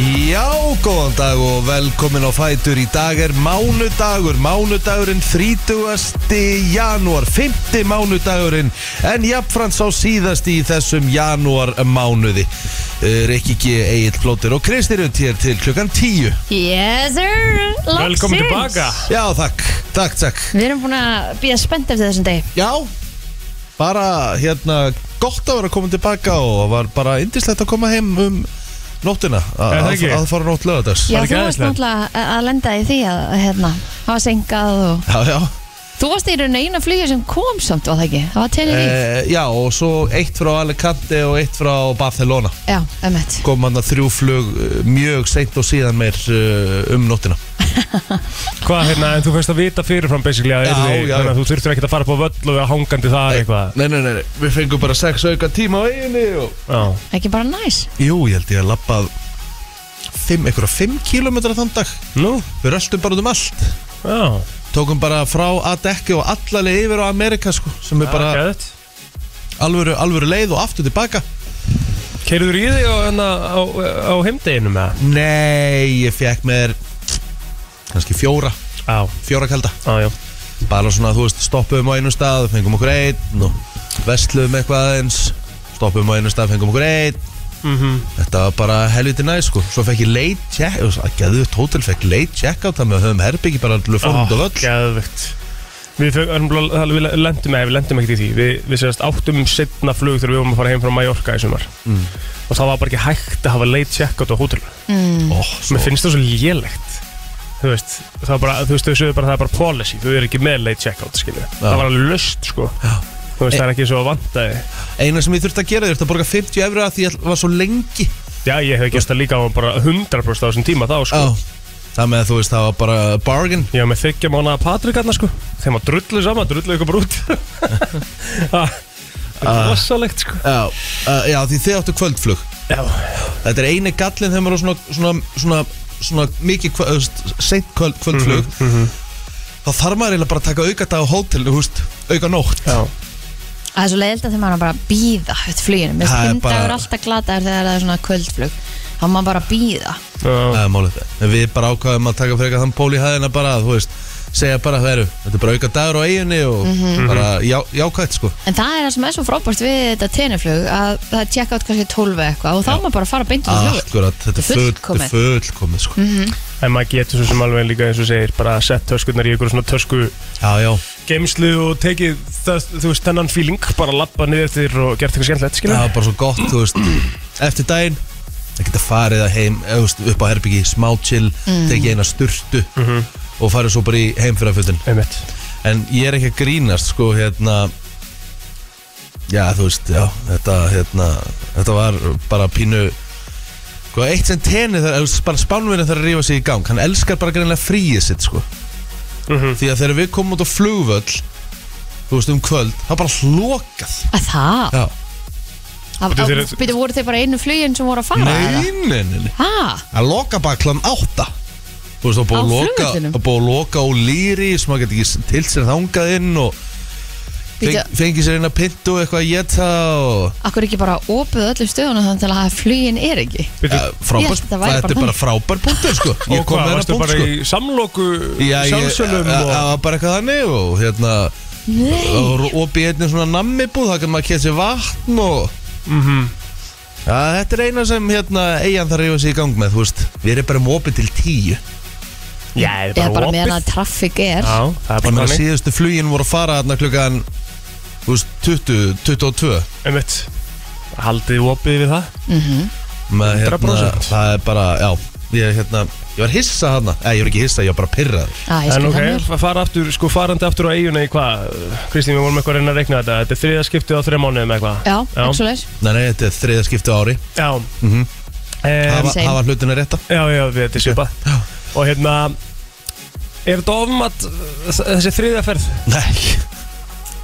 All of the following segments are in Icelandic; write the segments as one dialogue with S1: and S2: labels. S1: Já, góðan dag og velkomin á Fætur Í dag er mánudagur, mánudagurinn 30. janúar, 5. mánudagurinn En jafnfrans á síðast í þessum janúar mánuði Rikki G, Egil Plóter og Kristi Rund hér til klukkan 10
S2: Yes sir, loksins
S3: Velkomin tilbaka
S1: Já, takk, takk, takk
S2: Við erum búin að býja spennt eftir þessum degi
S1: Já, bara hérna gott að vera komin tilbaka og var bara indislegt að koma heim um nóttina að
S3: Er það
S1: að-
S3: ekki?
S1: að fara nótt lögadags
S2: Já,
S3: Var ekki
S2: þú varst
S3: æðislegt?
S2: náttúrulega að- að lenda í því að að, hérna, hafa sengað og
S1: Já, já
S2: Þú varst í raun eina flugja sem kom samt, var það ekki? Það var tenni líf
S1: Eh, já, og svo eitt frá Alicante og eitt frá Barcelona
S2: Já, emmett
S1: kom hann að þrjú flug eh, mjög seint og síðan meir eh, um nóttina
S3: Hvað hérna, en þú fyrst að vita fyrirfram basically að
S1: Já,
S3: yrði,
S1: já.
S3: Þannig að þú þurftir ekkert að fara upp á völl og vera hangandi þar eitthvað
S1: nei, nei, nei, nei, við fengum bara sex auka tíma á eiginni og...
S3: Já,
S2: Ekki bara næs
S1: Jú, ég held ég að labbað fimm, einhverja fimm kilometra þann dag
S3: nú,
S1: við röstum bara út um allt
S3: já
S1: tókum bara frá að dekki og allaleg yfir á Amerika sko, sem er bara
S3: Gæðið
S1: alvöru, alvöru leið og aftur tilbaka
S3: Keirður í þig á, hérna, á, á heimdeginu með það?
S1: Nei, ég fekk mér kannski fjóra,
S3: Já,
S1: fjóra kalda
S3: já, já
S1: bara svona, þú veist, stoppuðum á einu stað fengum okkur einn og vestluðum eitthvað aðeins stoppuðum á einu stað, fengum okkur einn
S3: Mhm.
S1: þetta var bara helviti næ, sko svo fekk ég late check, að geðu tótel fekk late check á það með að höfum herbyggi bara alveg fórum út af öll
S3: Gæðið Við, feng- erum blá- það- við lendum, eða við lendum ekkert í því Við, við sérst áttum setna flug þegar við vorum að fara heim frá Mallorca í sumar
S1: Mm.
S3: Og það var bara ekki hægt að hafa late checkout á hótelum
S1: Ó,
S3: Mér
S1: svo,
S3: finnst það svo lélegt Þú veist, það er bara, þú veist, þau sögðu bara það er bara policy Þú eru ekki með late checkout, skilju Það var alveg löst, sko
S1: Já.
S3: Þú veist, það er ekki svo vandaði
S1: Eh. eina sem ég þurfti að gera þér, þetta borga 50 efra því ég var svo lengi
S3: Já, ég hef gert það líka á bara 100% á þessum tíma þá, sko
S1: Já, það með að þú veist, það var bara bargain
S3: Ég var með þykja mánaða Patrik aðna, sko Þeim var drullu saman, drullu ykkur bara út Það er rosalegt, sko
S1: Ah. Já, uh, já því þið áttu kvöldflug
S3: Já,
S1: Þetta er eini gallin þegar maður er á svona, svona, svona, svona mikið kvö, seint kvöld, kvöldflug
S3: Mhm.
S1: Þá þarf maður eiginlega bara að taka auka dag á hótel, þú veist, auka nótt
S3: já,
S2: Það er svo leiðilt að þegar maður á bara að býða eftir fluginu Mér
S1: Það er
S2: finnst bara...
S1: bara-
S2: alltaf glataður þegar það er svona kvöldflug Þá má maður bara að býða
S3: já,
S1: Það er málið En Við bara ákvaðum að taka frekar þann pól í hæðina bara, þú veist segja bara það eru, þetta er bara auka dagur á eiginni og bara já, jákvætt sko
S2: En það er það sem er svo frábært við þetta teniflug að það er tjekka át kannski 12 eða eitthvað og þá er maður bara að fara beint út í
S3: Ah,
S2: flugvél.
S3: sko.
S1: Akkurat, þetta er full- þetta
S2: Fullkomið. Mhm.
S1: er fullkomið sko.
S3: En maður getur svo sem alveg líka eins og segir bara að sett töskurnar í ykkur svona tösku
S1: Já, já,
S3: geimslu og tekið það, þú veist, þennan feeling bara labba niður eftir og gert eitthvað skemmtilegt, skilja
S1: það var bara svo gott, þú veist Eftir daginn, það geta farið að heim eða, þú veist, upp á herbyggi, smá chill
S2: Mm.
S1: tekið eina sturtu og farið svo bara í heimfyrraföldin
S3: Mhm. Einmitt.
S1: En ég er ekki að grínast sko hérna Já þú veist já, þetta, hérna, þetta var bara pínu sko, Eitt sem tenið þar, eða bara spánvinni þarf að rífa sig í gang Hann elskar bara greinlega fríið sitt sko
S3: Mhm.
S1: Því að þegar við komum út á flugvöll Þú veist um kvöld Það var bara hlokað
S2: Að það?
S1: Já.
S2: Að-
S3: Bíddu,
S2: að-
S3: þeir-
S2: Bíddu, voru þeir bara einu flugin sem voru að fara?
S1: Nei, nei, nei, nei
S2: Hæ?
S1: Það loka bara klan átta Þú veist, það er búið
S2: Á
S1: að loka
S2: flugvellinum?
S1: Það er búið að loka á lýri sem maður getur ekki til sér þangað inn og
S2: Bíddu.
S1: feng, fengi sér eina pintu og eitthvað að geta og
S2: Akkur ekki bara opið öllum stöðunum þannig til að flugin er ekki?
S3: Bíddu,
S1: Ja, frábær,
S2: Ég held að þetta væri
S1: Eh, þetta er
S2: bara
S1: bara frábær punktur sko Ég
S3: og
S1: kom
S3: hvað,
S1: með
S3: varstu
S1: þetta punkt
S3: bara
S1: sko
S3: í samloku
S1: Já, ég, eh,
S3: sjálfsölum
S1: það
S3: og
S1: var bara eitthvað þannig og hérna
S2: Nei.
S1: og opið einnig svona nammibúð það kannu maður kemja sér vatn og
S3: Mhm.
S1: Já, þetta er eina sem hérna eigin þarf að rífa sig í gang með, þú veist Við erum bara um opið til tíu
S3: Já, það
S2: Eða
S3: er bara
S2: bara meðan að
S3: opið
S2: traffik er?
S3: Já, það
S1: Ég
S3: er bara
S1: meina
S3: þannig
S1: síðustu flugin voru að fara þarna klukkan, þú veist, 20, 22
S3: Einmitt. Haldið opið við það
S2: Mhm.
S1: með, hérna,
S3: 100%.
S1: Það er bara, já, ég, hérna, ég var hissa þarna Nei, ég var ekki hissa, ég var bara pyrrað
S2: Æ, ég
S3: En
S2: skil
S3: ok,
S2: það mjög.
S3: fa- fara aftur, sko farandi aftur á eiguna í hvað Kristín, við vorum eitthvað að reyna að reikna þetta Þetta er þriða skiptið á þrjá mánuðum eitthvað
S2: Já,
S3: já.
S2: ekki svo leis.
S1: Nei, nei, þetta er þriða skipti á ári Mhm.
S3: Já Em,
S1: Hafa,
S2: Same.
S1: hafa hlutina rétta
S3: Já, já, við þetta er svipað Og hérna Er þetta ofmat þessi þriðja ferð?
S1: Nei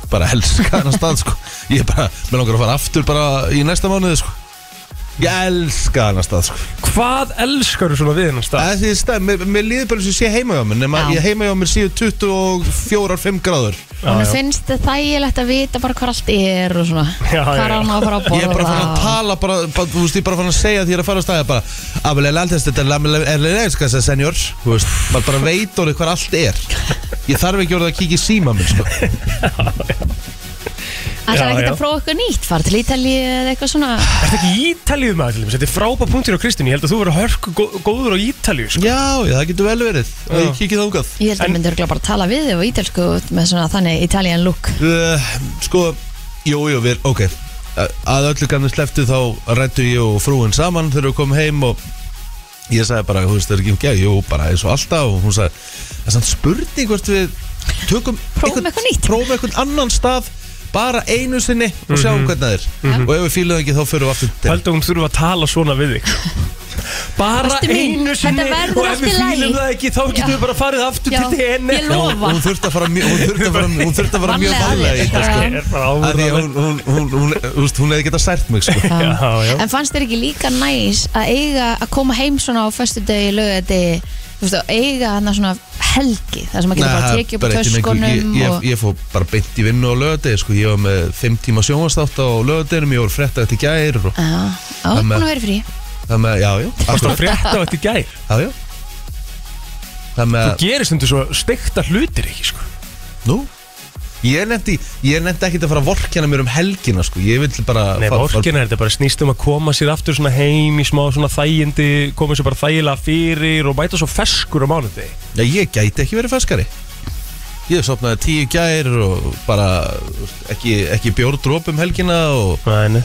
S1: Bara elska hennar stað sko Ég er bara, mér langar að fara aftur bara í næsta mánuði sko Ég elska hann að stað sko.
S3: Hvað elskar þú svona við hennar stað?
S1: Það er því stað, mér, mér líður bara eins og sé heima hjá mér nema
S2: Já.
S1: ég heima hjá mér séu 24-5 gráður
S2: Hún finnst þið þægilegt að vita bara hvað allt er og svona
S3: Já,
S2: Hvað
S3: já,
S2: er
S3: já.
S2: hann á að fara að borða
S1: Ég er bara fann að tala, bara, bara, þú veist, ég er bara fann að segja því ég er að fara á staði bara að vel er alltaf þetta er leiðiska þess að senjór, þú veist, maður bara veit orðið hvað allt er Ég þarf ekki orðið að kíkja í síma minn, sko
S2: Það er
S3: Já,
S2: ekkert
S3: já.
S2: að prófa eitthvað nýtt, fara til Ítalíu eða eitthvað svona
S3: Er þetta ekki ítalíu maður til þess? Þetta er frábæð punktur á Kristín, ég held að þú verður hörku gó- góður á ítalíu sko.
S1: Já, já, það getur vel verið að
S3: Já.
S1: ég kíkja þákað
S2: Ég held að
S3: En-
S2: myndi örugglega bara tala við þig og ítalsku með svona þannig Italian look
S1: uh, Sko, jú, jú, við, ok Uh, Að öllu kannu sleftu þá rættu ég og frúin saman þegar við komum heim og ég sagði bara, þú veist, það er ekki um gæð Jú, bara eins og alltaf og hún sagði, það er samt spurning hvort við tökum
S2: Prófum
S1: einhvern-
S2: eitthvað nýtt."
S1: Prófum eitthvað annan stað, bara einu sinni
S3: Mhm.
S1: og sjáum hvernig það er Og ef við fýlum það ekki, þá fyrir við aftur til
S3: Haldið Mhm. að hún þurfa að tala svona við þig Bara
S2: Ástu mín,
S3: einu sinni
S2: þetta verður
S3: og ef
S2: allt í
S3: við
S2: lagi.
S3: fýlum það ekki þá getum
S2: Já.
S3: við bara farið aftur
S2: Já,
S3: til henni
S2: ég lofa.
S1: Hún þurfti að fara mjög, hún þurfti að fara, hún þurfti að fara mjög
S2: Varlega,
S1: varlega í þetta,
S2: þetta
S1: sko.
S2: er-
S3: Er bara
S1: Af því að
S3: áður
S1: hún, hún, hún, hún, þú veist, hún hefði getað sært mig, sko
S2: Já.
S3: Já, já.
S2: En fannst þér ekki líka næs að eiga að koma heim svona á föstu degi, lögadegi Þú veist, að eiga hann svona helgi þar sem maður getur bara
S1: það
S2: að tekið upp
S1: breytir mig engu.
S2: töskunum
S1: ég,
S2: og
S1: ég, ég fór bara beint í vinnu á lögadegi sko. Ég var með 5 tíma sjónvastátt á lögadeginum Ég voru frett eftir gær og,
S2: Já, á,
S1: Það með-
S2: búin að vera frí
S1: Það með, já, já,
S3: Varstu að
S1: akkurat,
S3: frétta á þetta í gær?
S1: já, já Það með,
S3: Þú gerir stundu svo steikta hlutir ekki sko.
S1: nú Ég nefndi, ég nefndi ekkert að fara að vorkjana mér um helgina sko. Ég vill bara
S3: Nei,
S1: fara-
S3: vorkina er þetta bara snýst um að koma sér aftur svona heim í smá svona þægindi koma sér bara þægilega fyrir og mæta svo feskur á mánuði
S1: Já, ég gæti ekki verið ferskari Ég sopnaði tíu gær og bara ekki, ekki bjórdróp um helgina og
S3: Nei, nei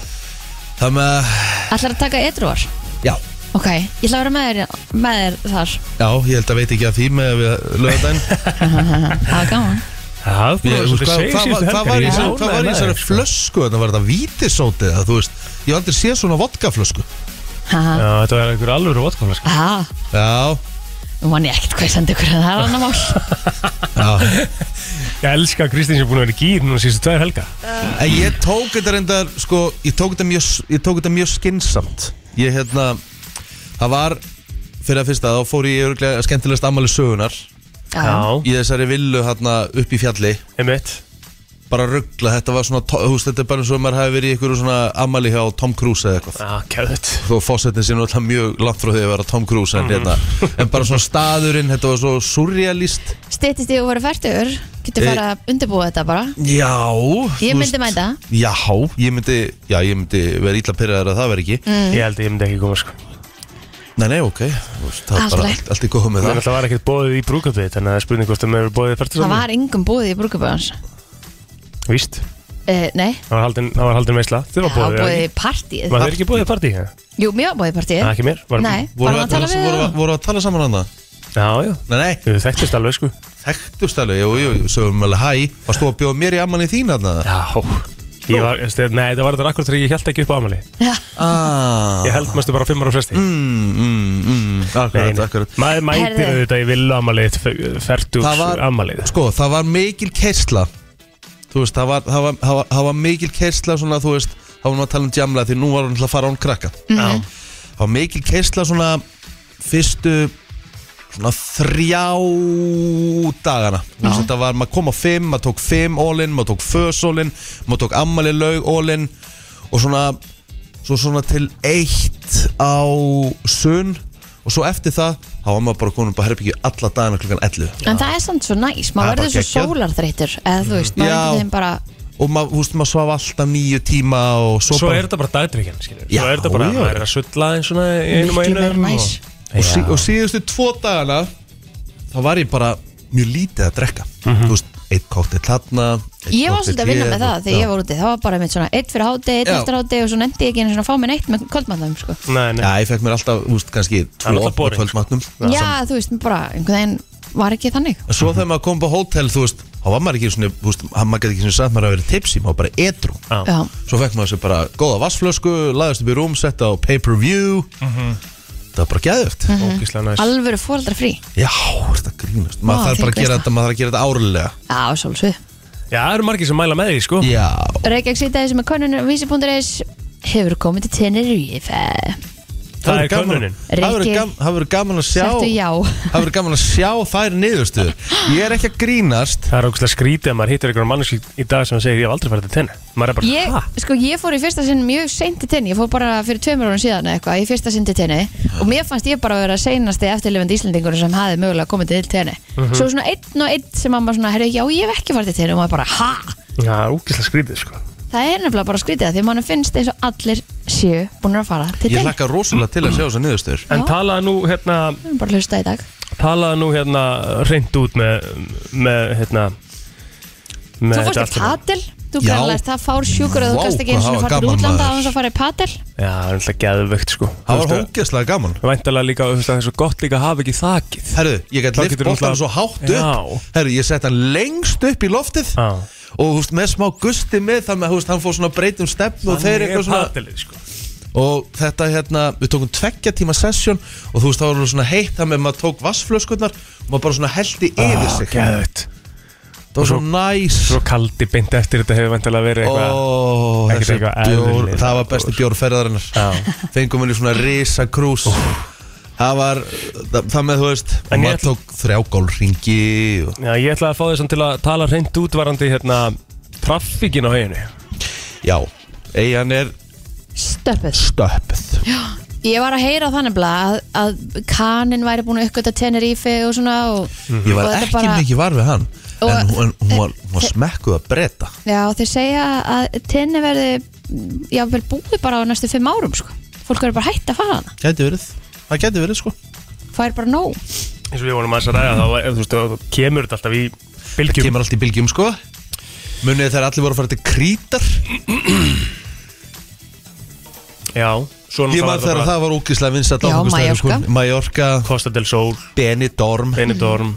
S1: það með,
S2: Ætlar að taka edruar?
S1: já
S2: Ok, ég ætla að vera með þér, með þér þar
S1: Já, ég held að veit ekki að því með lögadaginn
S2: Það var gaman
S3: Það
S1: Ég,
S3: er
S1: þú
S3: svolítið
S1: veist, hvað,
S3: segið
S1: hvað,
S3: síðustu
S1: hvað, hvað var í
S3: helgar
S1: þessari- hvað var í þessari flösku Þetta var þetta vítisótið það, þú veist, Ég hef aldrei séð svona vodkaflösku
S2: Haha.
S3: Já, þetta var einhver alvöru vodkafla sko.
S2: Aha,
S1: Já,
S2: nú mann ég ekkert hvað ég sendi ykkur en það er annar mál
S1: já
S3: Ég elska að Kristín sem búin að vera í gýr núna síðustu tvær helga
S1: Eh, En ég tók þetta reyndar sko, Ég tók þetta mjög, ég tók þetta mjög skinsamt Ég hérna Það var fyrir að fyrsta Þá fór ég örglega skemmtilegast ammali sögunar
S2: Já,
S1: Í þessari villu hérna upp í fjalli
S3: einmitt
S1: Bara ruggla, þetta var svona to- þú veist, Þetta er bara eins og maður hafi verið í einhverju svona ammali hjá Tom Cruise eða eitthvað
S3: Já, gæðut
S1: þó fósettin sé náttúrulega mjög langt frá því að vera Tom Cruise
S3: Mm.
S1: en, hérna, en bara svona staðurinn, þetta var svo surrealist
S2: styttist ég að vera færtur Getur
S1: Eh,
S2: fara að undirbúa þetta bara
S1: Já
S2: Ég myndi mæta
S1: Já, ég myndi, já, ég myndi vera ítla pyrraður að það veri ekki
S2: Mm.
S3: Ég held að ég myndi ekki koma sko
S1: Nei, nei, ok, Þú veist, það
S2: Allt
S1: er bara
S2: leið.
S1: allt, allt í góðum með
S3: Það
S1: það
S3: náttúrulega var ekkert bóðið í brúkabið Þannig að það er spurning hvort það með bóðið fært
S2: Það var engum búið í brúkaböðans
S3: Víst,
S2: uh, Nei,
S3: það var haldin, það var haldin meðsla Þið var
S2: það var
S3: bóðið
S2: búið
S3: eða
S2: í partíið
S3: Var þið ekki bóðið partí? eða?
S2: Jú, mér var búið í partíið
S3: Nei, ekki mér var,
S2: Nei, var
S1: Voru
S2: hann að tala við
S1: voru,
S2: það?
S1: voru að tala saman annað?
S3: Já, já
S1: Nei, nei,
S3: Þau þekktist alveg sko
S1: þekktust alveg, jú, jú, jú, sögum alveg hæ Varst þú að bjóða mér í amman í þín annað?
S3: Já Ég var, veist, nei, það var þetta akkurat þegar ég held ekki upp á amali
S2: Já,
S1: Ah,
S3: Ég held mestu bara fimm ára fresti mm,
S1: mm, mm, mm, akkurat, akkurat
S3: Maður mætir
S2: Herðu.
S3: auðvitað í villu amalið
S1: Það
S3: Fertugs
S1: var-
S3: amalið
S1: Sko, það var mikil kersla Þú veist, það var, það var, það var, það var mikil kersla svona, þú veist, þá var hún að tala um djamla því nú var hún til að fara án krakka
S3: Já,
S1: Það var mikil kersla svona fyrstu svona þrjá dagana Þú veist, Þetta var, maður kom á fimm, maður tók fimm ólinn, maður tók fös ólinn maður tók ammali laug ólinn og svona, svo svona til eitt á sunn og svo eftir það þá var maður bara komin upp að herbyggju alla dagana klukkan 11
S2: en það er samt svo næs
S1: Það
S2: Maður
S1: er bara
S2: verður svo
S1: geggjað. Mm.
S2: sólarþreytur Eða þú veist, maður
S1: Já.
S2: einhvern veginn bara
S1: og maður, þú veist, maður svaf alltaf nýju tíma og svo,
S3: Svo
S1: bara,
S3: er þetta bara dagdrykjan, skilur
S1: Já,
S3: Svo er þetta bara,
S1: já.
S3: maður er að sulla eins svona í einum og
S2: Mikið
S3: einum
S2: meira næs
S3: og-
S1: og, sí,
S3: Já.
S1: og síðustu tvo dagana þá var ég bara mjög lítið að drekka
S3: Mhm.
S1: þú veist, eitt kóttill hlatna
S2: Ég var svolítið að vinna með það þegar ég var úti Það var bara mitt svona eitt fyrir háti, eitt
S1: Já.
S2: eftir háti Og svo nefndi ég ekki einu svona að fá mér neitt með kvöldmannum sko.
S3: Nei, nei
S1: Já, ég fekk mér alltaf, þú veist, kannski
S3: er
S1: tvo
S3: alltaf boring.
S1: kvöldmatnum
S2: Já, þú veist, bara einhvern veginn var ekki þannig
S1: En svo þegar maður kom upp á hótel, þú veist, þá var maður ekki svona, þú veist, hann- maður gæti ekki svona sagt maður að vera tipsi, maður var bara edru
S3: Já.
S2: Já,
S1: Svo fekk maður sér bara góða vassflösku, laðist upp í rúm, setta á pay-per-view Það var bara geðvögt
S3: Ógislega Mhm. næs
S2: alvöru fóreldra frí
S1: Já, þetta grínast
S2: Vá,
S1: Maður þarf bara að
S2: þvílík
S1: gera
S2: veisla.
S1: þetta, maður þarf að gera þetta árlega
S2: Já, svolítið
S3: Já, það eru margir sem mæla með því, sko
S1: Já,
S2: Reykjavík sýtaði sem er konunum vísi.is hefur komið til Tenerife
S3: Það
S1: verður
S3: er
S1: gaman-
S3: könnunin.
S1: Það verður
S2: Rikki.
S1: gam- það verður gaman að sjá
S2: Settu já
S1: Það verður gaman að sjá þær niðurstöður Ég er ekki að grínast
S3: Það er ógustlega skrítið að maður hittir einhverjum manneski í dag sem segir ég hef aldrei farið til tenni Maður er bara,
S2: Ég,
S3: hæ?
S2: sko, ég fór í fyrsta sinn mjög seint í tenni Ég fór bara fyrir tveimur árum síðan eða eitthvað Í fyrsta sinn til tenni Og mér fannst ég bara að vera seinasti eftirlifandi Íslendingur sem hafði mögulega komið til tenni
S1: Mhm.
S2: Svo svona einn og einn sem mamma svona Herru, já, ég hef ekki farið til tenni Og maður bara, ha?
S3: Já, ógustlega skrítið sko
S2: Það er nefnilega bara skrítið af Því mann finnst eins og allir séu búin að fara til
S1: Ég
S2: tenni
S1: hlakka rosalega til að sjá þessar niðurstöður
S3: En
S2: Já.
S3: talaðu nú hérna
S2: Við erum bara að hlusta í dag
S3: talaðu nú hérna reynd út með, með hérna með
S2: Þú fórst
S3: þetta
S2: í
S3: allt saman.
S2: padel Þú
S1: Já.
S2: grænlega það fár sjúkur að
S1: Vá,
S2: þú gast ekki
S1: hvað
S2: eins
S1: það
S2: og
S1: var
S2: farið
S1: gaman,
S2: útlanda á
S1: maður.
S2: þess að farið padel
S3: Já, það er alltaf geðvögt sko
S1: Það var hókjastlega gaman
S3: Væntalega líka, þú veist, það er svo gott líka að hafa ekki þakið
S1: Herðu, ég gæti
S3: Þá
S1: lift
S3: getur þú
S1: boltan
S3: náttúrulega-
S1: svo hátt upp
S3: Já.
S1: Herðu, ég sett hann lengst upp í loftið
S3: Já.
S1: Og þú veist, með smá gusti með Það með, þú veist, hann fór svona breytum stefn Og þeir
S3: Þannig
S1: eitthvað
S3: er
S1: svona
S3: padelið sko
S1: Og þetta hérna, við tókum tveggja tíma sessjón Og þú veist, það var svona heitt Það með maður tók vassflöskunnar Og maður bara svona heldi yfir sig
S3: Geðvögt
S1: Það var svo næs
S3: Svo kaldi beint eftir þetta hefur væntalega verið eitthvað
S1: Ó,
S3: Ekkert
S1: þessi
S3: eitthvað
S1: bjór,
S3: eðlilega
S1: það var besti bjórferðarinnar
S3: Já.
S1: Fengum henni svona risa krús Það var, það, það með þú veist
S3: En
S1: Og
S3: ég
S1: maður
S3: ætla-
S1: tók þrjá gólringi og...
S3: Já, ég ætlaði að fá þessan til að tala reynd útvarandi hérna traffíkin á heginu
S1: Já, eigin er
S2: Stöppuð
S1: stöppuð
S2: Ég var að heyra þannig að, að kanin væri búin að uppgöta Tenerife E og svona og,
S1: Ég
S2: Mhm.
S1: var
S2: og þetta
S1: ekki mikið var við hann
S2: Og-
S1: En hún, en hún var, hún var smekkuð að breyta
S2: Já, þeir segja að tenni verði mm, jafnvel búið bara á næstu fimm árum sko. fólk verður bara hætt að fara hana
S1: Gæti verið, það gæti verið sko
S2: fær bara nóg
S3: eins og við vorum aðeins að ræða þá var- þú veist, þá kemur þetta alltaf í
S1: Það
S3: bylgjum
S1: kemur allt í bylgjum sko Munið þegar allir voru að fara til krítar
S3: já, svona
S1: Ég maður þegar það var ógislega vinsat
S2: Já,
S1: sko.
S2: Mallorca.
S1: Mallorca,
S3: Costa del Sol,
S1: Benidorm
S3: Benidorm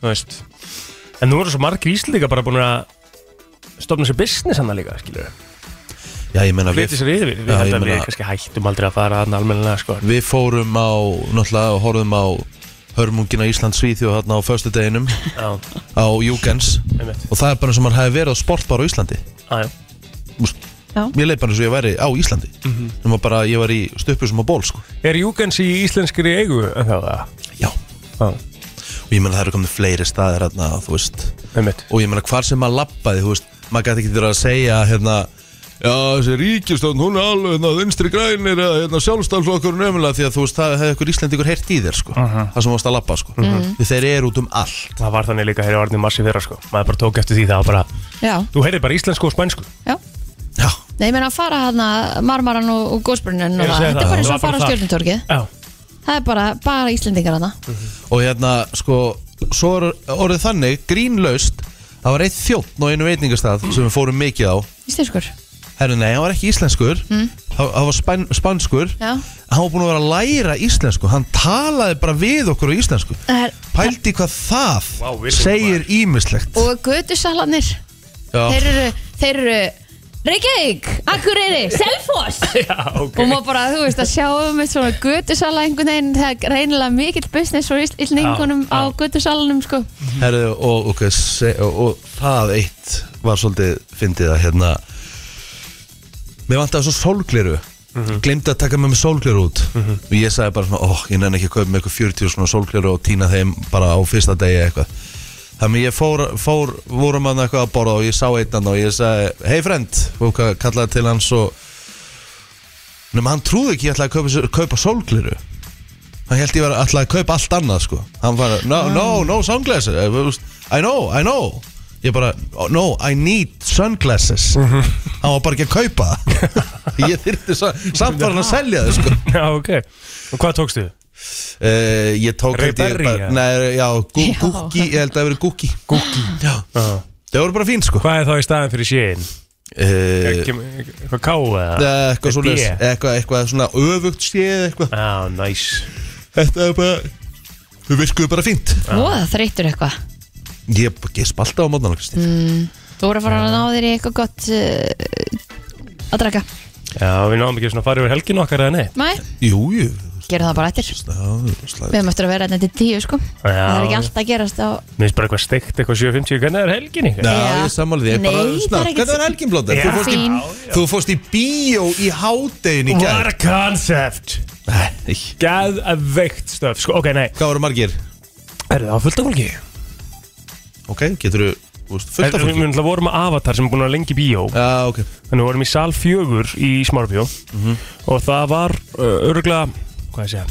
S3: þú veist en nú eru svo margir íslendingar bara búin að stofna sér business hann líka skilur
S1: Já, ég meina
S3: flytja
S1: við
S3: sér yfir, við
S1: Já, ég
S3: hættum við
S1: meina-
S3: kannski hættum aldrei að fara hann almennilega sko
S1: Við fórum á, náttúrulega, og horfum á hörmungina Ísland Svíþjóð hérna á föstudeginum
S3: já,
S1: á Júgens
S3: einmitt,
S1: og það er bara eins og maður hefði verið á sportbar á Íslandi
S3: aðjá
S2: Já,
S1: Mér leið bara eins og ég væri á Íslandi mm -hmm. bara, Ég var í stöppu sem á ból sko.
S3: er Júkens í íslenskri eigu en það var
S1: Já,
S3: það,
S1: og ég meina það eru komið fleiri staðir hérna, þú veist
S3: einmitt
S1: og ég meina hvar sem maður lappaði, þú veist maður gæti ekki þurra að segja hérna Já, þessi ríkistofn, hún er alveg hérna, vinstri grænir eða hérna, sjálfstaflokkurinn ömulega því að þú veist, það hefði ykkur Íslendingur heyrt í þér sko,
S3: Mhm.
S1: það sem varst að lappa sko.
S2: Mhm.
S1: Því Þeir eru út um allt
S3: það var þannig líka hér á Arnum Massi fyrra sko maður bara tók eftir því það var bara
S2: já,
S3: þú heyrði bara íslensku og spænsku
S2: já
S1: Já,
S2: Nei, ég meina að fara hana Marmaran og, og Gósbrunin og
S3: Ég er að
S2: það
S3: segja
S2: Þetta er
S3: það,
S2: bara eins
S3: það
S2: og að
S3: var bara
S2: fara á
S3: það.
S2: stjórnutorkið
S3: já,
S2: Það er bara, bara Íslendingar hana
S1: og hérna sko svo er orðið þannig grínlaust það var eitt þjóttn á einu veitingastað sem við fórum mikið á
S2: Íslenskur Hmm.
S1: herru nei, hann var ekki íslenskur það, það var spæn, spanskur
S2: Já.
S1: hann var búin að vera að læra íslensku hann talaði bara við okkur á íslensku
S2: Það er-
S1: pældi hvað það
S3: Vá, við erum
S1: segir ímislegt
S2: Og götusalanir
S1: Já.
S2: þeir eru, þeir eru Reykjavík, Akureyri, Selfoss
S3: já, ok
S2: og maður bara, þú veist, að sjá um eitt svona götusala einhvern veginn, það er reynilega mikill business og íslningunum
S3: Já,
S2: á
S3: já.
S2: götusalanum sko.
S1: herru, og, og, og, og, og það eitt var svolítið fyndið að hérna mér vantaði svo sólgleru mm að taka með mér sólgleru út og ég sagði bara svona, óh, ég nenni ekki að kaupa með eitthvað 40 svona sólgleru og týna þeim bara á fyrsta degi eða eitthvað þannig ég fór, fór vorum hann eitthvað að borða og ég sá einn hann og ég sagði hei frend, og ka- kallaði til hans og nema hann trúði ekki ég ætlaði að kaupa, sér- kaupa sólgleru hann held ég var alltaf að kaupa allt annað sko hann var, no,
S3: Ah.
S1: no, no sunglasses Eh, I know, I know ég bara, "Oh, no, I need sunglasses
S3: Mhm.
S1: hann var bara ekki að kaupa það. ég þyrfti sa- samt var hann að selja þau sko
S3: já, ok og hvað tókstu þið?
S1: uh, ég tók
S3: Ray
S1: held ég
S3: Berry,
S1: bara-
S3: ja.
S1: nei, já, gú,
S2: Já.
S1: gúkki, ég held að það hafi verið gúkki gúkki, já
S3: Já.
S1: það voru bara fín sko
S3: Hvað er þá í staðin fyrir séin?
S1: uh,
S3: Eitthvað ká
S1: eitthvað
S3: eða? Ah. B. Ah,
S1: svona eitthvað, eitthvað svona öfugt séð eitthvað
S3: Já, næs
S1: þetta er bara við virkuðu bara fínt
S2: og
S3: Ah.
S2: það þreytur eitthvað
S1: ég gesp alltaf á mótnarna Kristín
S3: Mm.
S2: þú voru að fara að ná þér í eitthvað gott uh, að draka
S3: Já, við náðum ekki svona að fara yfir helgin okkar eða neitt
S2: Mæ,
S1: Jú, jú,
S2: gerum það bara eftir Við
S1: Já,
S2: höfum eftir að vera þetta til tíu sko Það er ekki alltaf að gerast á
S3: Mér finnst bara eitthvað steikt, eitthvað 7.50, hvernig er helginni?
S1: Já,
S2: Já.
S1: ég sammála því, ég er
S2: Nei,
S1: bara
S2: það er
S1: snart.
S2: ekkert-
S1: Hvernig var helgin blóttir?
S3: Já.
S1: Þú fórst í,
S2: Fín.
S1: þú fórst í bíó í hádegin í
S3: What
S1: gær
S3: a concept
S1: Nei.
S3: Gæð að veikt stöf, sko, ok, nei
S1: Hvað voru margir?
S3: Er það fullt af fólki?
S1: Ok, getur þú fullt af
S3: Við
S1: fólki?
S3: við náttúrulega vorum að Avatar sem er búin að vera lengi í bíó
S1: Já, ok Mhm.
S3: Þannig við vorum í sal fjögur í Smárbjó Og það var uh, öruglega, hvað ég segja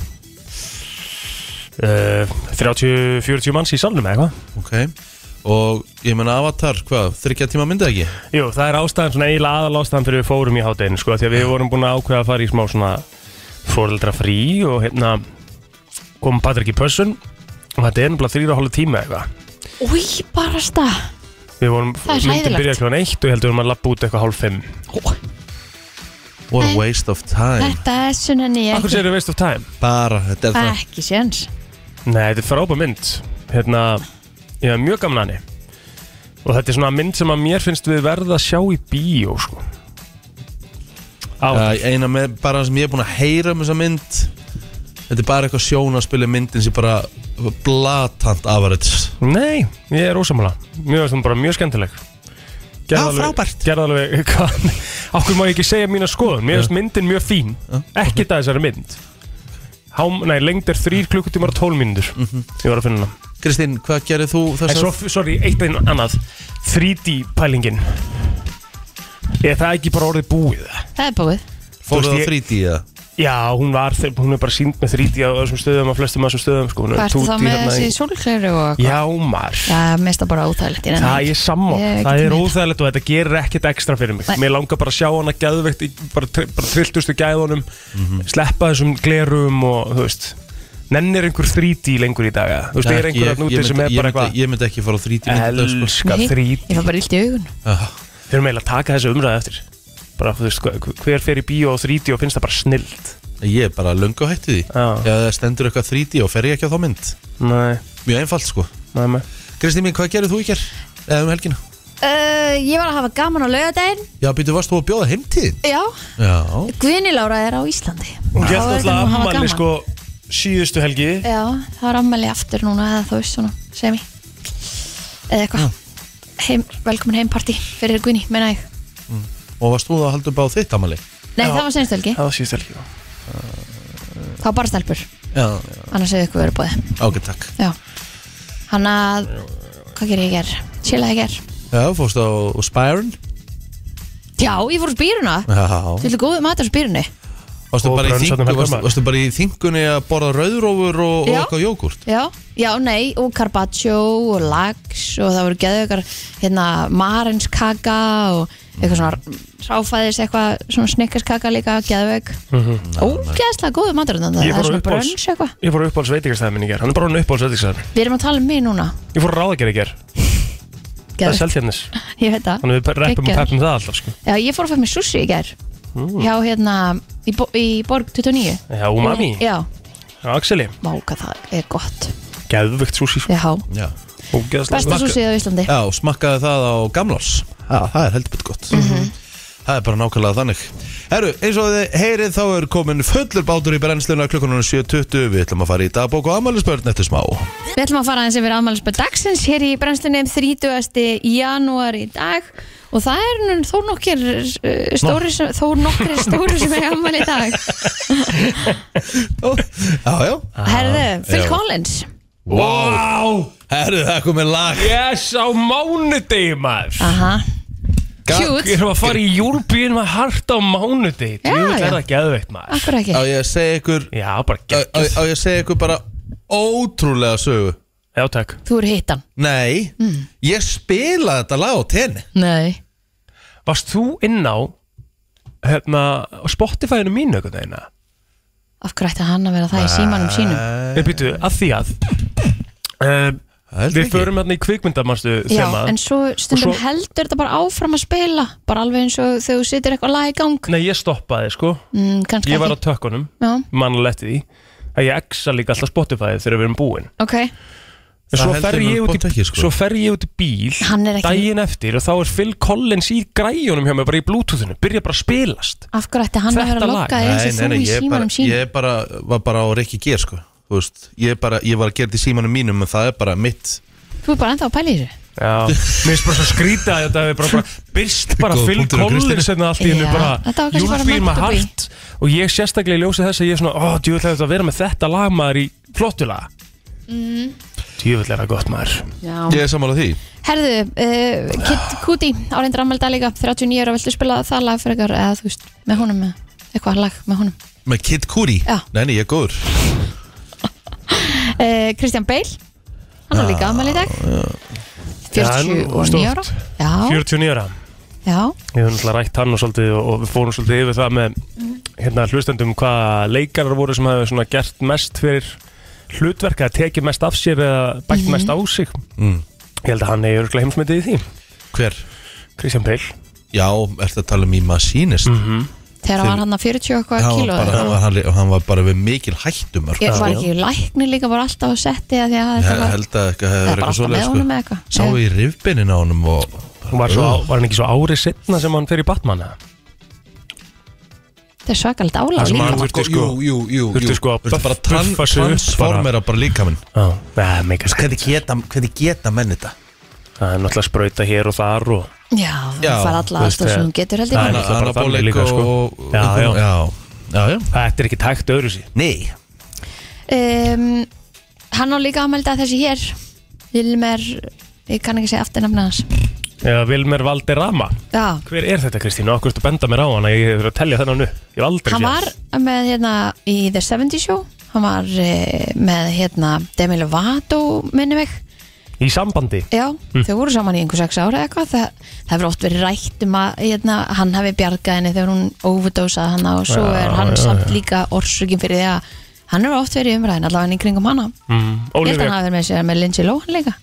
S3: Uh, 30-40 manns í salnum eða eitthvað
S1: Ok Og ég menna Avatar, hvað, þryggja tíma myndið ekki?
S3: Jú, það er ástæðan, svona eiginlega aðal ástæðan fyrir við fórum í hátæðinu, sko, því að við vorum búin að ákveða að fara í smá svona fóröldra frí og hérna kom Patrik í pössun og þetta er nefnilega þrýra hálf tíma eitthvað.
S2: Új, barasta
S3: Við vorum,
S2: Það er
S3: myndum
S2: hræðilegt.
S3: byrja kljóðan eitt og ég held við vorum að lappa út eitthvað hálf fimm.
S1: What a waste of time
S2: Þetta er sunnenni ég
S3: Akkur
S2: ekki,
S3: sér er waste of time?
S1: Bara, þetta er það
S2: ekki séns
S3: Nei, þetta er frábær mynd. Hérna, ég er mjög gaman að henni. Og þetta er svona mynd sem að mér finnst við verða að sjá í bíó, sko. Á,
S1: uh, Eina með, bara sem ég er búin að heyra um þessa mynd Þetta er bara eitthvað sjón að spila myndin sem bara blatant avarits
S3: Nei, ég er ósamála Mér finnst hún bara mjög skemmtileg
S1: Já,
S3: alveg-
S1: frábært.
S3: Gerði alveg, hvað Akkur má ég ekki segja mína skoðun Mér finnst myndin mjög fín Ekki það þessari mynd Há, nei, lengd er þrýr klukkutímar og tól mínútur Ég var að finna hana
S1: Mhm. Kristín, hvað gerir þú
S3: En
S1: þess
S3: svo, sorry, eitt einn annað 3D pælingin Er það ekki bara orðið búið?
S2: Það er búið
S1: Fór
S3: þú
S1: það
S3: veist, ég-
S1: 3D eða?
S3: Já, hún var, hún er bara sínd með 3D á þessum stöðum, á flestum af þessum stöðum sko. Hún er
S2: Hvað ertu
S3: 2D
S2: þá með
S3: þarna í-
S2: þessi sólklæru og
S3: Já, maður
S2: Já, mest það bara óþægilegt ég nenni
S3: Það
S2: ekki.
S3: ég sammá,
S2: Ég er
S3: það
S2: ekki
S3: er
S2: með.
S3: óþægilegt og þetta gerir ekkert ekstra fyrir mig
S2: Nei.
S3: Mér langar bara að sjá hana gæðvegt bara, tr- bara trilltustu gæðunum
S1: Mhm.
S3: sleppa þessum glerum og þú veist Nennir einhver 3D lengur í dag eða? Þú veist,
S1: Nei,
S3: er einhver að núti
S1: myndi-
S3: sem er bara
S1: ég myndi-
S3: eitthvað
S1: Ég myndi ekki fara á 3D myndin sko.
S3: Elska
S2: Nei,
S3: 3D
S2: Ég fann bara illt í augun
S1: Ah,
S3: Við erum eiginlega að taka þessu umræði eftir bara, þú veist, hva- hver fer í bíó á 3D og finnst það bara snilt
S1: Ég er bara löngu hætti því Ef
S3: Já.
S1: það stendur eitthvað 3D og fer ég ekki á þá mynd
S3: Nei,
S1: Mjög einfalt sko
S3: nei, nei
S1: Kristín mín, hvað gerir þú í ger? Eða um helgina?
S2: uh, Ég var að hafa gaman á laugardaginn
S1: Já, býtu, varst þú að bjóða heimtíðin?
S2: Já,
S1: Já
S2: Guðni Lára er á Íslandi
S3: Hún
S2: Þá
S3: gæst
S2: er
S3: alltaf
S2: gaman að hafa
S3: ammali
S2: gaman.
S3: sko síðustu helgi
S2: Já, það var ammali aftur núna eða þú veist svona, semi eða eitthvað heim, velkomin heimparti fyrir Guðni, meina ég
S1: Og varst þú að halda upp á þitt amali?
S2: Nei,
S3: Já.
S2: það var senstu helgi,
S3: Það var síðustu helgi já.
S2: það var bara stelpur
S1: Já,
S2: annars hefur ykkur verið bóði
S1: ok, takk
S2: Já, hann að hvað ger ég ger, chillaði ég ger
S1: Já, fórst á Spyron
S2: Já, ég fór úr spýruna Þú
S1: Já
S2: viltu góðu matur úr spýrunu?
S1: Varstu
S3: Og
S1: bara, í
S3: brunch
S1: þyngu,
S3: þarna um
S1: varstu,
S3: helgina.
S1: varstu bara í þingunni að borða rauðrófur og, og
S2: Já.
S1: eitthvað jógurt?
S2: Já, já, nei, og carpaccio og lax og það voru geðveikar hérna marinskaka og eitthvað svona ráfæðis eitthvað svona snikkerskaka líka geðveik Ógeðslega góðu matur þarna, það er
S3: Ég fór á
S2: svona
S3: uppáhalds-
S2: brönns eitthvað
S3: Ég fór á uppáhalds veitingastæðin minn í ger Hann er bara hann uppáhalds veitingastæðin
S2: Við erum að tala um mig núna,
S3: Ég fór að ráða í ger Það er
S2: geðveik,
S3: seltjarnis
S2: ég veit það
S3: Þannig við reppum og
S2: Geggjaður.
S3: peppum það alltaf sko.
S2: Já, ég fór að fæða mér sushi í gær
S3: Mm.
S2: hjá hérna í, bo í Borg 29
S3: Já, umami
S2: Já,
S3: Já, Axeli
S2: máka það er gott
S3: Gæðvögt súsí sko.
S2: Já,
S1: Já
S3: Ógeðslega
S2: besta
S1: Smakka-
S2: sushi á Íslandi
S1: Já, og smakkaði það á gamlárs Já, það er heldur betur gott
S2: Mhm.
S1: Það er bara nákvæmlega þannig Herru, eins og þið heyrið þá er komin fullur bátur í brennsluna klukkunum 7.20 Við ætlum að fara í dagbók og amælisbörn eftir smá
S2: Við ætlum að fara aðeins yfir afmælisbæð dagsins hér í brennslunni um 30. janúar í dag og það er nú þó nokkir eh, stóri sem, þó nokkri stóri sem er afmæli í dag
S1: Já, já
S3: Ah,
S2: Herðu, Phil
S1: Já.
S2: Collins
S3: Wow
S1: Herru, það er komin lag
S3: Yes, á mánudegi maður
S2: Aha,
S3: Ég
S2: Ah, cute,
S3: þarf að fara í júlbíðin með hart á mánudegi
S2: Já,
S3: Jú, það
S2: já.
S3: er það gæðvögt maður
S2: akkur ekki
S1: Á ég að segja ykkur
S3: Já, bara
S1: á, á,
S3: gæðvögt
S1: á ég að segja ykkur bara ótrúlega sögu
S3: Já, takk
S2: Þú eru hittan Mm.
S1: Nei, ég spilaði þetta lag á tenni
S2: Nei
S3: Varst þú inn á hérna, á Spotify-inu mínu einhvern veginn eða?
S2: Af hverju ætti hann að vera það í
S3: Ah.
S2: símanum sínum?
S3: Nei, býttu, að því að uh,
S1: held
S3: Við
S1: ekki.
S3: förum hérna í kvikmyndamarstu
S2: Já, en svo stundum
S3: Og svo-
S2: heldur þetta bara áfram að spila bara alveg eins og þegar þú situr eitthvað lag í gang
S3: Nei, ég stoppaði, sko
S2: mm, Kannski
S3: Ég var á
S2: ekki
S3: tökkunum
S2: Já,
S3: mannulegti því að ég exa líka alltaf Spotify þegar við erum búin
S2: ok,
S1: Það
S3: Svo
S1: held
S3: fer
S1: ég nú
S3: ég út í-
S1: bótt ekki, sko.
S3: svo fer ég út í bíl
S2: Hann er ekki-
S3: daginn eftir og þá er Phil Collins í græjunum hjá mig bara í bluetoothinu, byrja bara að spilast
S2: Af hverju ætti hann að vera
S3: Þetta
S2: að
S3: lag.
S2: lokka þig eins og þú í
S1: ég, bara,
S2: símanum sín
S1: ég bara, var bara á Rikki Gér sko Þú veist, ég, bara, ég var að gera þetta í símanum mínum en það er bara mitt
S2: Þú er bara ennþá að pæla í þessu
S3: Já, mér finnst bara svo skrýta að þetta er bara, bara byrst bara
S1: Góð
S3: Phil
S1: punktur á Kristínu.
S3: Collins en allt í hennu
S2: Já, þetta var
S3: bara
S2: kannski
S3: You'll
S2: bara
S3: be my
S2: meant to be.
S3: heart og ég sérstaklega í ljósi þess að ég er svona ó, djúvill er þetta að vera með þetta lag maður í flottu lag mm.
S2: Mm-hmm.
S3: djúvill er það gott maður
S1: Ég er sammála því
S2: Herðu, uh, Kit Kuti áreindar ammæli dag líka, 39 ára viltu spila það lag fyrir ykkar, eða þú veist, með honum eða eitthvað lag með honum
S1: Með Kid Kuri
S2: Já.
S1: Nei, nei, ég er góður
S2: uh, Kristján Beil hann er líka ammæli í dag
S3: Já, nú,
S2: 49 ára
S3: stórt.
S2: Já,
S3: 49 ára
S2: já,
S3: Ég hef náttúrulega rætt hann og svolítið og, og við fórum svolítið yfir það með hérna hlustendum hvað leikarar voru sem hefur svona gert mest fyrir hlutverk að tekið mest af sér eða bætt mest á sig
S1: Mm.
S3: Ég held að hann er örgulega heimsmyndið í því
S1: Hver?
S3: Kristján Peil
S1: Já, ertu að tala um í Machinist
S3: Mhm.
S2: þegar
S1: Þeim-
S2: var hann að 40 og eitthvað
S1: hann, var
S2: kíló
S1: bara,
S2: eða-
S1: hann, var, hann, hann var bara við mikil hættumar
S2: Ég var
S3: sko.
S2: ekki læknir líka, var alltaf að setja því að þetta var,
S1: held að eitthvað hefur
S2: það
S1: verið
S2: var
S1: eitthvað
S2: alltaf með honum
S1: svoleið
S2: eða
S1: sko.
S2: eitthvað
S1: Sá
S2: Já.
S1: ég rifbinin á honum og
S3: Hún var, svo, var hann ekki svo árið setna sem hann fer í Batman eða?
S2: Þetta er svakalegt álag
S3: Það sem
S2: líka
S3: hann þurfti sko
S1: Jú, jú, jú,
S3: Þurfti
S1: jú.
S3: sko að
S1: Þurfti bara
S3: buffa sig
S1: tran-
S3: upp bara.
S1: transformera bara líkaminn
S3: Já, það er meika skætt
S1: Hvernig geta, hvernig geta menn þetta?
S3: Það er náttúrulega sprauta hér og þar og
S2: Já,
S1: Já,
S2: það fara alla
S3: þú veist,
S2: aðstof sem
S3: eh,
S2: hún getur held
S3: það
S2: ég
S3: er- náttúrulega bara
S1: Anabólik
S3: þannig líka, sko.
S1: og- og-
S3: Já, já.
S1: já, já, já.
S3: Þetta er ekki tækt öðru sí
S1: Nei,
S2: um, Hann á líka aðmelda þessi hér Vilmer, ég kann ekki segja afturnafna hans
S3: Eða Vilmer Valderrama
S2: Já,
S3: Hver er þetta Kristín og okkur ertu að benda mér á hann að ég hefur að telja þennan upp Ég hef aldrei
S2: hann
S3: séð
S2: var með hérna í The 70 Show Hann var eh, með hérna Demi Lovato, minni mig
S3: hann. Í sambandi
S2: Já,
S3: Hm.
S2: þau voru saman í einhver sex ára eitthvað Það, það hefur oft verið rætt um að hérna, hann hefði bjargað henni þegar hún overdosað hann og svo
S3: Já,
S2: er hann
S3: já,
S2: samt líka orsökin fyrir því að hann hefur oft verið í umræðin allavega í kringum hana Ég
S3: mm,
S2: held að
S3: Olivia
S2: hann hafi verið með sér með Lindsay Lohan líka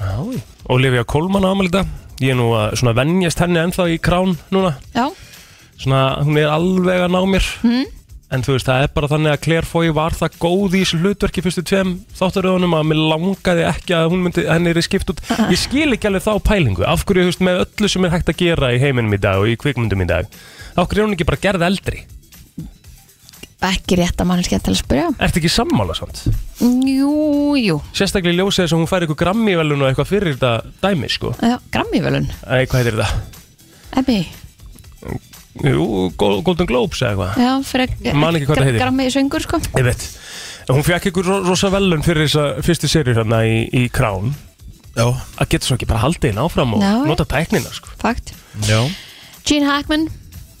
S3: Já, Olivia Colman ámelita Ég er nú að svona venjast henni ennþá í krán núna
S2: Já, Mhm.
S3: Svona, hún er alveg að ná mér En þú veist, það er bara þannig að Claire Foy var það góð í þessu hlutverki fyrstu tveim þáttaröðunum að mér langaði ekki að hún myndi, henni er skipt út
S2: Ah.
S3: Ég skil ekki alveg þá pælingu Af hverju, þú veist, með öllu sem er hægt að gera í heiminum í dag og í kvikmyndum í dag Af hverju er hún ekki bara gerð eldri?
S2: ekki rétt að mann er skemmt til að spyrja
S3: Ertu ekki sammála samt?
S2: Jú, jú,
S3: Sérstaklega í ljósið þess að hún fær eitthvað grammívelun og eitthvað fyrir þetta dæmi, sko
S2: já, Grammyvelun
S3: Æ, hvað heitir þetta?
S2: Ebbi,
S3: Jú, Gol- Golden Globes eða eitthvað
S2: já, fyrir
S3: Man ekki hvað það heitir.
S2: Grammy söngur sko
S3: Ég veit, hún fekk ykkur ro- rosa velun fyrir þessa fyrstu serið hérna í, í Krán
S1: já,
S3: að geta svo ekki bara haldið hinn áfram og
S2: Já.
S3: nota tæknina sko.
S2: Fakt
S1: já
S2: Gene Hackman,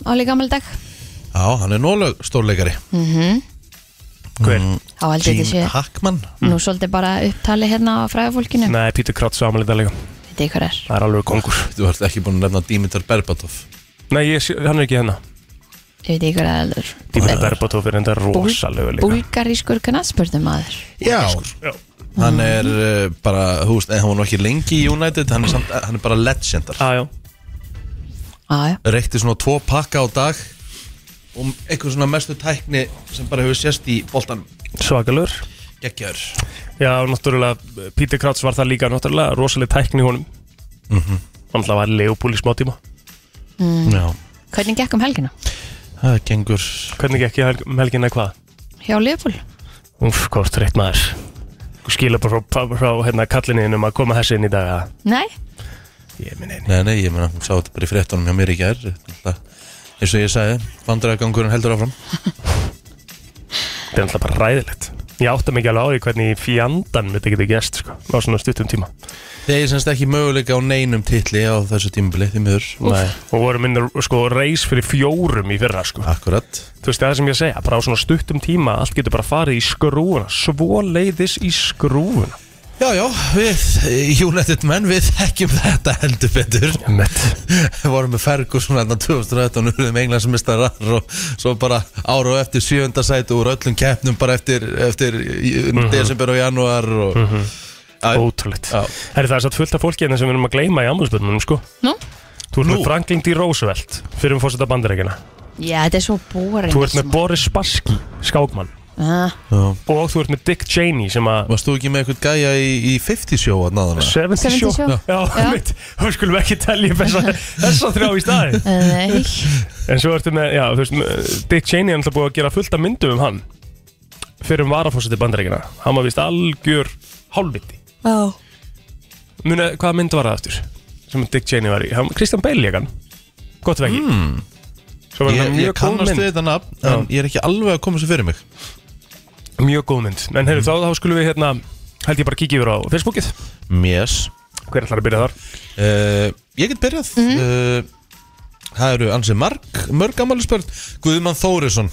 S2: áli gammal dag Mhm.
S1: Já, hann er nólega stórleikari
S3: Hver?
S1: Mm.
S2: Á held ég þetta sé
S1: Hackman
S2: Nú svolítið bara upptali hérna á fræðafólkinu
S3: Nei, Pítur Krátt samanleita líka
S2: Þetta er hver er
S3: Það er alveg kongur
S1: Þú ert ekki búin að nefna Dimitar Berbatov
S3: Nei, ég, sé- hann er ekki hérna
S2: Ég veit ekki hvað það er
S3: Díma Berbatov er enda rosalegu líka
S2: Búlgarískur knattspurðum maður
S1: Já,
S3: Já.
S1: sko. hann er uh, bara, þú veist, en hann var nú ekki lengi í United Hann er, samt, eh, hann er bara legendar
S3: Ah, já.
S2: Já, já
S1: Reykti svona tvo pakka á dag Og eitthvað svona mestu tækni sem bara hefur sést í boltanum
S3: Svakalur
S1: Gekkjaður
S3: Já, náttúrulega, Pítur Krátt var það líka náttúrulega rosaleg tækni í honum mm -hmm. Hann var leifbúl í smá tíma
S1: Mhm. Já,
S2: Hvernig gekk um helgina?
S1: það gengur
S3: Hvernig ekki helg, um helginna hvað?
S2: Hjá Leopold
S3: Úf, hvað er þreytt maður Skila bara frá, frá hérna, kallinni um að koma þessi inn í dag að
S2: Nei
S3: Ég minn einu
S1: Nei, nei, ég meina, hún sá þetta bara í fréttunum hjá mér í gær Þetta- Eins og ég sagði, vandræðagangurinn heldur áfram
S3: Þetta er alltaf bara ræðilegt Ég átta mikið alveg á því hvernig í fjandan þetta getur gæst sko, á svona stuttum tíma
S1: Þeir er semst ekki möguleika á neinum titli á þessu tímabili, því miður
S3: Nei. og vorum inn sko, reis fyrir fjórum í fyrra sko.
S1: Akkurat
S3: þú veist það er sem ég að segja, bara á svona stuttum tíma allt getur bara farið í skrúfuna svo leiðis í skrúfuna
S1: Já, já, við eh, United menn, við þekkjum þetta heldur betur
S3: Emmett.
S1: Við vorum með Ferguson hérna 2013 og urðum englandsmistarar og svo bara ára og eftir sjöunda sæti úr öllum keppnum bara eftir, eftir mm
S3: Mhm.
S1: desember og januar og mm
S3: ótrúlegt
S1: Já.
S3: Herri, það er satt fullt af fólki hérna sem við erum að gleyma í ammúlspöldunum sko.
S2: Nú?
S3: þú ert
S1: Nú.
S3: með Franklin D. Roosevelt fyrir um fórseta bandarækina
S2: Já, þetta er svo búarinn
S3: þú ert með Boris Spassky, skákmann
S2: Ah,
S3: Og þú ert með Dick Cheney sem að
S1: Varst þú ekki með eitthvað gæja í, í 50 sjó að náðana?
S3: 70 show
S2: 70 show.
S3: Já,
S2: Já.
S3: mitt, hún skulum ekki telja upp þessa, þessa þrjá í staði
S2: Nei,
S3: En svo ertu með, já, þú veist, með- Dick Cheney er alltaf búið að gera fullt af myndum um hann Fyrir um varafósiti bandaríkina Hann var vist algjör hálfviti
S2: Ó.
S3: Muna, hvaða mynd var það aftur? Sem Dick Cheney var í hann, Christian Bale leik hann Gott vegi mm. Svo var hann
S1: Hmm. Ég, ég
S3: mjög góð
S1: kannast
S3: mynd
S1: við þetta nafn, en ég er ekki alveg að koma sér fyrir mig Hmm.
S3: Mjög góð mynd En heyrðu, þá, þá skulum við hérna Held ég bara kíkja yfir á Facebookið
S1: Mjess
S3: Hver ætlar að byrja þar?
S1: uh, Ég get byrjað uh, Það eru ansið marg, mörg ammali spörn Guðmann Þórisson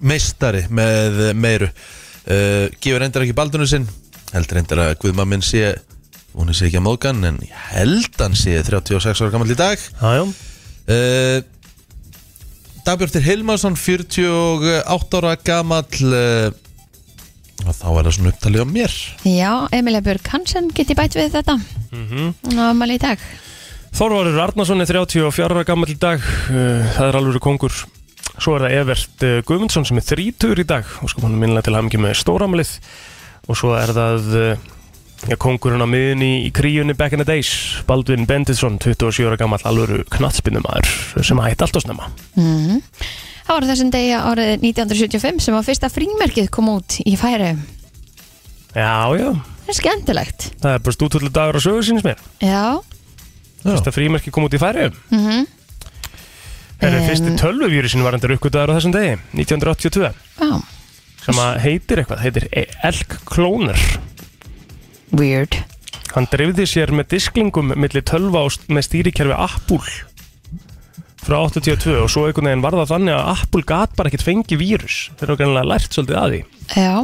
S1: Meistari með eh, meiru uh, Gefur reyndar ekki baldunum sinn Heldur reyndar að Guðmann minn sé Hún sé ekki að móðgan En ég held hann sé 36 ára gammal í dag
S3: Jájá
S1: uh, Dagbjörtir Hilmarsson 48 ára gamall uh, og þá er það svona upptalið á mér
S2: Já, Emilia Björk Hansen geti bætt við þetta Hún á ammali í dag
S3: Þorvarur Arnason er 34 ára gammal í dag uh, Það er alveg kongur Svo er það Evert uh, Guðmundsson sem er 30 í dag og sko hann er minnilega til hamingi með stóramlið og svo er það uh, já, kongurinn á miðunni í kríunni back in the days, Baldvin Benditsson 27 ára gammal alveg knattspinnumæður sem hætti allt á snemma
S2: Mhm. Það var á þessum degi árið 1975 sem var fyrsta frímerkið kom út í færi
S3: Já, já,
S2: Það er skemmtilegt
S3: það er bara stútullu dagur á sögur síns mér
S2: Já, mhm.
S1: Já,
S3: Þetta frímerki kom út í færi mm
S2: Em.
S3: Fyrsti tölvuvýri sinni var endur uppgötaður á þessum degi 1982
S2: já,
S3: sem að heitir eitthvað, heitir E- Elk Klóner
S2: weird
S3: Hann dreifði sér með disklingum milli tölva og st- með stýrikerfi Apple frá 82 og svo einhvern veginn var það þannig að Apple gat bara ekkert fengi vírus þeir eru greinlega lært svolítið að því
S2: Já,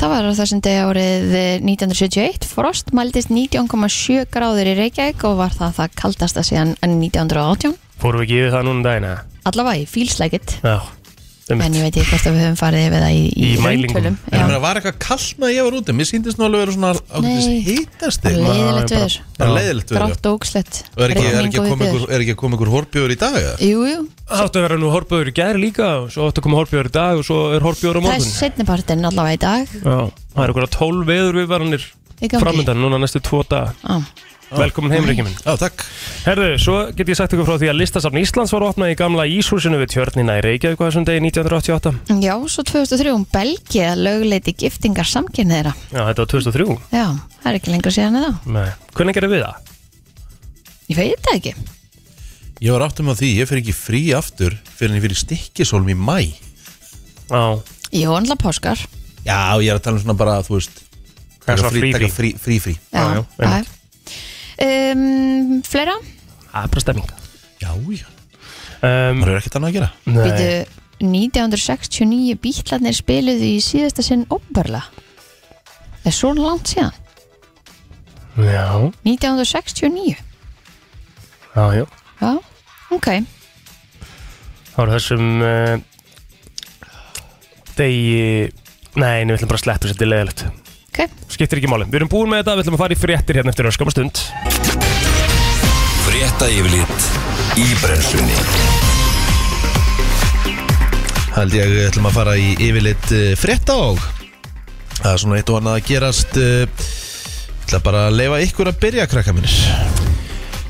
S2: það var á þessum degi árið eh, 1971 Frost mældist 19,7 gráður í Reykjavík og var það það kaldasta síðan 1918
S3: Fórum við ekki yfir það núna um daginn eða?
S2: Allavega í fílslækitt
S3: Já, um
S2: En ég veit ekki hvort að við höfum farið yfir það í, í,
S3: Í mælingum.
S2: rauntölum.
S1: Ég
S2: Já,
S1: meina, var eitthvað kallt með að ég var úti Mér síndist nú alveg að vera svona ákveðis
S2: Nei.
S1: hýtasti
S2: bara leiðilegt
S3: Bara-
S2: viður
S1: Bara leiðilegt við það
S2: Grátt og ógslætt
S1: Og er ekki, er, ekki að koma ykkur, er ekki að koma ykkur horbjör í dag? eða?
S2: Jú, jú,
S3: Áttu að vera nú horbjörður í gær líka og svo áttu að koma horbjörður í dag og svo er horbjörður á
S2: það er
S3: morgun
S2: setnipartinn allavega í dag
S3: Já, það er einhverja tólf veður viðvaranir
S2: Í gangi.
S3: framöndan núna næstu tvo dag
S2: Á,
S3: Ah. Velkomin heim, Rikki minn
S1: Já, Ah, takk
S3: Herðu, svo get ég sagt ykkur frá því að Listasafn Íslands var opnað í gamla Íshúsinu við tjörnina í Reykjavík á þessum degi 1988.
S2: Já, svo 2003 um Belgia lögleiti giftingar samkynniðra
S3: Já, þetta var 2003.
S2: Já, það er ekki lengur síðan eða
S3: Nei. Hvernig gerir við það?
S2: Ég veit það ekki
S1: Ég var áttum á því, ég fyrir ekki frí aftur fyrir en ég fyrir stikkisólm í mæ
S3: Já,
S2: Jó, alltaf páskar
S1: Já, ég er að tala um svona bara, þú veist
S3: það er
S1: taka
S3: svona frí frí.
S1: taka frí, frí, frí.
S3: Já, já,
S2: Já, já
S3: einmitt.
S2: um, Fleira?
S3: Það er bara stemming.
S1: Já, já,
S3: Um,
S1: maður er ekkert annað að gera
S3: nei,
S2: Býtu, 1969 bítlarnir spiluðu í síðasta sinn óbarla Það er svo langt síðan
S3: já,
S2: 1969
S3: já, já.
S2: Já, ok
S3: Það var þessum uh, degi, nei, nei, við ætlum bara að sleppu sér til leðilegt.
S2: Ok,
S3: Skiptir ekki máli. Við erum búin með þetta, við ætlum að fara í fréttir hérna eftir öskama stund.
S4: Frétta yfirlit í brennslunni
S1: held ég við ætlum að fara í yfirleitt frétta og það er svona eitt og annað að gerast eh, ég ætla bara að leifa ykkur að byrja krakka mínir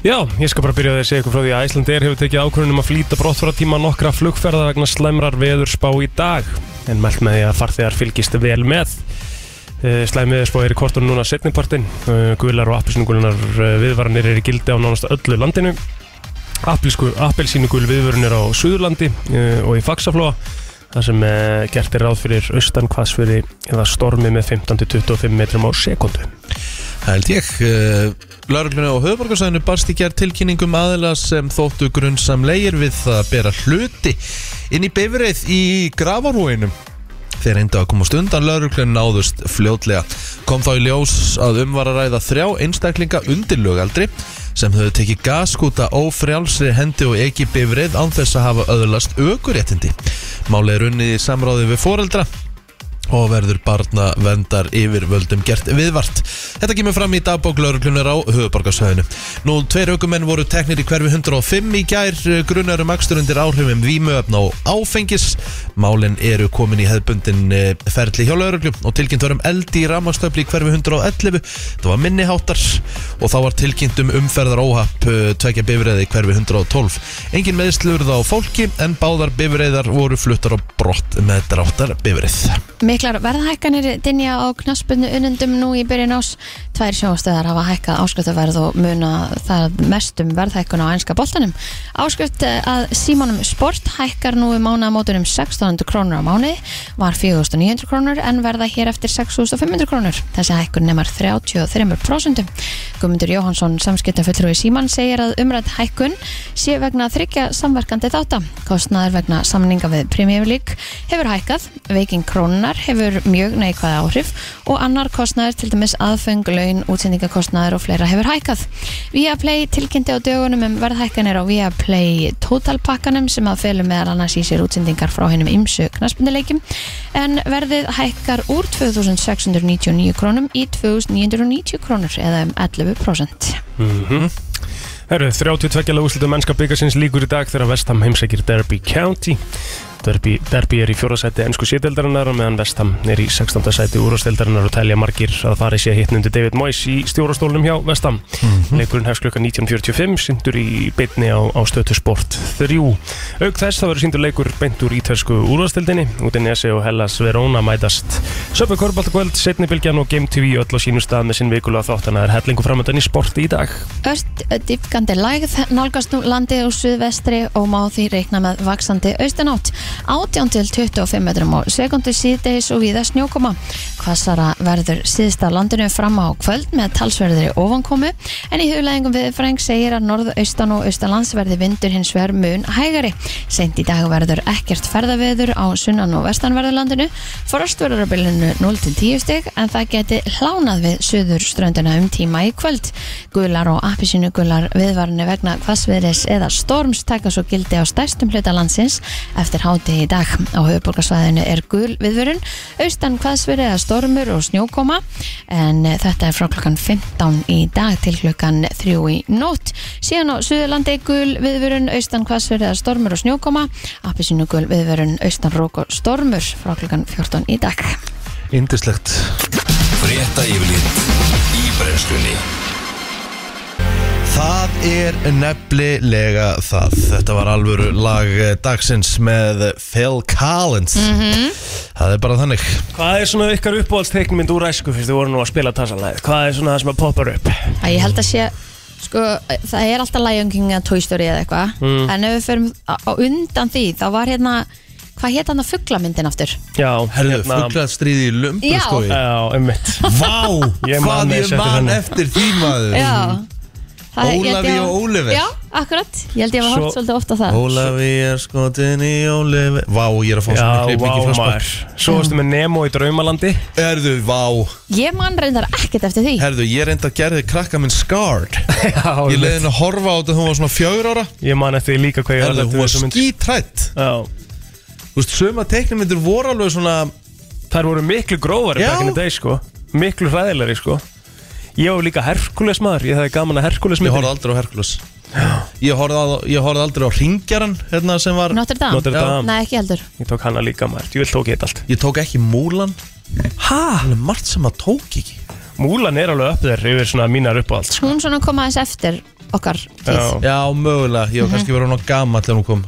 S3: Já, ég skal bara byrja á því að segja ykkur frá því að Æslandeir hefur tekið ákvörðunum að flýta brottfaratíma nokkra flugferða vegna slæmrar veðurspá í dag en mælt með því að farþegar fylgist vel með Eh, Slæm veðurspá er í kortunum núna setnipartin Guðlar og appelsínugulinar viðvaranir er í gildi á nánast öllu landinu Appelsínugul viðvörunir á Suðurlandi eh, og í Faxaflóa þar sem eh, gert er ráð fyrir austan hvassfyrir eða stormi með 15-25 metrum á sekundu
S1: held ég lauruglunni á höfuborgarsæðinu barst í gerð tilkynningum aðila sem þóttu grunnsamlegir við að bera hluti inn í bifreið í gravarhúinum Þeir reyndu að komast undan lauruglun náðust fljótlega. Kom þá í ljós að um var að ræða þrjá einstaklinga undir lögaldri sem höfðu tekið gaskúta ófrjálsri hendi og ekki bifrið án þess að hafa öðlast aukuréttindi. Málið er unnið í samráði við foreldra og verður barnaverndar yfirvöldum gert viðvart. Þetta kemur fram í dagbók lauruglunar á höfuborgarsöðinu. Nú, tveir aukumenn voru teknir í hverfi 105 í gær, grunar um akstur undir áhrifum vímöfna og áfengis. Málin eru komin í hefðbundin eh, ferli hjá lauruglum og tilkynnt var um eldi í ramastöfli í hverfi 111. Það var minniháttar og þá var tilkynnt um umferðar óhapp tvekja bifræði í hverfi 112. Engin meðslurð á fólki en báðar bifræðar voru fluttar á brott með dráttar bifræð.
S2: Miklar verðhækkanir dinja á knaspunni unendum nú í byrjun ás. Tvær sjóastöðar hafa hækkað áskriftaverð og muna það mest um verðhækkun á ænska boltanum. Áskrift eh, að símanum sport hækkar nú í mánamótunum 1600 krónur á mánu, var 4900 krónur en verða hér eftir 6500 krónur. Þessi hækkun nemar 33%. Guðmundur Jóhansson samskipta fullur í síman segir að umrætt hækkun sé vegna þryggja samverkandi þáta. Kostnaður vegna samninga við Premier League hefur hækkað, veiking krónunar hefur mjög neikvæð áhrif og annar kostnaður, til dæmis aðfeng, laun, útsendingakostnaður og fleira hefur hækkað. Viaplay tilkynnti á dögunum um verðhækkanir á Viaplay totalpakkanum sem að felum meðal annars í sér útsendingar frá hennum ymsu knaspundileikjum en verðið hækkar úr 2699 krónum í 2990 krónur eða um 11%.
S3: Mhm. Herru, 32 lag úrslitum mennska byggarsins líkur í dag þegar Vestham heimsækir Derby County. Derby, Derby er í fjóraðsæti ennsku sételdarinnar og meðan Vestham er í 16. sæti úrásteldarinnar og telja margir að fari sé hittn undir David Moyes í stjórastólunum hjá Vestham. Leikurinn hefst klukkan 19.45, sindur í beitni á, á stötu sport 3. Auk þess þá verður sindur leikur beint úr ítversku úrásteltinni, út í Nesi og Hellas Verona mætast. Söpbu Korbaltakvöld, setni bylgjan og Game TV öll á sínum stað með sinn vikulega þáttana er hellingu framöndan í sporti í dag.
S2: Ört dýpkandi lægð nálgast nú landið úr suðvestri og má því reikna með vaksandi austanátt 18 til 25 metrum á sekundu síðdeis og víða snjókoma Hvassara verður síðsta landinu fram á kvöld með talsverðri ofankomu en í hugleðingum viðfræng segir að norðaustan og austalands verði vindur hins vegar mun hægari Seint í dag verður ekkert ferðaveður á sunnan og vestanverðurlandinu Frost verður á bylunu 0 til 10 stig en það geti hlánað við suður ströndina um tíma í kvöld Gular og appisínu gular viðvarni vegna hvassviðris eða storms taka svo gildi á stærstum hluta landsins eftir háti í dag. Á höfuborgarsvæðinu er gul viðvörun, austan hvassviðri eða stormur og snjókoma en eh, þetta er frá klokkan 15 í dag til klokkan 3 í nótt. Síðan á Suðurlandi gul viðvörun, austan hvassviðri eða stormur og snjókoma, appisínu gul viðvörun, austan rók og stormur frá klokkan 14 í dag.
S1: Indislegt
S4: Frétta yfirlit í brennslunni
S1: Það er nefnilega það Þetta var alvöru lag eh, dagsins með Phil Collins
S3: Mm.
S2: Mhm.
S1: Það er bara þannig
S3: Hvað er svona ykkar uppáhaldsteiknmynd úr æsku fyrst þið voru nú að spila tassalæð? Hvað er svona það sem að poppar upp?
S2: að ég held að sé sko, það er alltaf Lion King eða Toy Story eða eitthvað
S1: Mm.
S2: en ef við förum á, á undan því þá var hérna, hvað hétt hann að fugglamyndin aftur?
S3: Já, hérna-
S1: Herðu, fuglað stríði í lumbu
S2: Já.
S1: skoði
S3: Já, einmitt
S1: Vá,
S3: Ég man
S1: hvað
S3: þessu
S1: ég
S3: eftir
S1: man
S3: henni.
S1: eftir því maður
S2: Já Það- ég held
S1: Ólafi
S2: ég
S1: Um, og
S2: að-
S1: Oliver.
S2: Já, akkurat, ég held ég að
S3: Svo-
S2: hafa hort svolítið ofta það
S1: Ólafi er skotin í Ólafi Vá, ég er að fá
S3: Já,
S1: svona
S3: vá
S1: klipp mikið flashback
S3: maður Svo varstu með Nemo í Draumalandi
S1: Mm. Herðu, vá
S2: Ég man reyndar ekkert eftir því
S1: Herðu, ég reyndi að gerði krakka minn Scarred
S3: Já,
S1: Ég leiði henni að horfa á þetta þegar hún var svona fjögur ára
S3: Ég man eftir því líka hvað ég
S1: Herðu,
S3: eftir
S1: hún var
S3: þessa mynd.
S1: skítrætt
S3: Já,
S1: Þú veist, söma teiknumyndir voru alveg svona
S3: þær voru miklu grófari
S1: Já.
S3: back in the day sko Miklu hræðilegri sko Ég var líka Herkules maður, ég hefði gaman að Herkules
S1: Ég
S3: myndi
S1: horfði aldrei á Herkules Ég horfði, á, ég horfði aldrei á Ringjaran hérna sem var
S2: Notre Dame?
S3: Notre Dame.
S2: Nei, ekki heldur
S3: Ég tók hana líka maður, ég vil tók ég þetta allt
S1: Ég tók ekki Múlan Hæ? Það er margt sem að tók ekki
S3: Múlan er alveg upp þér yfir svona mínar uppáhald sko.
S2: Hún svona kom aðeins eftir okkar tíð
S3: Já,
S1: Já, mögulega, ég var kannski verið hún á gama þegar hún kom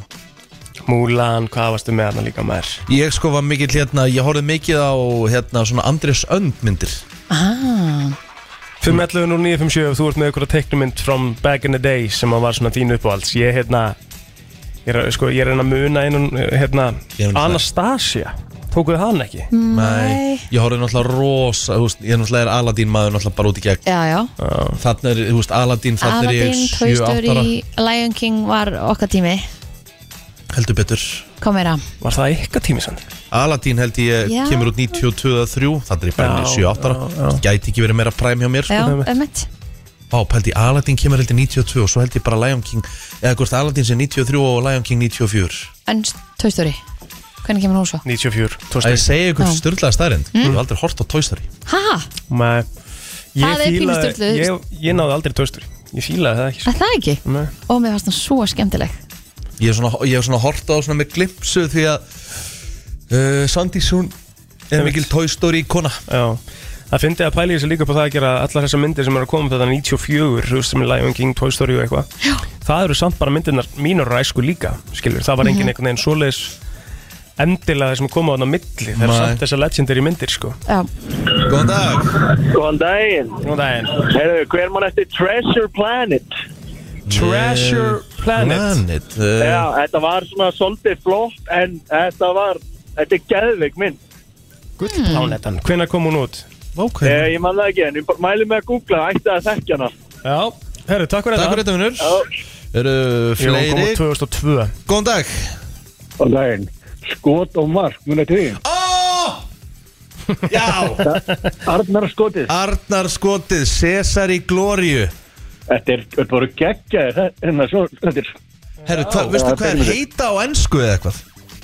S3: Múlan, hvað varstu með hana líka maður
S1: Ég sko var mikill hérna, ég horfði mikið á hérna svona Andrés Önd myndir
S2: ah,
S3: 511 og 957 ef þú ert með ykkur að teiknumynd from back in the day sem að var svona þín uppáhalds ég er hérna ég er, að- sko, ég er hérna að muna einun hérna,
S1: Ég er náttúrulega-
S3: Anastasia tókuðu hann ekki
S1: Nei Ég horfði náttúrulega rosa, þú veist, ég náttúrulega er Aladín maður náttúrulega bara út í gegn
S2: Já, já
S1: Þannig er, þú veist, Aladín, þannig er
S2: Aladdin,
S1: ég
S2: Toy
S1: 7-8 ára
S2: Story, Lion King var okkar tími
S1: Heldur betur
S2: Kom meira
S3: var það eitthvað tími sann
S1: Aladín held ég
S2: Já.
S1: kemur út 92-3 Þannig er ég bara
S3: Já,
S1: 7-8 ára Gæti ekki verið meira præm hjá mér sko
S2: Já,
S3: einmitt.
S2: ömmit
S1: Vá, pældi, Aladdin kemur heldur 92 og svo held ég bara Lion King, eða hvort Aladdin sé 93 og Lion King 94
S2: En Toy Story Hvernig kemur hún svo?
S3: 94,
S1: Að ég
S3: 2000
S1: segi ykkur
S2: Já.
S1: styrlaða staðrind Ég hef aldrei hort á Toy Story
S2: Ha?
S3: Mm. Nei, ég
S2: Það er pínu
S3: fílaði-
S2: sturluð.
S3: ég, ég náði aldrei tóstur Ég fílaði það ekki sko.
S2: Er það ekki?
S3: Nei.
S2: Ó, mér fannst það svo skemmtileg
S1: Ég hef svona, ég hef svona hort á svona með glimpsu Því að uh, Sandís hún er mikil Toy Story kona
S3: Já, það fyndi að pæli þessi líka upp á það að gera allar þessar myndir sem eru að koma þetta 94, þú veist sem er Lion King, Toy Story og eitthvað það eru samt bara myndirnar mínar og æsku líka, skilur, það var engin einhvern veginn svoleiðis endilega sem koma á þarna á milli, það eru
S1: Nei.
S3: samt þessar legendary myndir sko.
S2: Já,
S1: Góðan dag
S5: Góðan daginn.
S3: Nú daginn,
S5: Herðu, hver mann eftir Treasure Planet?
S3: Treasure Planet
S1: Planet uh,
S5: Já, þetta var svona svolítið flott en þetta var, þetta er geðvig mynd.
S3: Gullplánetan, hvenær kom hún út?
S1: Ok
S5: Eh, ég man það ekki en ég bara mæli mig að googla, ætti að þekkja hana.
S3: Já, herru, takk fyrir
S1: Takk fyrir þetta
S3: þetta
S1: vinnur Eru
S3: Jú, hún kom
S1: fleiri
S3: út 2002
S1: Góðan dag
S5: Góðan daginn. Skot og mark, muna til því.
S1: Ó! Já
S5: Arnar skotið.
S1: Arnar skotið Cesar í glóriu
S5: Þetta er, þetta voru geggjaðir, hérna, svo, þetta er,
S1: Herru, hva, veistu
S5: Já,
S1: hvað er
S5: fyrir mig.
S1: heita á ennsku eða eitthvað?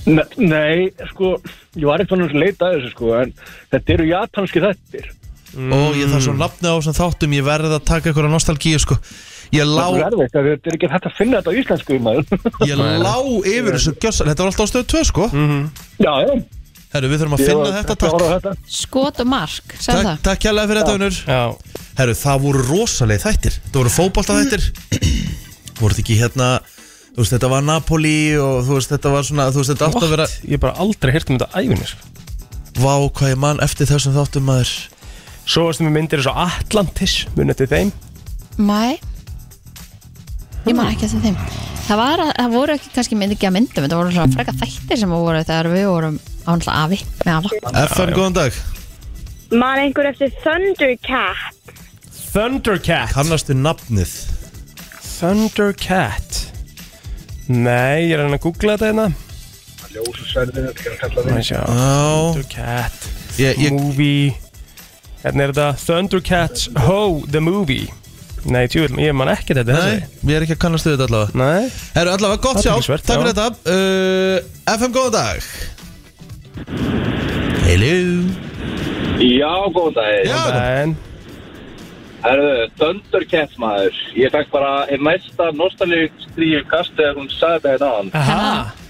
S5: ne nei, sko, ég var eitthvað að leita að þessu, sko, en þetta eru japanski þettir. Mm.
S1: Ó, Mm. ég þarf svo nafni á þessum þáttum Ég verð að taka ykkur á nostalgíu sko Ég lá,
S5: Þetta er erfitt, að þetta er ekki hægt að finna þetta á íslensku, maður.
S1: ég lá yfir þessu gjössal Þetta var alltaf á stöðu 2 sko
S3: Mhm.
S5: já, já.
S1: Herru, við þurfum að
S5: Ég
S1: finna
S5: var-
S1: þetta
S5: var
S1: Takk,
S5: á þetta.
S2: skot og mark, sagði
S1: takk,
S2: það
S1: takk kjærlega fyrir þetta vinnur
S3: Já,
S1: Herru, það voru rosaleg þættir Það voru fótbolta þættir Voru þetta ekki hérna Þú veist, þetta var Napoli og þú veist, þetta var svona Þú veist, þetta átt að vera
S3: What? ég hef bara aldrei hirt um þetta æfinir
S1: Vá, hvað ég mann eftir þessum þáttum maður
S3: Svo varstum við myndir eins og Atlantis munið til þeim
S2: Mæ Ég man ekki eftir þeim Það, var, að- það voru ekki kannski mynd ekki að myndum en Það voru svona freka þættir sem voru þegar við vorum ánlega afi með afa
S1: FM, góðan dag
S6: Man einhver eftir Thundercat
S3: Thundercat
S1: Kannastu nafnið
S3: Thundercat Nei, ég er að reyna að googla þetta hérna Ljósusverðin Sjá,
S1: Já
S3: Thundercat
S1: Ég, ég,
S3: Movie Hérna er þetta Thundercats Ho! The Movie Nei, tjúvill, ég man ekki þetta
S1: nei,
S3: þessi.
S1: ég er ekki að kannast við þetta allavega
S3: Nei
S1: Herru, allavega, gott sjá,
S3: Athyglisvert,
S1: takk fyrir
S3: já.
S1: þetta uh, FM, góðan dag Hello
S5: Já, góðan daginn.
S1: Já, góðan dag.
S3: En
S5: Herðu, Thundercat maður Ég fekk bara einn mesta nostalíu stríu kast þegar hún sagði þetta hérna áðan.
S3: Aha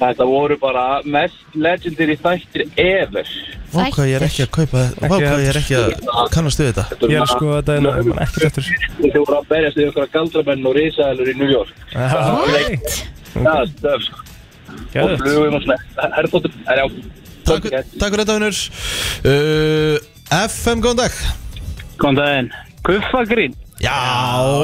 S5: Þetta voru bara mest legendary þættir ever
S1: Vá, hvað ég er ekki að kaupa Vá, hvað ég er ekki að kannast við þetta
S5: Þetta
S3: Ég er að skoða þetta hérna, ég man ekki þetta
S5: Þau voru að berjast við okkur galdramenn og risaðalur í New York
S3: What?
S5: Það er stöf sko. og
S3: Gæðið
S5: flugum og svona Herðbóttur, herjá
S1: Takk, takk fyrir þetta, vinnur uh, FM, góðan dag
S5: Góðan daginn Kuffagrín
S1: Já,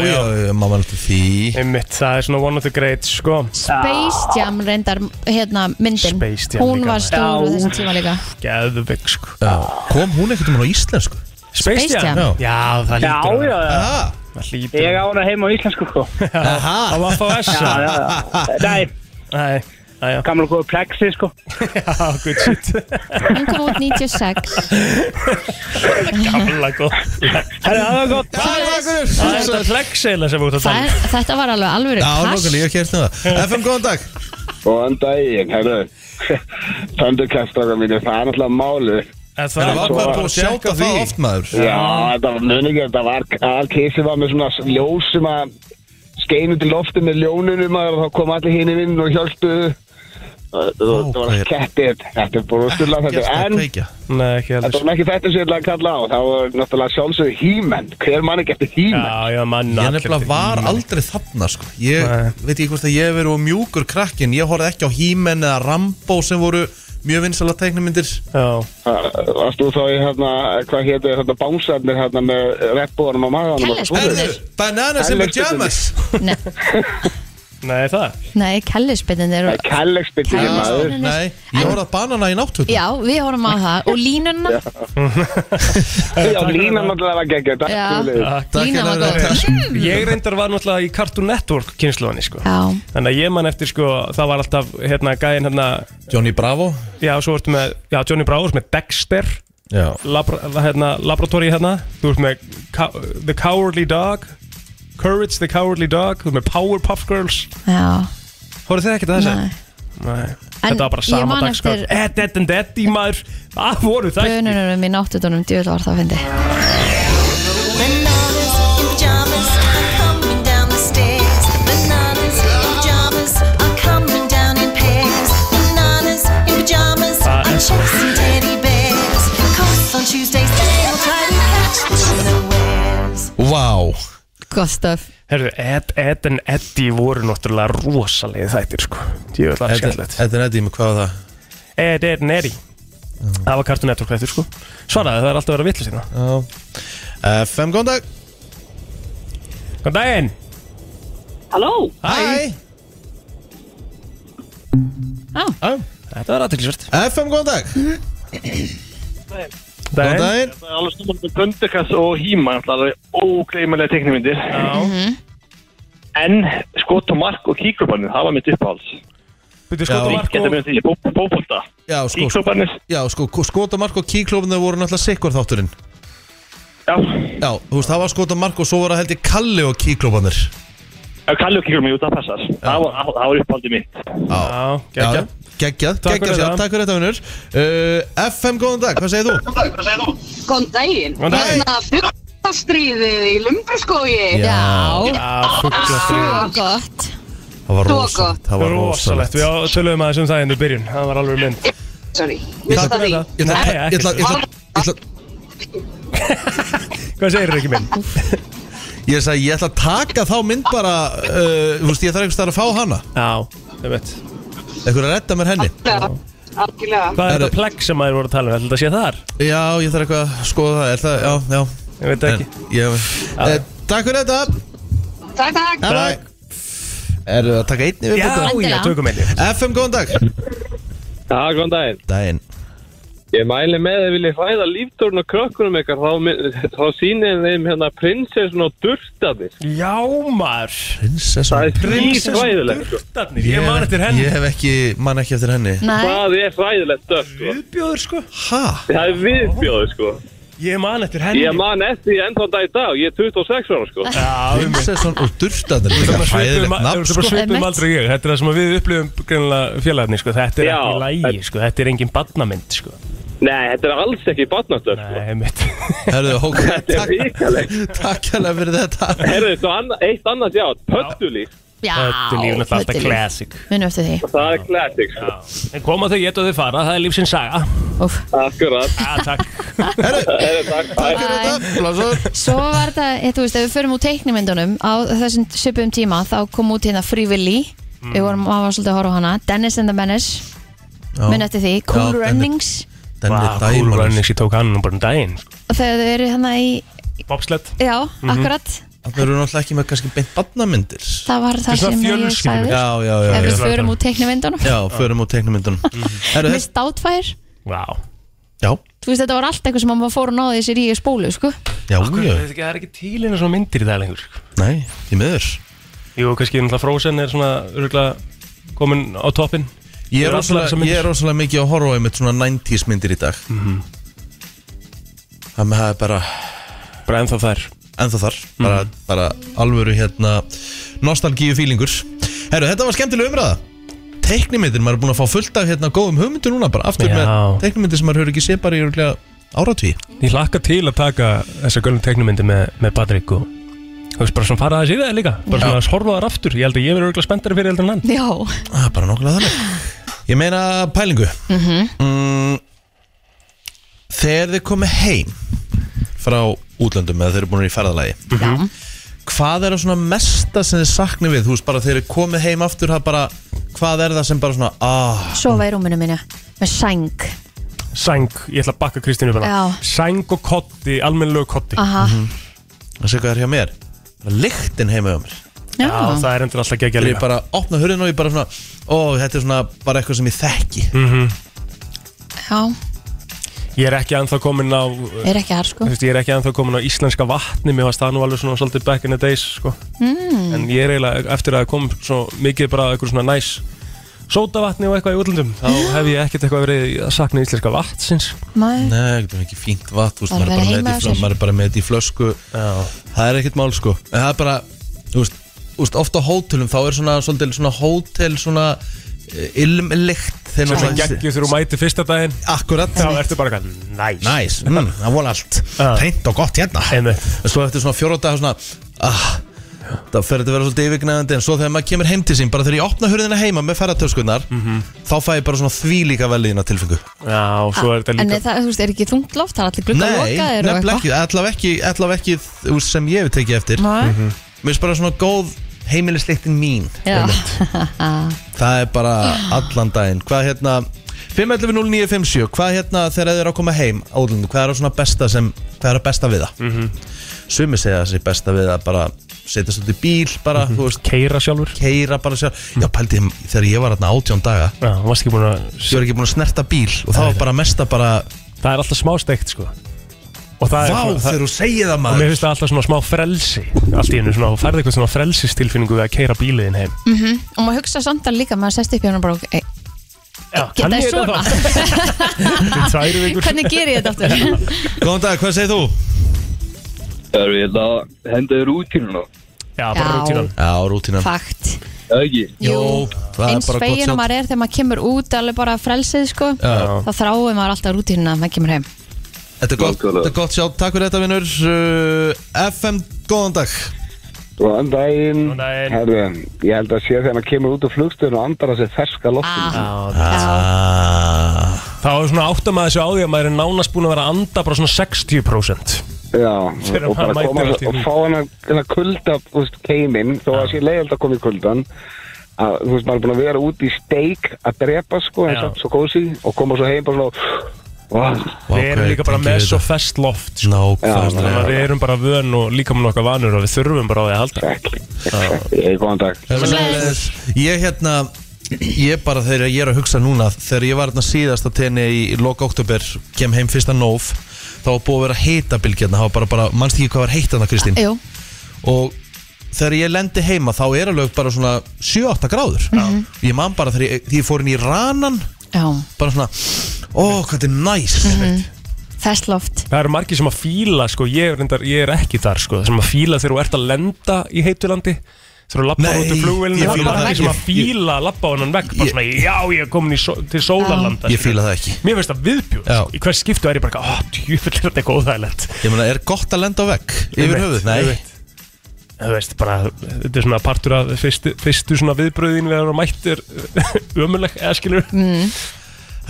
S1: já, já, mamma er alltaf því
S3: Einmitt, það er svona one of the greats, sko
S2: Space Jam reyndar hérna myndin
S3: Space Jam
S2: Hún
S3: líka,
S2: var
S3: maður.
S2: stór á þessum tíma líka
S3: Gæðið, sko
S1: já. Kom hún ekkert um hann á íslensku?
S3: Space
S2: Space
S3: Jam?
S1: Jam.
S3: Já, það
S7: Já,
S3: lítur
S7: já, já.
S1: Aha,
S3: Það lítur
S7: Ég á hana heima á íslensku, sko.
S1: aha
S3: Á Vaffa
S7: Já, já, já. Nei,
S3: Nei, aðja,
S7: gamla góða plexi, sko.
S3: já, good shit
S2: Hún kom út 96
S3: Gamla góð
S7: Herra, það var gott.
S1: Takk fyrir
S3: Það er þetta flexeila sem við út að
S2: Það
S3: tala
S2: er- Þetta var alveg alveg
S1: Já, nokkali, ég hef kert um það FM, góðan dag
S8: Góðan daginn, herru Thundercastara mínu, það er náttúrulega máli
S3: Það
S1: Það var bara búin að sjáta það
S3: því.
S1: oft maður
S8: Já, þetta var muningi, þetta var Alkesi var með svona ljós sem að skeinu til lofti með ljónunum og þá kom allir hinir inn og hjálptu
S1: Ó,
S8: Það
S1: hvað
S8: var
S1: er-
S8: kettir, þetta er brústulega
S1: Ekki
S8: þetta
S1: að
S8: En
S1: kveikja
S3: Nei, ekki
S8: þetta
S3: heldur
S8: var ekki þetta sem ég ætlaði að kalla á Það var náttúrulega sjálfsögðu hímenn Hver mann ekki eftir hímenn?
S3: Já, já, manna
S1: Ég nefnilega var aldrei þarna sko Ég
S3: Nei.
S1: veit ekki hvort að ég hef verið og mjúkur krakkin Ég horfði ekki á He-Man eða Rambo sem voru mjög vinsala teiknumyndir
S3: Já,
S8: Ah, Varst þú þá í hérna, hvað hétu þetta bánsarnir hérna með reppbóðanum á maganum og
S2: Kennir,
S8: svoleiðis?
S1: Herðu, Bananas in
S8: Alex
S1: Pajamas
S3: nei það
S2: Nei, kellisbyttin eru
S8: Það er kærleiksbyrði
S2: Já.
S8: maður
S1: Nei, ég horfði að banana í náttúr
S2: Já, við horfum á það Og línuna
S8: Já, lína náttúrulega var geggja, takk
S2: Já.
S8: fyrir leiðis.
S2: Línan var góð
S3: Ég reyndar var náttúrulega í Cartoon Network kynsluðanni, sko
S2: Já,
S3: Þannig að ég man eftir, sko, það var alltaf, hérna, gæðin, hérna
S1: Johnny Bravo
S3: Já, svo ertu með, já, Johnny Browers með Dexter
S1: Já
S3: labra, hérna, Laboratory, hérna Þú ert með Cow- The Cowardly Dog Courage the Cowardly Dog Þú ert með Powerpuff Girls
S2: já
S3: Hóruð þið ekki það þess að?
S2: Nei.
S3: Nei. Þetta var bara
S2: ég
S3: sama
S2: man
S3: dagskar
S2: eftir-
S3: Ed, Ed and Eddi maður Það Ah, voru það
S2: Bönunum í náttutunum djöðl var það að fyndi
S9: Bananas in pajamas are coming down the stairs. Bananas in pajamas are coming down in pairs. Bananas in pajamas
S3: Ah,
S9: are
S3: eh.
S9: chasing teddy bears. Cause on Tuesdays they will try to catch them unawares.
S1: Vá
S2: Gott stöf
S3: Herðu, Ed, Ed and Eddi voru náttúrulega rosalegi þættir sko Ég vil að skemmtilegt
S1: Þetta er nættið með hvað var það
S3: Ed, Ed and Eddi Það var Cartoon Network þættir sko Svaraði, það er alltaf að vera vitlu sína
S1: Já. FM, góðan dag
S3: Góðan daginn
S6: Halló?
S1: Hæ
S2: Á.
S1: Á.
S3: Þetta var aðtilsvert
S1: FM, góðan dag Góðan
S3: Daginn
S1: daginn
S5: Það er alveg snúmað með Thundercats og He-Man Það er ógleymanlega teknimindir
S3: Já
S5: En skot og mark og kíkurbannin Það var mitt uppáhalds
S3: Byrju
S1: Já.
S3: sko, þú
S5: Geta
S3: Marko
S5: mér því í bó- bókbólta
S1: Já, sko, sko,
S5: Kíkurbannin
S1: já, sko skotamark og kíklófinu voru náttúrulega sikkur þátturinn
S5: Já
S1: Já, þú veist, það var skotamark og svo voru að heldur Kalli og kíklófanir
S5: Já, Kalli og kíkurbannin, jú, það passar Það var- það var uppáhaldið mitt
S1: Já,
S3: Já, geggja
S1: geggjað, geggjað
S3: Takk fyrir
S1: sjá,
S3: það.
S1: takk fyrir þetta vinnur uh, FM, góðan dag, hvað segir þú?
S10: Góðan daginn.
S3: Góðan daginn.
S10: Hérna, fuglastríðið í Lumbuskói.
S2: Já,
S3: Já, fuggla
S2: svo gott
S1: það var
S10: Svo
S1: rosalegt
S10: gott.
S1: Það var rosalegt
S3: Rosalegt, við á- töluðum aðeins um það hérna í byrjun Það var alveg mynd
S10: Sorry,
S1: Takk
S10: mista því.
S1: fyrir það. Ég ætla-
S3: Nei,
S1: ég ætla- ég ætla- ég ætla-
S3: Hvað segir Riki minn?
S1: Ég sagði, ég ætla að taka þá mynd bara uh, Þú veist, ég þarf einhvers staðar að fá hana
S3: Já, það veit
S1: Ekkur að redda mér henni
S10: Algjörlega. Algjörlega.
S3: Hvað er
S1: Herru.
S3: þetta plegg sem maður voru að tala um? Ætli Þetta sé þar?
S1: Já, ég þarf eitthvað að skoða það, er það, já, já
S3: Ég veit
S1: En,
S3: ekki
S1: ég, eh, Takk fyrir þetta
S10: Takk, takk.
S1: Takk Erum við að taka einni við
S3: Já,
S1: búta?
S3: já,
S2: Endilega.
S3: tökum einni
S1: FM, góðan dag
S5: Já, góðan daginn
S1: Daginn
S5: Ég mæli með að vilja hræða líftórn og krökkunum ykkar þá, mi- þá sýnir þeim hérna prinsessun og durtanir
S3: Já, maður
S1: Prinsess
S5: Það er
S3: Prinsessan
S5: hræðilegt sko.
S3: Durtarnir, ég man eftir henni
S1: Ég hef ekki, man ekki eftir henni
S2: Nei,
S5: Það er hræðilegt stöf sko.
S3: Viðbjóður sko
S1: Ha?
S5: Það er viðbjóður sko.
S3: Ég man eftir henni
S5: Ég man eftir því ennþá dag í dag Ég er 26 ára sko.
S3: Já, um
S1: Prinsesson og durtanir
S3: Þetta
S1: Líka
S3: er bara
S1: hræðilegt
S3: svipum-
S1: nafn
S3: þetta er bara
S1: sko.
S2: sko.
S3: svipum
S2: Einmitt.
S3: aldrei ég Þetta er það sem við upplifum greinlega félagarni sko. Þetta er
S5: Já.
S3: ekki lægi, sko. þetta er engin badnamynd sko.
S5: Nei, þetta er alls ekki barnastöf sko.
S3: Nei, mitt
S1: Herðu, ok,
S5: Þetta er
S1: takk
S5: vikalegt
S1: Takk hérna fyrir þetta
S5: Herðu, svo anna, eitt annars já, pöttulíf
S2: já
S3: Þetta er lífnætt alltaf
S2: Pöddulíf.
S3: classic
S2: Munum eftir því
S5: Það er classic sko.
S3: En koma þau geta þau fara, það er lífsins saga
S2: Úff.
S5: Akkurat
S3: Já, takk
S5: Herðu, takk, bæ.
S1: Takk fyrir þetta Blásur
S2: Svo var þetta, eh, þú veist, ef við förum úr teiknimyndunum á þessum svipum tíma þá kom út hérna Free Willy
S3: Mm.
S2: Við vorum, maður var svolítið að horfa á hana Dennis and the Menace, mun eftir því Cool
S1: Dennis.
S2: Runnings
S1: Denni
S3: Vá, Cool
S1: dæmann
S3: Runnings, ég tók hann nú bara um daginn sko.
S2: og þegar þau eru hérna í,
S3: Bobsled
S2: já, akkurat
S1: Það eru náttúrulega ekki með kannski beint badnamyndir
S2: Það var það
S3: svona
S2: sem ég
S3: fjölskyldumynd.
S2: sagði
S1: Já, já, já,
S2: Ef
S1: já
S2: við förum úr teiknimyndunum Mhm.
S1: Já, förum úr teiknumyndunum Herðu,
S2: Miss Doubtfire
S3: Vá
S1: já,
S2: Þú veist, þetta var allt eitthvað sem maður fór og náði sér í í spólu, sko
S1: já, já
S3: Þetta er ekki til einu svona myndir í dag lengur sko.
S1: Nei, í miður
S3: Jú, kannski náttúrulega Frozen er svona örgulega komin á toppin
S1: Ég er
S3: eru
S1: rosalega,
S3: allar þessar myndir. Mhm.
S1: ég er rosalega mikið að horfa einmitt svona 90s myndir í dag mm Það með það er bara
S3: Bara ennþá þær Mhm.
S1: ennþá þar bara, bara alvöru hérna nostalgíu fílingur Herru, þetta var skemmtileg umræða Teiknimyndir, maður er búin að fá fullt af hérna góðum hugmyndir núna bara aftur
S3: Já.
S1: með teiknimyndir sem maður hefur ekki séð bara í örugglega áratví
S3: Ég hlakka til að taka þessa gölnum teknumyndi með, með Patrik og þú veist bara svona fara aðeins í það líka bara svona að horfa þar aftur, ég held að ég verður örgulega spenntari fyrir heldur en hann
S2: Já,
S1: Það er Ah, bara nokkulega þannig Ég meina pælingu mm Þegar þið komið heim frá útlöndum eða þeir eru búin í ferðalagi
S3: Mhm.
S2: já
S1: hvað er það svona mesta sem þið sakni við þú veist bara þegar þið komið heim aftur það bara, hvað er það sem bara svona ah,
S2: Sofa í rúminu minni Með sæng
S3: Sæng, ég ætla að bakka Kristínu upp hana
S2: Já.
S3: Sæng og kotti, almennilegu kotti
S2: Aha
S1: Mhm. það sé hvað er hjá mér bara lyktin heima hjá mér
S3: Já,
S2: Já,
S3: það er endur alltaf geggja
S1: þegar ég
S3: líka
S1: bara opna hurðin og ég bara svona ó, þetta er svona bara eitthvað sem ég þekki
S3: Mhm.
S2: já
S3: Ég er ekki anþá komin á
S2: Er ekki þar, sko
S3: Þú veist, ég er ekki anþá komin á íslenska vatni Mér varst það nú alveg svona svolítið back in the days sko.
S2: Hmm.
S3: mm. En ég er eiginlega eftir að kom svo mikið bara eitthvað svona næs sótavatni og eitthvað í útlöndum þá hef ég ekkert eitthvað verið að sakna íslenska vatsins
S2: Maður
S1: nei, þetta er um ekki fínt vatn þú veist,
S2: Bara
S1: maður, er
S2: vera
S1: bara með
S2: heima
S1: þetta
S2: hjá
S1: í flösku-
S2: sér.
S1: maður er bara með þetta í flösku
S3: Já.
S1: það er ekkert mál sko en það er bara, þú veist, þú veist ofta á hótelum þá er svona, eh, svolítið svona hótel svona ilmlikt
S3: Sem er geggjuð þegar þú mætir fyrsta daginn
S1: Akkurat
S3: Þá ertu bara eitthvað næs
S1: Næs, mm, það voru allt Hreint og gott hérna
S3: Einmitt.
S1: En svo eftir svona fjóróta svona, ah, Það fer þetta að vera svolítið yfirgnæðandi En svo þegar maður kemur heim til sín Bara þegar ég opna hurðina heima með ferðartöskunnar Þá fæ ég bara svona þvílíka velíðina tilfengu
S3: Mhm. Já, og svo er þetta
S2: En
S3: líka
S2: er það, þú veist, er ekki þungt loft, það er allir glugga
S1: Nei,
S2: lokaðir og
S1: nefnilega
S2: eitthvað
S1: ekki Allavega ekki, allavega ekki þú veist, sem ég hef tekið eftir
S2: Nei. Mhm.
S1: Mér finnst bara svona góð heimilisleiktin mín
S2: Já.
S1: Það er bara allan daginn Hvað hérna 5.11.09.57 Hvað hérna þegar þið eru að koma heim Ólundu, hvað er það svona besta sem Hvað er að besta við það mm
S3: Mhm.
S1: -hmm. Sumi segja þessi besta við að bara Setja svolítið í bíl bara mm -hmm.
S3: Mhm. Keira sjálfur
S1: Keira bara sjálfur Já pældi þegar ég var hérna átjón daga
S3: Já, þú varst ekki búin að
S1: Ég var ekki búin að snerta bíl Og það var bara mesta bara
S3: Það er alltaf smá steikt sko Og það er
S1: Vá
S3: svona- það-
S1: þegar þú segir það
S3: Og
S1: maður
S3: mér finnst það alltaf svona smá frelsi Allt í hennu svona, þú færði eitthvað svona frelsistilfinningu við að keira bíliðin heim
S2: Mhm. Og maður hugsa samt að líka, maður sest upp hjá hann og bara "Ey,
S3: Já,
S2: Geta þið svona?
S3: Tværu vikur
S2: Hvernig gerir ég þetta aftur?
S1: Góðan dag, hvað segir þú?
S5: Það er við að henda þér rútínuna
S3: Já,
S2: bara Já. rútínan.
S1: Já, rútínan
S2: Fakt
S5: Það ekki
S1: Jú, það er
S2: Eins
S1: bara gott
S2: fegin
S1: sjátt.
S2: og maður er þegar maður kemur út alveg bara frelsið sko
S1: Já.
S2: þá þráum maður alltaf rútínuna að maður kemur heim
S1: Þetta er gott, þetta er gott sjálf, takk fyrir þetta vinnur uh, FM, góðan dag
S8: Góðan daginn Góðan
S3: daginn
S8: Herðu, ég held að sé þegar hann kemur út úr flugstöðun og andar að sér ferska loftin
S1: ah.
S3: Þá er svona áttum að þessu á því að maður er nánast búin að vera að anda bara svona 60%
S8: Já,
S3: Þegar
S8: og bara
S3: hann mætir
S8: koma
S3: allt í
S8: og
S3: einu.
S8: fá hann að þennan kulda, þú veist, keiminn þó að sé leiðald að koma í kuldan að, þú veist, maður er búin að vera út í steik að drepa, sko, en
S3: Já.
S8: samt svo gósi og koma svo heim bara svona og
S3: Við erum líka bara með svo fest loft sko.
S1: Nákvæmlega
S3: Þannig að Við erum bara vön og líka með nokkað vanur og við þurfum bara á því að halda
S8: Ég, góðan dag
S1: Sömuleiðis. Ég hérna Ég bara þegar ég er að hugsa núna Þegar ég var hérna síðast á tenni í loka oktober Kem heim fyrsta nóf Þá var búið að vera heitabilgjarna Það var bara, bara, manst ekki hvað var heitt hérna Kristín
S2: Jú,
S1: Og þegar ég lendi heima þá er alveg bara svona 7-8 gráður Ég man bara þegar ég, þegar ég fór inn í ranan
S2: Mhm. já,
S1: Bara svona, ó hvað þetta er næs
S2: festloft
S3: Það eru margir sem að fíla, sko, ég er, reyndar, ég er ekki þar, sko, sem að fíla þegar þú ert að lenda í heitulandi, þegar þú lappar
S1: Nei,
S3: út úr flugvélinu,
S1: ég
S3: það eru
S1: fíla það
S3: margir
S1: ekki.
S3: sem að fíla að lappa á hennan vekk, bara
S1: Ég-
S3: svona, já, ég er komin í só- til sólarlanda.
S1: Ég fíla það ekki
S3: Mér finnst það viðbjóð,
S1: Já.
S3: sko, í hvers skiptu er ég bara, ó, djúvill er þetta eitthvað óþægilegt.
S1: Ég meina, er gott að lenda á vegg yfir
S3: Ég
S1: höfuð?
S3: veit, ég
S1: Nei,
S3: veit. Þú veist, bara, þetta er svona partur af fyrstu, fyrstu svona viðbröðin við erum mættir ömuleg, eða skilur.
S2: Mm.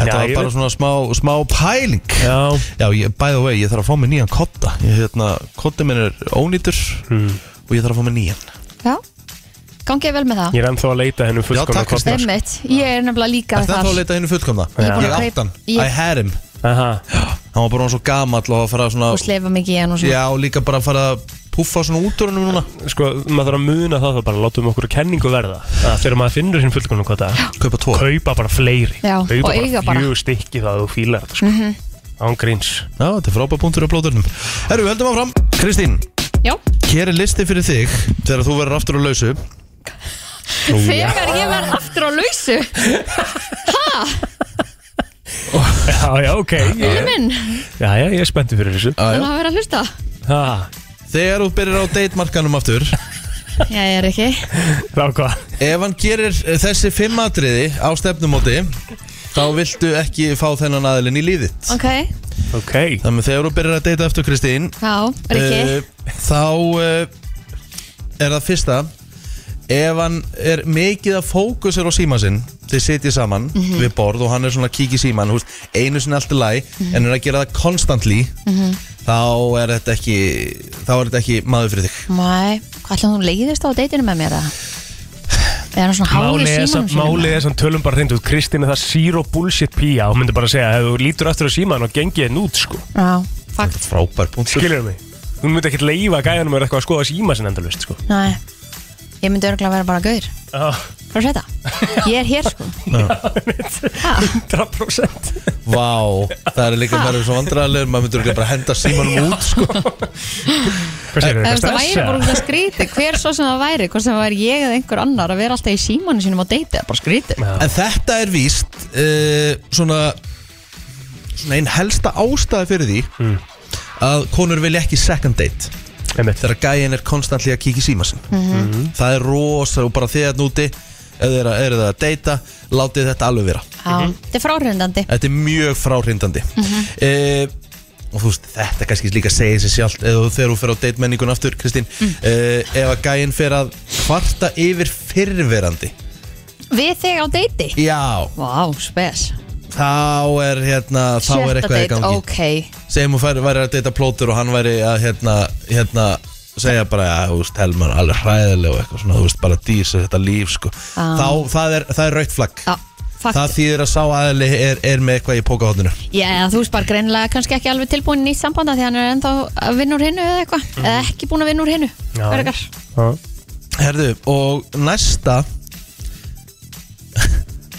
S1: þetta
S3: Já,
S1: var
S3: ég
S1: bara
S3: veit.
S1: svona smá, smá pæling
S3: Já,
S1: Já, ég, by the way, ég þarf að fá mér nýjan kotta ég, hérna, Kotta minn er ónýtur
S3: Hmm.
S1: og ég þarf að fá mér nýjan
S2: Já, gangið vel með það
S3: ég er ennþá að leita hennum fullkomna
S1: takk, Kristín.
S3: sko.
S2: Einmitt, ég er nefnilega líka
S1: Er það þá að leita henni fullkomna?
S2: Ég er búin að
S1: Ég átt
S2: kaupa-
S1: hann,
S2: ég-
S1: I had him
S3: Aha.
S1: Hann var bara orðinn svo gamall og að fara að
S2: og
S1: svona
S2: slefa mikið í hann og svona
S1: Já, og líka bara að fara að puffa svona út úr hennum núna
S3: sko, maður þarf að muna það þá bara látum okkur kenningu verða að þegar maður finnur sinn fullkomnum kvota
S1: Kaupa tvo
S3: kaupa bara fleiri
S2: Já, og
S3: kaupa
S2: eiga
S3: bara
S2: bara.
S3: fjögur stykki það að þú fílar þetta sko.
S2: Mhm.
S3: án gríns
S1: Já, þetta er frábæð punktur á blóðurnum Herru, við höldum áfram Kristín,
S2: Já,
S1: hér er listi fyrir þig þegar þú verður aftur á lausu
S2: þegar ég verð aftur á lausu
S3: já, já, ok
S2: Vinnu minn,
S3: já, já, ég er spenntur fyrir þessu
S2: þannig að vera að hlusta
S3: ha,
S1: Þegar þú byrjar á datemarkanum aftur
S2: Já, ég er ekki
S3: þá hvað
S1: Ef hann gerir eh, þessi fimm atriði á stefnumóti þá viltu ekki fá þennan aðilinn í líðitt
S2: Ok,
S3: ok,
S1: Þannig að þegar þú byrjar að deyta eftir Kristín
S2: já, Rikki
S1: eh, þá uh, er það fyrsta ef hann er mikið að fókusir á síma sinn þið sitjið saman við borð og hann er svona að kíkja í síman húst, einu sinni allt í læ en er að gera það konstantli
S2: Mhm.
S1: þá er þetta ekki þá er þetta ekki maður fyrir þig
S2: Mæ, hvað ætlum hún leiðist á deitinu með mér það? Er hann svona hár í
S3: málið er
S2: símanum
S3: samt-
S2: sínum?
S3: málið er samt tölum bara hreint út Kristín er það zero bullshit pía og myndi bara segja ef þú lítur aftur á síman og gengið henn út sko
S2: Já, fakt
S1: frábær punktur
S3: skilur mig hún myndi ekkert leifa gæðanum er eitthvað að skoða síma sinn endalust sko
S2: Nei, ég myndi örgulega vera bara gaur
S3: Já,
S2: Hvað er þetta? Ég er hér sko Ha?
S3: 100%
S1: Vá, það er líka verið svo vandræðilegur maður myndur ekki bara henda símanum út sko.
S3: Hvað segirðu,
S2: Ef Það
S3: eitthvað
S2: væri
S3: stressa?
S2: bara út að skríti Hver svo sem það væri, hvort sem það væri ég eða einhver annar að vera alltaf í símanu sínum á deiti það er bara skrítið
S3: Já.
S1: En þetta er víst uh, svona, svona einn helsta ástæði fyrir því að konur vilja ekki second date
S3: Hmm. Einmitt.
S10: Mhm.
S1: Mm.
S3: Hmm.
S1: hérna þegar gæin er konstantli að kíkja í síma sinn það er rosa og bara þegar núti eða eru að- eru það að deyta látið þetta alveg vera
S3: Mhm.
S2: Já, þetta er fráhrindandi
S1: Þetta er mjög fráhrindandi mm
S2: Mhm.
S1: Og þú veist, þetta kannski líka segir sér sjálft eða þú- þegar þú fer á deitmenningun aftur, Kristín mm. Ef að gæinn fer að kvarta yfir fyrrverandi
S2: Við þig á deiti?
S1: Já
S2: Vá, spes
S1: Þá er hérna, þá er
S2: Sjötta
S1: eitthvað í
S2: date,
S1: gangi
S2: ok
S1: Segjum hún fær- væri að deyta plótur og hann væri að hérna, hérna segja bara, já, þú veist, Helmar, alveg hræðileg og eitthvað svona, þú veist, bara dýsa þetta líf, sko
S2: Ah.
S1: Þá, það er, það er rautt flagg
S2: Já, fakt
S1: Það þýðir að sá aðli er, er með eitthvað í pókahóttinu
S2: Já, eða þú veist bara greinilega kannski ekki alveg tilbúin í nýtt sambanda því hann er ennþá að vinna úr hinnu eða eitthvað eða ekki búin að vinna úr hinnu
S1: Mhm. Já.
S2: Örgar.
S1: Herðu, og næsta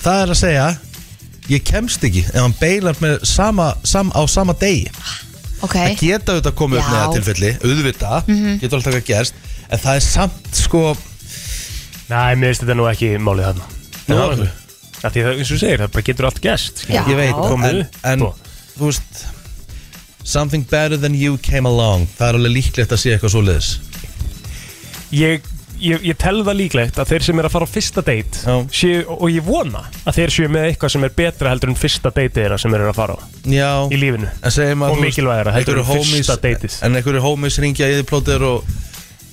S1: Það er að segja Ég kemst ekki ef hann beilar með sama, sam, á sama degi
S2: Ok,
S1: Það geta auðvitað komið upp
S2: Já.
S1: með það tilfelli Auðvitað,
S2: Mhm.
S1: getur alltaf að gerst En það er samt sko
S3: Nei, mér finnst þetta nú ekki málið þarna
S1: Nú,
S3: Það er alveg- Af Því það, eins og þú segir, það bara getur allt gest skilur.
S1: Ég veit,
S3: Komið
S1: en,
S3: upp Sko.
S1: en
S3: og-
S1: þú veist Something better than you came along Það er alveg líklegt að sé eitthvað svoleiðis
S3: ég, ég, ég tel það líklegt að þeir sem er að fara á fyrsta date séu, og ég vona að þeir séu með eitthvað sem er betra heldur en fyrsta date þeirra sem eru að fara á
S1: Já
S3: í lífinu
S1: En segjum að
S3: og
S1: þú veist,
S3: mikilvægara heldur en
S1: einhverju
S3: fyrsta
S1: homies-
S3: date
S1: En einhverju homies ringja í þið plótir og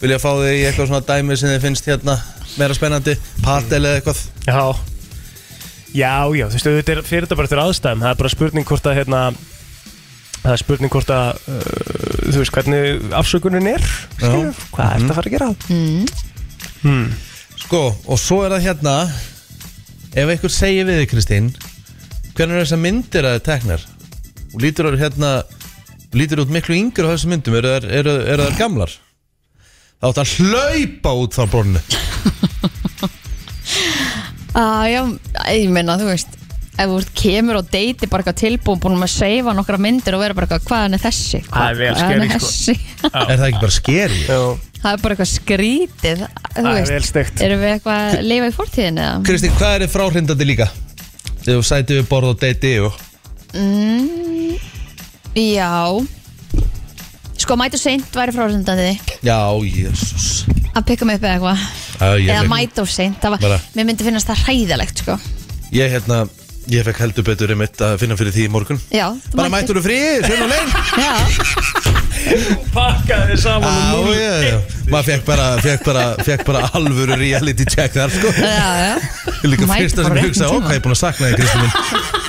S1: vilja fá þig í eitthvað svona dæmi sem þið finnst hérna meira spennandi, partel eða eitthvað
S3: Já Já, já, þú veist, þetta er fyrir þetta bara eftir aðstæðum það er bara spurning hvort að hérna það er spurning hvort að uh, þú veist hvernig afsökunin er skilur, hvað mm. ertu að fara að gera
S2: mm.
S3: hmm.
S1: Sko, og svo er það hérna Ef einhver segir við þig, Kristín Hvernig er þessar myndir að þið teknar? Og lítur þar hérna Lítur út miklu yngri á þessum myndum Eru þær, eru, eru þær gamlar? Þá átt að hlaupa út frá borðinu
S2: ah, já, ég meina þú veist ef þú veist, kemur á deiti bara eitthvað tilbúin búin að seifa nokkra myndir og vera bara eitthvað hvaðan er þessi,
S1: Það er vel
S2: Hvaðan
S1: scary, sko.
S2: þessi?
S1: Er það ekki bara skeri?
S2: það er bara eitthvað skrítið
S1: Það
S2: þú
S1: er vel
S2: veist,
S1: steikt.
S2: erum við eitthvað að lifa í fortíðin eða?
S1: Kristín, hvað er þið fráhrindandi líka? Þegar þú sæti við borð og deiti og
S2: Mm, já sko mætu seint væri frásendandi
S1: Já, jésús
S2: að pikka mig upp eða eitthvað eða mæta of seint, það var,
S1: Bara-
S2: mér myndi finnast það hræðilegt sko.
S1: Ég hérna, ég fekk heldur betur um mitt að finna fyrir því í morgun
S2: já,
S1: Bara mættur þú fríð, sem og leið
S2: já,
S3: Pakkaði þér saman
S1: Já,
S3: og núll.
S1: já, já Maður fekk bara, fekk bara, fekk bara alvöru reality check þar sko
S2: já, já.
S1: Líka
S2: Mæti
S1: fyrsta sem
S2: bara á
S1: ég hugsaði,
S2: réttum
S1: ok, ég er búin að sakna þig Kristi minn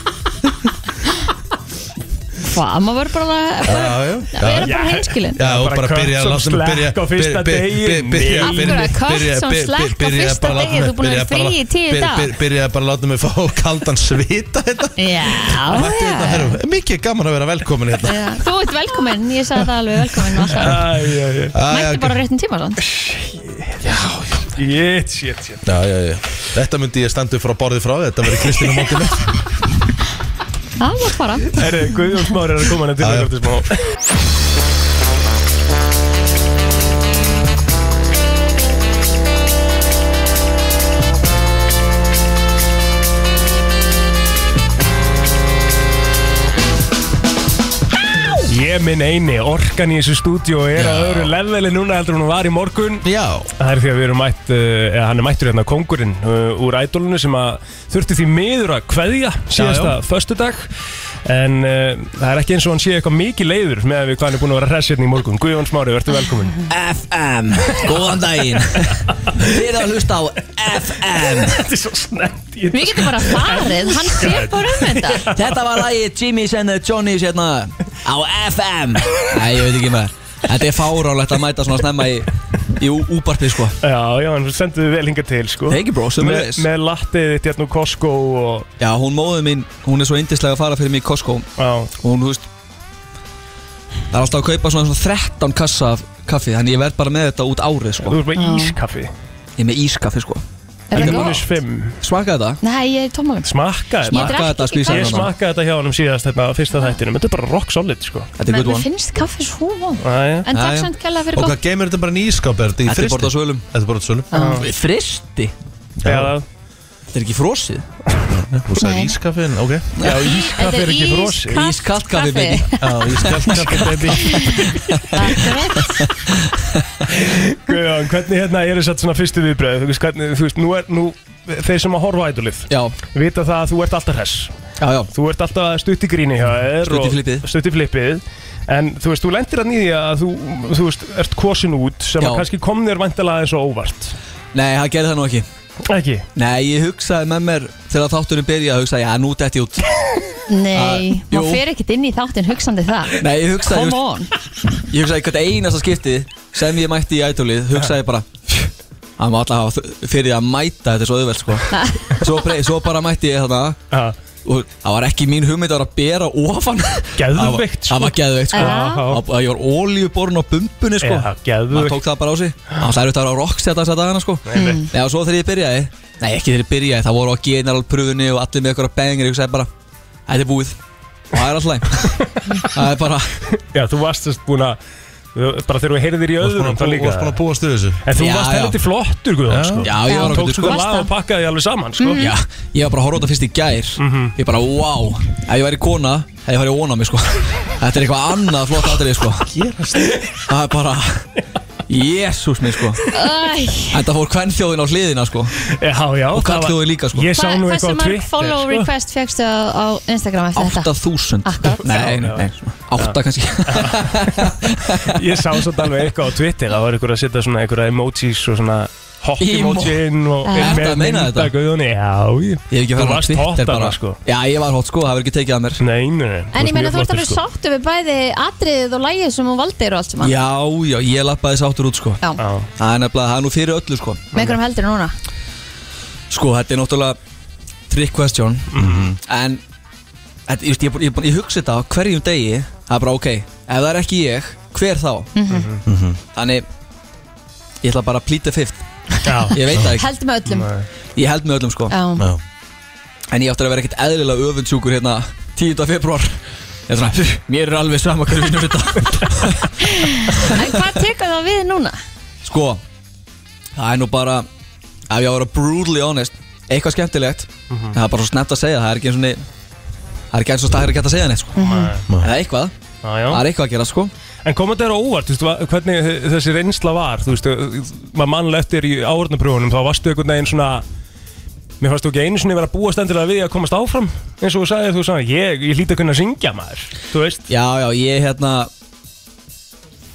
S2: hvað, maður verður bara
S1: Já, já
S2: Það er bara hreinskilin.
S1: Já, og
S3: Bara
S1: bara
S3: cut
S1: byrja að láta
S3: some
S1: mig byrja
S3: slack á fyrsta
S1: byrja-
S3: degi.
S1: byrja- byrja- byrja-
S3: Af
S2: hverju að cut
S1: byrja-
S2: some
S1: byrja-
S2: slack á
S1: byrja
S2: fyrsta
S1: bara að láta
S2: degi?
S1: mig-
S2: Þú búin að vera
S1: byrja
S2: frí
S1: bara
S2: í
S1: láta-
S2: tíu
S1: byrja-
S2: daga.
S1: byrja- Byrja bara að láta mig fá kaldan svita hérna
S2: já,
S1: Þetta er þetta, herru, mikið gaman að vera velkomin hérna
S2: já. þú ert velkominn, ég sagði það alveg velkominn alltaf. mætti bara á réttum tíma svona.
S3: Jétt, jétt, jétt
S1: Já, já, já Þetta myndi ég standa upp frá borðið frá þér, Þetta verður Kristín á móti með
S2: það var bara
S3: Herri, Guðjón Smári er að koma hann til okkar eftir smá Ég minn eini, orkan í þessu stúdíu er að öðru leveli núna heldur en hún var í morgun
S1: Já
S3: Það er því að við erum mætt, uh, eða hann er mættur hérna kongurinn uh, úr ædolinu sem að þurfti því miður að kveðja síðasta
S1: Já, já.
S3: föstudag En uh, það er ekki eins og hann sé eitthvað mikið leiður með að við hvað hann er búin að vera hress hérna í morgun Guðjón Smári, verður velkomin
S11: FM, góðan daginn Þið eru að hlusta á FM
S3: Þetta er svo snemmt Við
S2: getum bara farið, hann sér bara um þetta
S11: Þetta var lagið Jimmy's and the Johnny's hérna á FM Nei, ég veit ekki maður Þetta er fárálegt að mæta svona snemma í, í úbarpið sko
S3: Já, já, en þú sendur þið vel hinga til sko
S11: Thank you, bro,
S3: með,
S11: sömuleiðis.
S3: með lattið þitt hérna úr Costco og
S11: Já, hún móðu mín, hún er svo indislega að fara fyrir mig í Costco
S3: Já
S11: Hún, þú veist Það er alltaf að kaupa svona, svona 13 kassa af kaffi Þannig ég verð bara með þetta út árið sko
S3: Þú ert með Já. ískaffi
S11: Ég er með ískaffi sko
S2: Er það
S11: Þetta
S2: gott?
S11: bara- Smakkaði þetta?
S2: nei, ég er tómagum
S3: smakka þetta
S2: Ég drekk Smakkaði þetta, hérna. ekki skvísaði
S3: Ég
S2: kaffi.
S3: smakkaði þetta hjá honum síðast hérna á fyrsta þættinum Þetta er bara rock solid sko
S2: mér finnst kaffi svo vond en takk samt kæla fyrir
S1: Og
S2: gott
S1: hvað geymir þetta bara nýskap, er þetta í
S11: Þetta er
S1: fristi?
S11: borðað á svölum
S1: Þetta er borðað á
S11: Ah.
S1: svölum
S11: Fristi?
S1: Já
S11: Þetta er ekki frosið
S1: Þú sagði ískaffin, ok
S11: Já, ískaffi er ekki frosið. Ískalt kaffi, baby.
S1: Já, ískalt kaffi, baby
S3: Guðjón, hvernig hérna eru satt svona fyrstu viðbröð þú veist, hvernig, þú veist, nú er, nú þeir sem að horfa á ædolið
S11: já.
S3: vita það að þú ert alltaf hress
S11: já, já.
S3: þú ert alltaf stutt í gríni hjá þér
S11: Stutt í
S3: og-
S11: flippið.
S3: stutt í flippið en þú veist, þú lendir að nýði að þú, þú veist, ert kosin út sem
S11: Já.
S3: að kannski kom þér vantilega eins og óvart
S11: Nei, það gerði það nú ekki
S3: Ekki?
S11: Nei, ég hugsaði með mér þegar þátturinn byrjaði, hugsaði, já, nú detti ég út
S2: Nei,
S11: Ah, jú.
S2: maður fer ekkert inn í þáttin hugsandi það
S11: Nei, ég hugsaði
S2: Come
S11: ég, ég hugsaði hvert einasta skipti sem ég mætti í ædolið hugsaði ég bara Það má alltaf hafa fyrir að mæta þetta er svo auðvelt sko svo, brey, svo bara mætti ég þarna Og það var ekki mín hugmynd að vera að bera ofan
S3: Geðveikt,
S11: sko Það var geðveikt sko
S3: Já.
S11: Það- Ég var ólíuborinn á bumbunni sko
S3: Já, geðveikt.
S11: Maður tók það bara á sig Það var særið að vera á rockset þess að dagana sko
S3: Nei, nei.
S11: Nei, og svo þegar ég byrjaði Nei, ekki þegar ég byrjaði Það voru á generalpröfunni og allir með ykkur að bengir Ég sagði bara, þetta er búið Og það er alltaf Það er bara
S3: Já, þú varst þess búin að þú- bara þegar við heyrðir í öðrum þá líka
S1: varst búin að búast við þessu
S3: En þú
S11: Já,
S3: varst
S11: já.
S3: heldur flottur, Guðjón, sko
S11: Já, ég var
S3: Þú tókst sko
S11: ágætur,
S3: lag og pakkaði alveg saman, sko Mhm.
S11: Já, ég var bara að horfa á þetta fyrst í gær Ég bara, wow, ef ég væri kona Ef ég væri óna mig, sko Þetta er eitthvað annað flott aðrið, sko Það er bara Jésús minn, sko
S2: Æ,
S11: Þetta fór kvennþjóðin á hliðina, sko
S3: Já, já
S11: Og kallþjóðin líka, sko
S2: Hva- Hversu mörg
S3: sko.
S2: follow request fegstu á, á Instagram eftir þetta?
S11: 8000 Nei, nei, nei, 8 kannski
S3: Ég sá svolítið alveg eitthvað á Twitter Það var ykkur að setja svona einhverja emojis og svona hot
S11: Emo-
S3: emojin og
S11: Já. Ertu að meina þetta?
S3: Guðjóni, já ég
S11: Ég hef ekki farið á
S3: varst
S11: Twitter
S3: hot
S11: bara.
S3: þarna, sko
S11: Já, ég var hot sko, það verður ekki tekið að mér
S3: Nei, nei, nei
S2: En ég meina þú ert
S11: sko.
S2: alveg sáttu við bæði atriðið og lægið sem hún valdir og allt sem hann
S11: Já, já, ég lappaði sáttur út sko
S2: Já.
S11: Það er nefnilega, það er nú fyrir öllu sko
S2: Með einhverjum heldur en núna
S11: Sko, þetta er náttúrulega trick question
S2: Mhm.
S11: En þetta, ég, veist, ég, ég, ég hugsa þetta á hverjum degi Það er bara ok, ef það er ekki ég, hver þá?
S2: Mhm.
S11: Þannig, ég ætla bara að plýta fifth Ég veit það ekki
S2: Heldur með öllum
S11: Ég held með öllum sko
S2: Já. Já.
S11: En ég áttur að vera ekkert eðlilega öfundsjúkur hérna 10. februar Ég er svona, mér er alveg sama hverju vinnum þetta
S2: En hvað tekur það við núna?
S11: Sko, það er nú bara Ef ég á að vera brutally honest Eitthvað skemmtilegt
S3: Mhm.
S11: en Það er bara svo snemt að segja, það er ekki eins og niður Það er ekki eins og staðir að geta að segja neitt sko
S1: Mm.
S3: Mhm.
S11: Það er eitthvað, það er eitthvað að gera sko
S3: En kom þetta er óvart, þú veist, va- hvernig þessi reynsla var Þú veist, maður mannlega eftir í árnapröfunum Þá varstu einhvern veginn svona Mér fannst þú ekki einu sinni vera að búa stendilega við að komast áfram eins og þú sagðir, þú sagði, ég, ég hlýta að kunna syngja maður Þú veist
S11: Já, já, ég hérna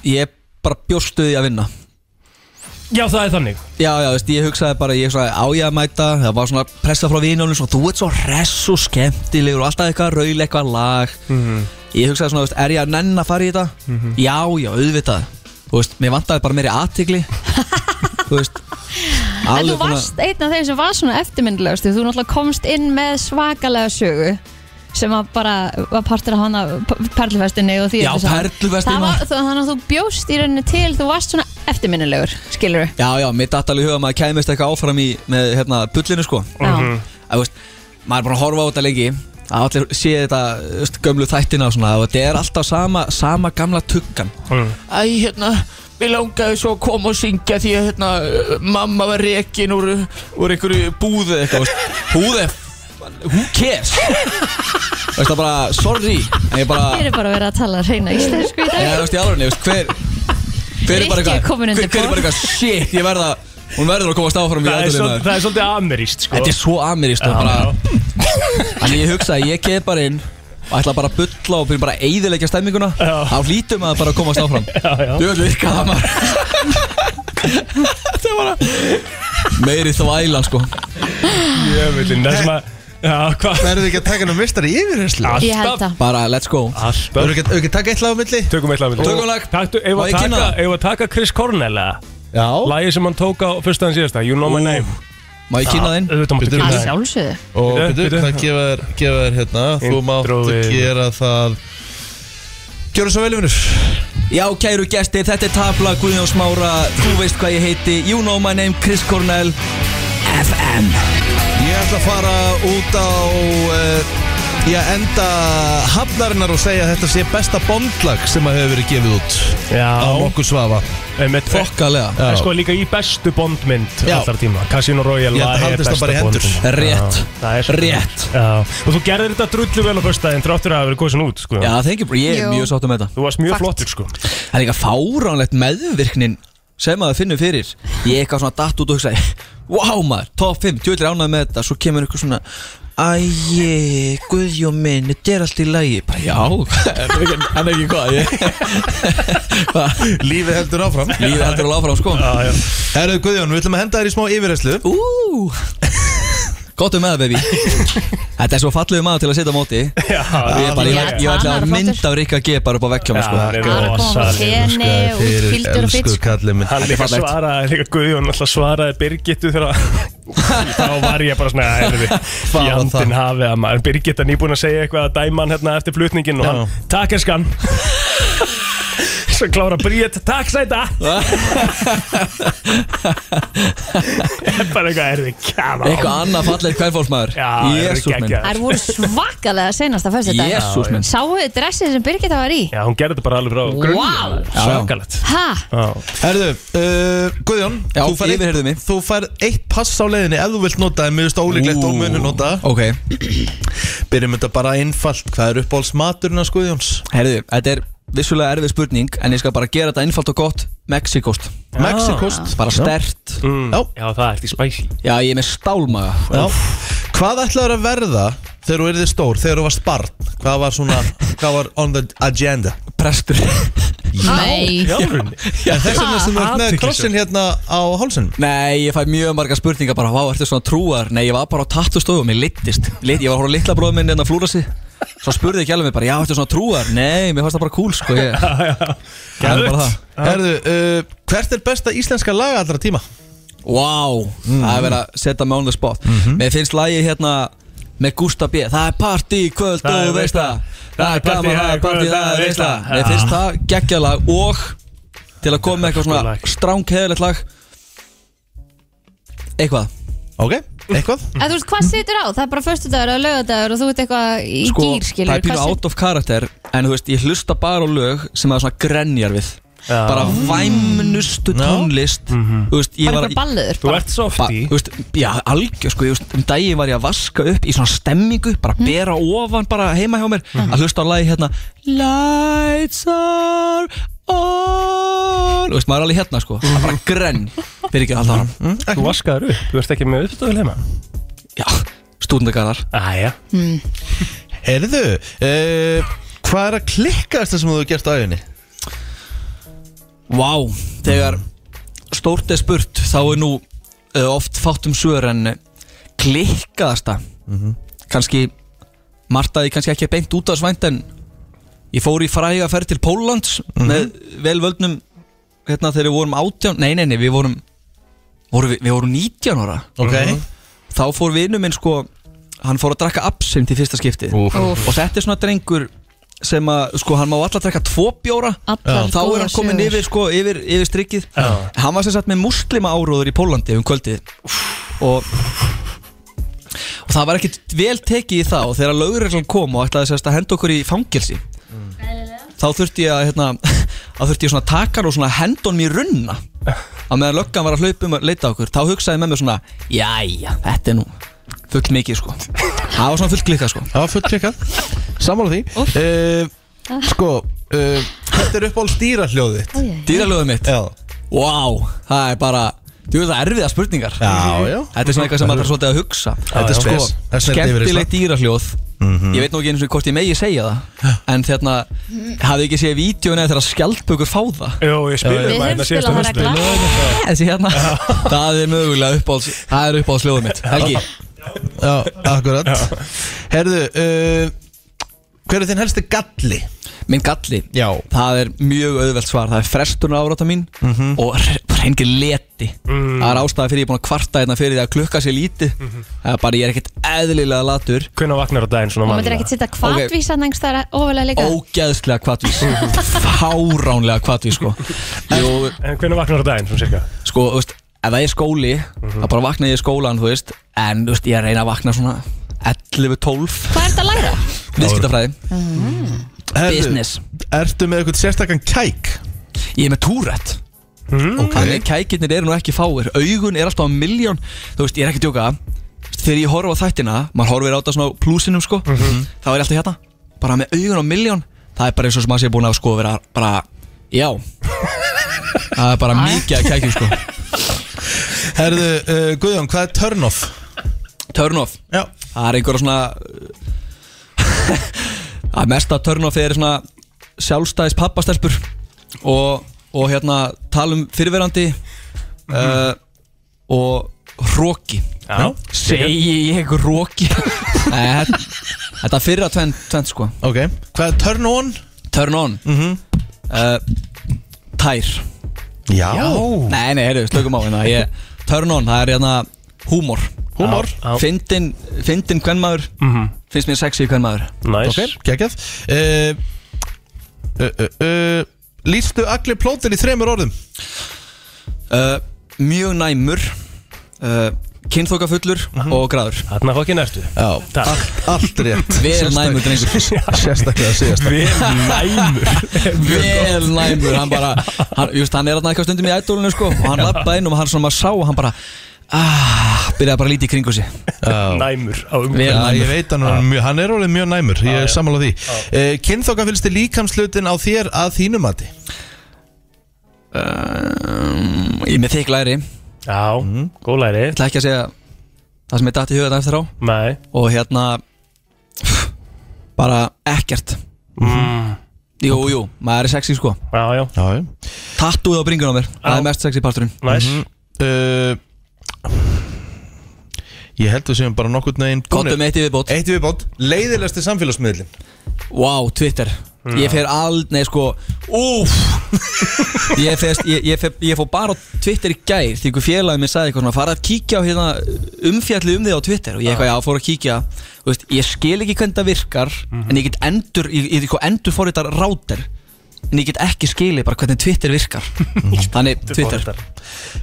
S11: Ég bara bjóstu því að vinna
S3: Já, það er þannig
S11: Já, já, þú veist, ég hugsaði bara, ég svona á ég að mæta Það var svona pressa frá vinunum Svo þú ert svo hress og skemmtilegur Og alltaf eitthvað raul, eitthvað lag Ég hugsaði svona, þú veist, er ég að nenn að fara í þetta?
S3: Mhm.
S11: Já, já, auðvitað Þú veist, mér vantaði bara meiri aðtigli Þú veist
S2: En
S11: alveg
S2: þú
S11: búin að-
S2: varst einn af þeim sem var svona eftirmyndilegustu Þú náttúrulega komst inn með svakalega sögu sem að bara var partur af hana perlufestinni og því
S11: Já,
S2: öllu saman.
S11: Perlufestin
S2: Það var-
S11: var-
S2: þú- Þannig að þú bjóst í rauninni til þú varst svona eftirminnilegur, skilur
S11: Já, já, mér datt alveg í huga að maður kæmist eitthvað áfram í með, hérna, bullinu, sko
S2: Já.
S11: Að, þú veist, maður er bara að horfa á þetta lengi að allir sé þetta, þú veist, gömlu þættina og svona, og þetta er alltaf sama, sama gamla tuggan
S12: Æ, hérna, mér langaði svo að koma og syngja því að hérna, uh, mamma var rekin úr, úr einhverju búðu eða eitthvað,
S11: búðu Who cares? Þú veist, það bara, sorry En ég bara,
S2: Þér er bara verið að tala reyna íslensku í
S11: Ah. Já,
S2: dag
S11: þú veist, í alveg, veist, hver Hver er bara
S2: Rikki er kominn
S11: hver,
S2: undir
S11: hver er bara
S2: borð.
S11: eitthvað, shit, ég verða Hún verður að komast áfram í
S3: Það er
S11: aðdölu
S3: svol- það er svolítið ameríst, sko
S11: Þetta er svo ameríst og
S3: Já,
S11: bara Þannig ég hugsa að ég keð bara inn og ætla bara að bulla og byrja bara að eyðilegja stemminguna þá hlýtum maður bara að komast áfram Þú veist, virka það maður Þetta er bara Meiri þvæla, sko
S3: Jöfullinn, það sem að Já, hvað?
S1: Verður ekki að taka hennar mistari yfirherslu?
S2: Ég held það.
S11: Bara, let's go
S3: Alltaf
S1: Verður ekki, ekki að taka eitt lag á milli?
S3: Tökum eitt lag á milli.
S1: Tökum lag
S3: Taktu, ef
S1: Má
S3: að
S1: ég kynna
S3: taka,
S1: það?
S3: ef að taka Chris Cornell eða?
S1: Já
S3: Lagi sem hann tók á fyrsta en síðasta You know my name
S11: Má ég kynna þinn?
S3: Auðvitað máttu kynna
S2: Að
S3: þinn
S2: sjálfsögðu
S1: Og
S3: Bíddu,
S1: byrju,
S3: bíddu.
S1: það gefa þér, gefa þér hérna Þú máttu
S3: Introið.
S1: gera það Gjörðu svo vel, vinnur
S11: Já, kæru gestir, þetta er tabla Guðjóns Mára, þú veist hvað ég heiti You know my name, Chris Cornell FM
S1: Ég ætla að fara út á uh, Ég enda hafnarinnar og segja að þetta sé besta bondlag sem að hefur verið gefið út
S3: Já
S1: Á nokkuð svafa Fokkalega.
S3: Það er sko líka í bestu bondmynd
S1: Já.
S3: Allar tíma Casino Royale
S1: Ég held að haldist
S3: var- er
S1: það
S3: besta
S1: bara í hendur.
S3: Bondmynd.
S1: Rétt.
S3: Já, það er svo-
S1: Rétt.
S3: Já Og þú gerðir þetta drullu vel á föstudaginn Dráttur að hafa verið kosin út sko
S11: Já, thank you bro, ég er
S3: Jú.
S11: mjög sáttum með þetta
S3: Þú varst mjög flottur sko
S11: Það er líka fáránlegt meðvirknin sem að það finnum fyrir ég eitthvað svona datt út og hugsaði wow maður, top 5, tjóðlega ánægð með þetta svo kemur ykkur svona æjé, guðjó minn, þetta er allt í lagi bara já, en ekki, en ekki hvað ég
S1: Lífið heldur áfram
S11: Lífið heldur alveg áfram sko
S1: Herðu Guðjón, við ætlum að henda þér í smá yfirreyslu
S11: Úúú Gott um með það baby Þetta er svo fallegu maður til að setja á móti já, Ég er bara, ég, ég, ég ætla að mynda af Rikka G bara upp á vekkjáma sko.
S3: hann er Bara koma á rosalegur, sko.
S2: Henni út fylgdur og sko. fyrst
S1: kallið minn
S3: Hann líka
S11: Fallegt.
S3: svaraði, líka Guðjón alltaf svaraði Birgittu þegar þá var ég bara svona erfi,
S1: Hvað var
S3: fjandinn
S1: það?
S3: hafið að maður Birgitta nýbúin að segja eitthvað að dæma hann hérna eftir flutningin og hann, takk elskan Svo klára Bríett, takk sæta Er bara eitthvað erfi kjama
S11: Eitthvað annað fallegt kværfólksmaður
S3: Já,
S11: Jésús minn
S2: Þær voru svakalega senast að fyrstu dag
S3: Jesús minn.
S2: Sáu þið dressið sem Birgitta var í?
S3: Já, hún gerði þetta bara alveg frá grunni
S2: Vá.
S3: maður. Svakalegt
S2: Ha?
S1: Herðu, uh, Guðjón
S11: Já,
S1: þú færð eitt-
S11: yfirheyrðu mig.
S1: Þú færð eitt pass á leiðinni ef þú vilt nota en mér finnst ólíklegt
S11: Ú,
S1: og munu nota
S11: Ok,
S1: Byrjum þetta bara einfalt Hvað er uppáhalds maturinn að Guðjóns?
S11: herðu, þetta er vissulega erfið spurning En ég skal bara gera þetta einfalt og gott Mexikost
S1: Mexikost
S11: Bara
S1: Já.
S11: stert
S1: Já.
S3: Já, það er því spæsi
S11: Já, ég er með stálmaga
S1: Já. Hvað ætlaður að verða þegar þú erði stór, þegar þú varst barn? Hvað var svona, hvað var on the agenda?
S11: Prestur
S2: Nei
S1: Já, þess vegna sem þú ert með
S3: Athyglisvert.
S1: krossin hérna á hálsinn
S11: Nei, ég fæ mjög marga spurningar bara, vá, ertu svona trúar? Nei, ég var bara á tattustofum, ég litist Lit, Ég var hóra litla bróðum minn en að flúra sig Svo spurði ekki alveg mig bara, já, ertu svona trúar? Nei, mér fannst það bara cool, sko ég, Það er bara það.
S1: Herðu, uh, hvert er besta íslenska laga allra tíma?
S11: Vá, það er verið að setja mig on the spot
S1: Mhm.
S11: Mér finnst lagið hérna með Gústa B Það er partí í kvöld
S3: Það er
S11: og veist
S3: veisla.
S11: það Það er gaman, það er partí, það er veist það
S3: veisla.
S11: Mér finnst það geggjalag og til að koma með eitthvað svona stráng heðilegt lag Eitthvað
S1: Ok, eitthvað?
S11: Mm.
S2: Eða þú veist hvað situr á? Það er bara fyrstu dagur eða lögadagur og þú ert eitthvað í
S11: sko,
S2: gýr skilur
S11: það er pínu out of character en þú veist, ég hlusta bara á lög sem það er svona grenjar við bara væmnustu tónlist þú veist, ég
S2: Bara
S11: var
S2: eitthvað balluður
S3: Mhm. Þú ert
S11: ba-
S3: softi
S11: þú veist, já, algjör sko, ég veist, um daginn var ég að vaska upp í svona stemmingu, bara
S2: Mhm.
S11: bera ofan bara heima hjá mér, að hlusta á lagi hérna Lights are on þú veist, maður er alveg hérna sko, það er bara grenn fyrir ekki alltaf Mhm. hann,
S3: Mhm. Þú vaskaður upp, þú ert ekki með uppstöðu heima
S11: já, stúdendagarðar
S3: Æja,
S2: Hmm.
S1: Herðu, uh, hvað er að klikkaðast sem þú hefur gert á æfinni?
S11: Vá, þegar stórt er spurt þá er nú uh, oft fátt um svör en eh, klikkaðasta kannski martaði kannski ekki beint út af svænt en ég fór í fræga ferð til Póllands
S1: Mhm.
S11: með velvöldnum hérna þegar við vorum átján, nei nei nei við vorum, vorum við, við vorum 19 ára Mhm.
S1: Ok
S11: þá fór vinnu minn sko hann fór að drakka absint í fyrsta skiptið
S1: Úff.
S2: Úff.
S11: og þetta er svona drengur sem að sko hann má alltaf drakka tvo bjóra
S2: Allar
S11: þá
S2: góðar
S11: er hann komin
S2: sögur.
S11: yfir, sko, yfir, yfir strikkið Hann var sem sagt með muslima áróður í Pólandi um kvöldið og, og það var ekkit vel tekið í það og þegar lögreglan kom og ætlaði sem sagt að henda okkur í fangelsi þá þurfti ég að hérna, þá þurfti ég svona að taka hann og svona henda honum í runna á meðan löggan var að hlaupa um að leita að okkur þá hugsaði ég með mér svona jæja, þetta er nú full mikið sko það var svona full klikka sko
S1: Það var fullt klikkað Sammála því uh, Sko, uh, hvert er uppáhalds dýrahljóðið þitt?
S2: Æ,
S11: dýralögum mitt,
S1: Já
S11: wow, það er bara þú veist það erfiða spurningar
S1: Já, já
S11: Þetta er svona eitthvað sem maður þarf svolítið að hugsa
S1: Þetta er spes.
S11: sko,
S1: Það er snilld yfirheyrsla.
S11: skemmtileg dýrahljóð Ég veit nú ekki eins og hvort ég megi segja
S1: Mm.
S11: það En þarna, hafði ekki séð vídeo neða þegar skjaldbökur fá það
S3: jú, ég spilaði
S2: Við
S3: maður
S2: höfum
S3: hérna
S2: spilað það
S3: síðasta höstu
S2: regla
S13: er
S11: Þessi hérna Það er mögulega uppáhalds Það er uppáhalds ljóðum mitt Helgi
S1: Já, akkurat Herðu, uh, hver er þinn helsti galli?
S11: Minn galli
S1: Já
S11: Það er mjög auðvelt svar Það er frestun áráta mín
S1: Mhm.
S11: Og hre- bara hengi leti Það er ástæða fyrir ég er búin að kvarta hérna fyrir því að klukka sér lítið Það er bara ég er ekkert eðlilega latur
S3: Hvernig vaknar á daginn svona
S2: Þú myndir
S3: mannilega?
S2: ekkert sitta kvartvísan engst þar ofalega líka
S11: Ógeðslega kvatvís Fáránlega kvatvís sko Jú,
S3: En hvernig vaknar á daginn svona cirka? Mhm.
S11: sko, þú veist, ef það er skóli þá bara vakna ég í skólan, þú veist en, þú veist, ég reyna að vakna svona 11-12
S2: Hvað ert að læra?
S11: viðskiptafræði, business
S1: Herðu, ertu með eitthvað sérstakann kæk?
S11: ég er með túrætt
S14: Mm. Mhm.
S11: þannig að kækirnir eru nú ekki fáir augun er alltaf að miljón þú veist, ég er ekki að djóka Þú veist, þegar ég horfa á þættina, maður horfir á þetta svona á plúsinum sko, þá er ég alltaf hérna bara með augun á miljón, það er bara eins og sem að sé búin að sko vera bara, já Það er bara mikið að kækjum sko
S1: Herðu, uh, Guðjón, hvað er turn off?
S11: Turn off?
S1: Já
S11: Það er einhverja svona Það mesta turn off er svona sjálfstæðis pappastelpur og, og hérna talum fyrirverandi
S1: Mhm.
S11: uh, og hróki
S3: Já.
S11: Segi ég hróki Nei, þetta- Þetta er fyrra tvent, tvent sko
S1: Ok, hvað er turn on? Mhm.
S11: Turn on mm -hmm. Tær
S1: Já
S11: Nei, nei, heyrðu, slökum á hérna ég, Turn on, það er hérna húmor
S1: Húmor. Já, já.
S11: Fyndin, fyndin kvennmaður
S3: Mhm.
S11: Finnst mér sexy kvennmaður
S3: Nice.
S1: Ok, geggjað uh, uh, uh, uh, Lýstu allir plótin í þremur orðum?
S11: uh, Mjög næmur uh, Kynþókafullur og græður
S3: Mhm. Þarna fokkin ertu
S1: Já,
S3: Takk.
S1: allt rétt
S11: Vel næmur, drengur
S1: Sérstaklega síðast
S3: Vel næmur
S11: Vel næmur, hann bara hann, just, hann er þarna eitthvað stundum í ædólinu sko Og hann lappaði inn og hann svona maður sá og Hann bara, ah, byrjaði bara að líti í kringu sig
S3: Næmur á umhverfið.
S1: Já,
S11: næmur.
S1: ég veit hann, hann, mjög, hann er orðið mjög næmur, ég er sammála því uh, Kynþóka fylgstu líkamslutin á þér að þínu mati?
S11: um, Ég er með þykk læri
S3: Já,
S1: Mhm.
S3: mm. góð læri Ég
S11: ætla ekki að segja það sem ég datt í hugan eftir á
S3: Nei.
S11: Og hérna Bara ekkert
S3: mm.
S11: Jú, jú, maður er sexy sko
S3: Já, já,
S1: já, já.
S11: Tattúið á bringunum á mér, það er mest sexy parturinn
S3: Næs.
S11: Mhm.
S1: uh, Ég held við séum bara nokkurn veginn
S11: Kottum eitt í viðbót
S1: Eitt í viðbót, leiðilegsti samfélagsmiðlin
S11: Wow, Twitter
S1: Mm.
S11: Ég fer ald, nei sko Úf Ég fer, ég, ég, fer, ég fór bara á Twitter í gær Því einhver félagið mér sagði eitthvað svona Fara að kíkja á hérna umfjallið um þig á Twitter Og ég eitthvað, já, fór að kíkja Þú veist, Ég skil ekki hvernig það virkar
S1: Mhm.
S11: En ég get endur, ég, ég get eitthvað endur fór þetta ráter En ég get ekki skilið bara hvernig Twitter virkar Þannig, Twitter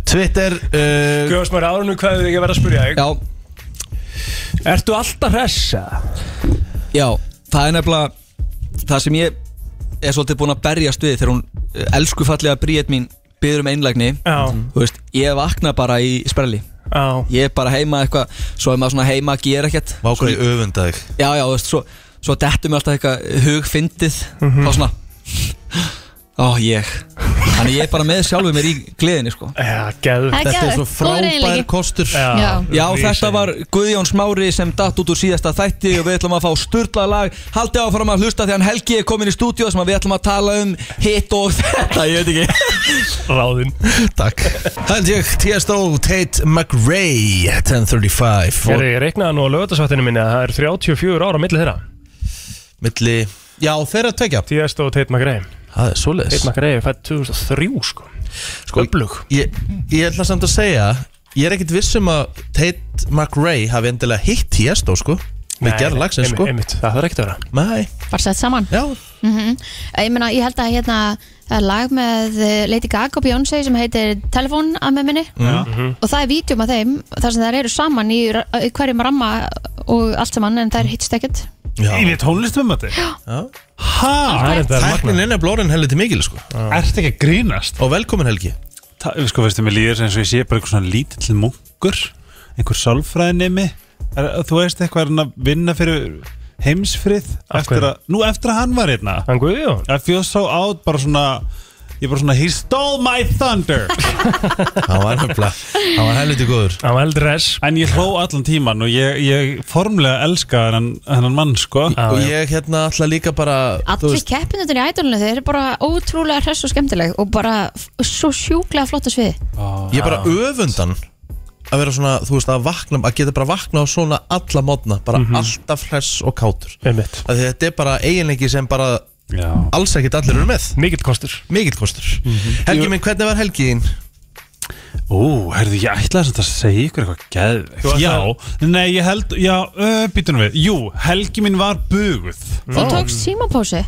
S1: Twitter uh,
S3: Guðast mér árunum hvað þið ekki að vera að spyrja þig
S11: Já
S3: Ertu alltaf hressa?
S11: Já, það er nefnilega Það sem ég er svolítið búinn að berjast við Þegar hún eh, elsku fallega bríðet mín Byður um einlægni
S3: Já.
S11: Þú veist, ég vakna bara í sprelli
S3: Já.
S11: Ég er bara heima eitthvað Svo er maður svona heima að gera ekkert
S1: Vá hvað ég öfunda þig
S11: Já, já, þú veist, svo, svo dettum við alltaf eitthvað Hugfyndið,
S3: Mhm.
S11: þá svona Ó, ég Þannig ég er bara með sjálfu mér í gleðinni, sko
S3: Já, geðvegt.
S2: Það er Þetta er geðvegt. svo Góður frábær eiginleiki.
S1: kostur
S2: Já. Já.
S11: Já, þetta var Guðjón Smári sem datt út úr síðasta þætti og við ætlum að fá sturla lag Haldið áfram að hlusta því hann Helgi er komin í stúdíu sem að við ætlum að tala um hitt og þetta, ég veit ekki
S3: Ráðinn
S1: Takk Held ég, T.S.O. Tate McRae 1035
S3: Ég ég reiknaði nú á lögatarsvættinu minni að það er 34 ára milli þeirra
S1: Milli, já þeirra tvekja
S3: T.S. og Tate McRae
S1: Það er svoleiðis
S3: Tate McRae er fætt 2003 sko
S1: sko, ég, ég ætla samt að segja Ég er ekkit viss um að Tate McRae hafi endilega hitt Tiesto sko Við
S3: Nei,
S1: gerðum lagsinn
S3: einmitt,
S1: sko
S3: einmitt, Það þarf ekkert að vera
S1: Nei
S2: Bara sett saman Mhm.
S1: Já
S2: Ég meina, ég held að hérna Það er lag með eh, Lady Gaga og Beyoncé sem heitir Telefón að með minni
S9: Mhm.
S2: og það er vídjum af þeim þar sem þær eru saman í, ra- í hverjum ramma og allt saman en þær hittst ekkert
S1: Ég
S15: veit tónlistum þetta
S1: Já
S15: Hæ?
S1: Tæknin er blórin helviti mikil sko
S15: Ert ekki að grínast
S1: Og velkomin Helgi
S15: Ta, Sko veistu, mér líður eins og ég sé bara einhver svona lítill munkur Einhver sálfræðinemi er, Þú veist eitthvað er hann að vinna fyrir heimsfrið
S3: Af
S15: eftir
S3: hverju?
S15: að, Nú eftir að hann var hérna
S3: Hann Guðjón
S15: I feel so out, bara svona Ég bara svona, he stole my thunder
S1: Hann var nefnilega Hann var helviti góður
S3: Hann var heldur res
S15: En ég hló allan tíman og ég, ég formlega elska hennan, hennan mann sko
S1: Og ég hérna ætla líka bara
S2: Allir keppinutin í ædolinu, þeir eru bara ótrúlega hress og skemmtileg og bara f- svo sjúklega flott að sviði
S1: Ég bara öfundan að vera svona, þú veist, að vakna að geta bara vakna á svona alla mótna bara alltaf hress og kátur
S3: Mhm. Einmitt.
S1: Af því þetta er bara eiginleiki sem bara
S15: Já.
S1: alls ekkert allir eru með
S3: Mikill kostur Mhm.
S1: Mikill kostur Helgi minn, hvernig var helgiðin?
S15: Ú, herðu, ég ætlaði samt að segja ykkur eitthvað
S1: Þú
S15: geðvegt
S1: ætlaðir-
S15: Já, nei, ég held, já, uh, býtum við Jú, helgi mín var buguð
S2: Þú tókst símapósi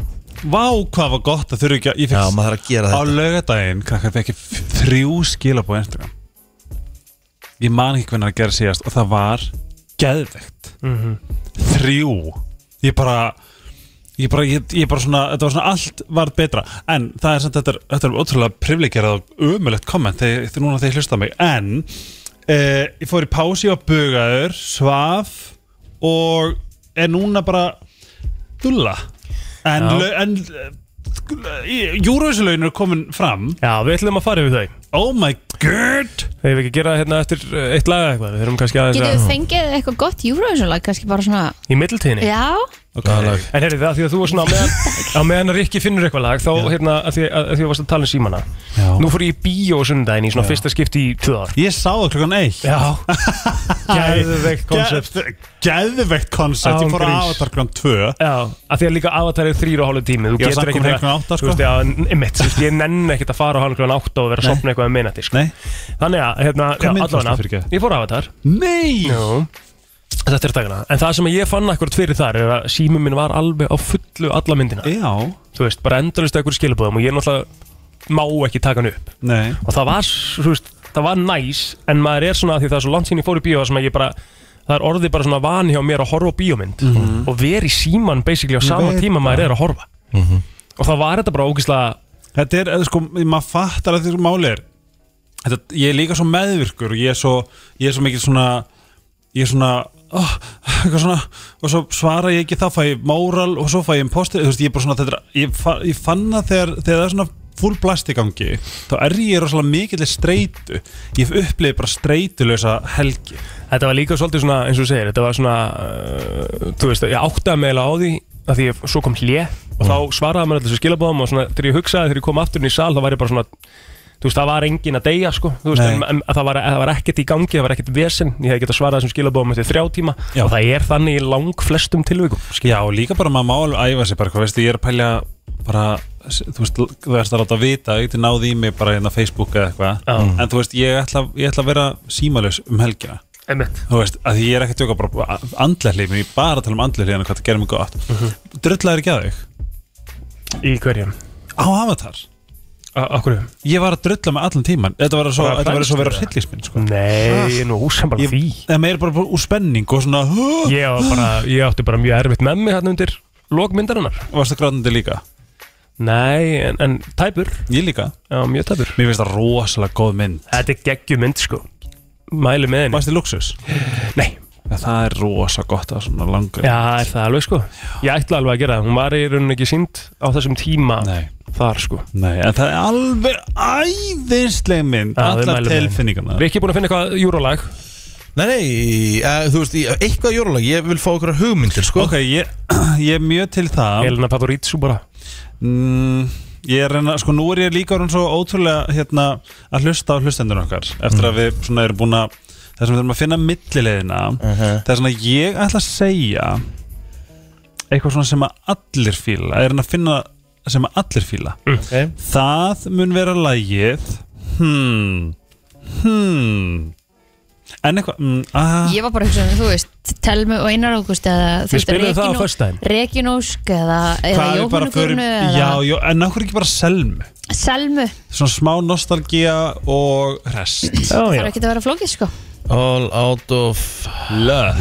S15: Vá, hvað var gott að þurfa ekki að ég fekk,
S1: Já, maður þarf að gera
S15: þetta Á laugardaginn, krakkar, fekk ég f- þrjú skilabóð Instagram Ég man ekki hvernig að gera síðast og það var geðvegt
S3: Mhm.
S15: Þrjú Ég bara Ég bara, ég, ég bara svona, þetta var svona allt varð betra En það er samt, þetta er, þetta er ótrúlega privileggerað og ömulegt komment þegar, þegar núna þegar ég hlusta á mig En eh, ég fór í pási og bugaður, svaf og er núna bara dulla En,
S3: Já.
S15: lau- en Júruvísulögin eru komin fram
S3: Já, við ætlum að fara yfir þau
S15: Oh my god
S3: Þegar við ekki að gera það hérna eftir eh, eitt lag eða eitthvað Við þurfum kannski aðeins
S2: Getur
S3: að
S2: þið fengið eitthvað gott Eurovision-lag, kannski bara svona
S3: Í middiltíðinni
S2: Já,
S3: okay. En heyrðu það, því að þú var svona á meðan, á meðan Rikki finnur eitthvað lag Þá hérna, að því að, að því að varst að tala um símana Já. Nú fór ég í bíó á sundaginn í svona
S15: Já.
S3: fyrsta skipti í tvö ár
S15: Ég sá það klukkan eitt
S3: Já Geðveikt koncept.
S15: Geðveikt koncept Ég fór að avatar klukkan tvö
S3: Já, að því að líka avatar er þrýr og hálf tími Þú
S15: Já, samt
S3: getur
S15: kom
S3: ekki
S15: heim klukkan átta, sko.
S3: Þú veist, já, einmitt, þú veist, ég nenni ekkert að fara á hálf klukkan átta og vera að
S15: Nei.
S3: sopna eitthvað um minnati sko. Þannig að, hérna,
S15: Hvað mynd varstu
S3: allavega,
S15: fyrir ekki?
S3: Ég fór á avatar
S15: Nei
S3: Jú Þetta er dagana En það sem ég fann akkurat fyrir þar er að sími minn var alveg á fullu alla myndina
S15: Já
S3: Þú veist, bara endalist ekkur skilabóðum og ég náttúrulega má ekki taka hann upp
S15: Nei
S3: Og það var, s- þú veist, það var næs En maður er svona, því það er svo langt sín ég fór í bíó þar sem að ég bara Það er orðið bara svona vani hjá mér að horfa á bíómynd
S15: Mhm.
S3: Og veri síman basically á
S15: Ég
S3: sama
S15: veit
S3: tíma maður
S15: það.
S3: er að horfa
S11: Mhm.
S3: Og það var þetta bara ógislega
S15: Þetta er, eða sko, maður fattar að þetta máli er þetta, Ég er líka svo meðvirkur og ég er svo, ég er svo mikið svona Ég er svona, oh, eitthvað svona Og svo svara ég ekki, þá fæ ég móral og svo fæ ég imposter Þú veist, ég er bara svona, þetta er, ég, fa, ég fann það þegar, þegar það er svona full blast í gangi Þá er ég rosalega mikill streitu Ég hef upplifið bara streitulösa helgi
S3: Þetta var líka svolítið svona, eins og þú segir, þetta var svona, uh, þú veist, ég áttaði mig eiginlega á því að því að svo kom hlje og
S15: Mm.
S3: þá svaraði mér allir þessu skilabóðum og svona, þegar ég hugsaði, þegar ég kom aftur inn í sal, þá var ég bara svona, þú veist, það var engin að deyja, sko, þú veist,
S15: Nei.
S3: en, en, að það, var, að það var ekkert í gangi, það var ekkert vesen, ég hefði getað svarað þessum skilabóðum eftir þrjá tíma
S15: Já.
S3: og það er þannig í lang flestum tilvikum.
S15: Já, og líka bara maður má alveg æfa sig bara, hvað veistu, ég er að pælja bara, þú veist, þú veist að láta vita, ég geti náð í mig bara hérna á Facebook eða eitthvað,
S3: Já.
S15: en þú veist, ég ætla, ég ætla að vera símalus um helgina.
S3: Einmitt.
S15: Þú veist, að því ég er ekki að tjóka bara andlehlið, ég er bara að tala um andlehlið en hvað það gerir mig gott. Mm -hmm. Dröllaður ekki að þig?
S3: Mhm. Í hverjum?
S15: Á Avatar.
S3: Akkur?
S15: Ég var að drulla með allan tíman. Þetta var svo,
S3: Bara
S15: þetta var svo að vera
S3: hræðslu,
S15: hryllisminn, sko.
S3: Nei, nú, sem bara því.
S15: Það meir bara bara úr spenning og svona...
S3: Ég, var bara, ég átti bara mjög erfitt með mig hérna undir lokmyndarinnar.
S15: Varstu grátandi líka?
S3: Nei, en, en tæpur
S15: Ég líka
S3: Já, mjög tæpur
S15: Mér finnst það rosalega góð mynd
S3: Þetta er geggjum mynd, sko Mælu með henni
S15: Varst þið luxus?
S3: Nei
S15: Já, það er rosa gott að svona langur
S3: Já, það er það alveg, sko Ég ætla alveg að gera það Hún var í rauninni ekki sínd á þessum tíma
S15: Nei.
S3: Þar, sko
S15: Nei, en það er alveg æðisleg mynd Allar tilfinningarna
S3: Við ekki búin að finna eitthvað júrólag
S1: Nei, nei, eh, þú veist, ég- eitthvað jólulag Ég vil fá okkur hugmyndir, sko
S15: Ok, ég, ég er mjög til það
S3: Elena Paparizou bara
S15: mm, Ég er reyna, sko nú er ég líka orðin svo ótrúlega hérna að hlusta á hlustendur okkar
S3: Mm.
S15: eftir að við svona erum búin að þess að við þurfum að finna millilegina uh -huh. þess að ég ætla að segja eitthvað svona sem að allir fíla, er hann að finna sem að allir fíla
S3: okay.
S15: það mun vera lægið hmm hmm en eitthvað mm, ah,
S2: ég var bara að hugsa um, þú veist, Telmu og Einar Ágúst eða þú
S15: Við
S2: veist,
S15: spilum það á
S2: Reginó-
S15: föstudaginn.
S2: Reginósk eða, eða
S15: hvað við bara förum-
S2: Jóhannugunnu eða
S15: já, já, en okkur ekki bara selmu
S2: Selmu,
S15: svona smá nostalgía og rest
S2: það er ekki að vera flókið sko
S1: All Out of
S15: Luck,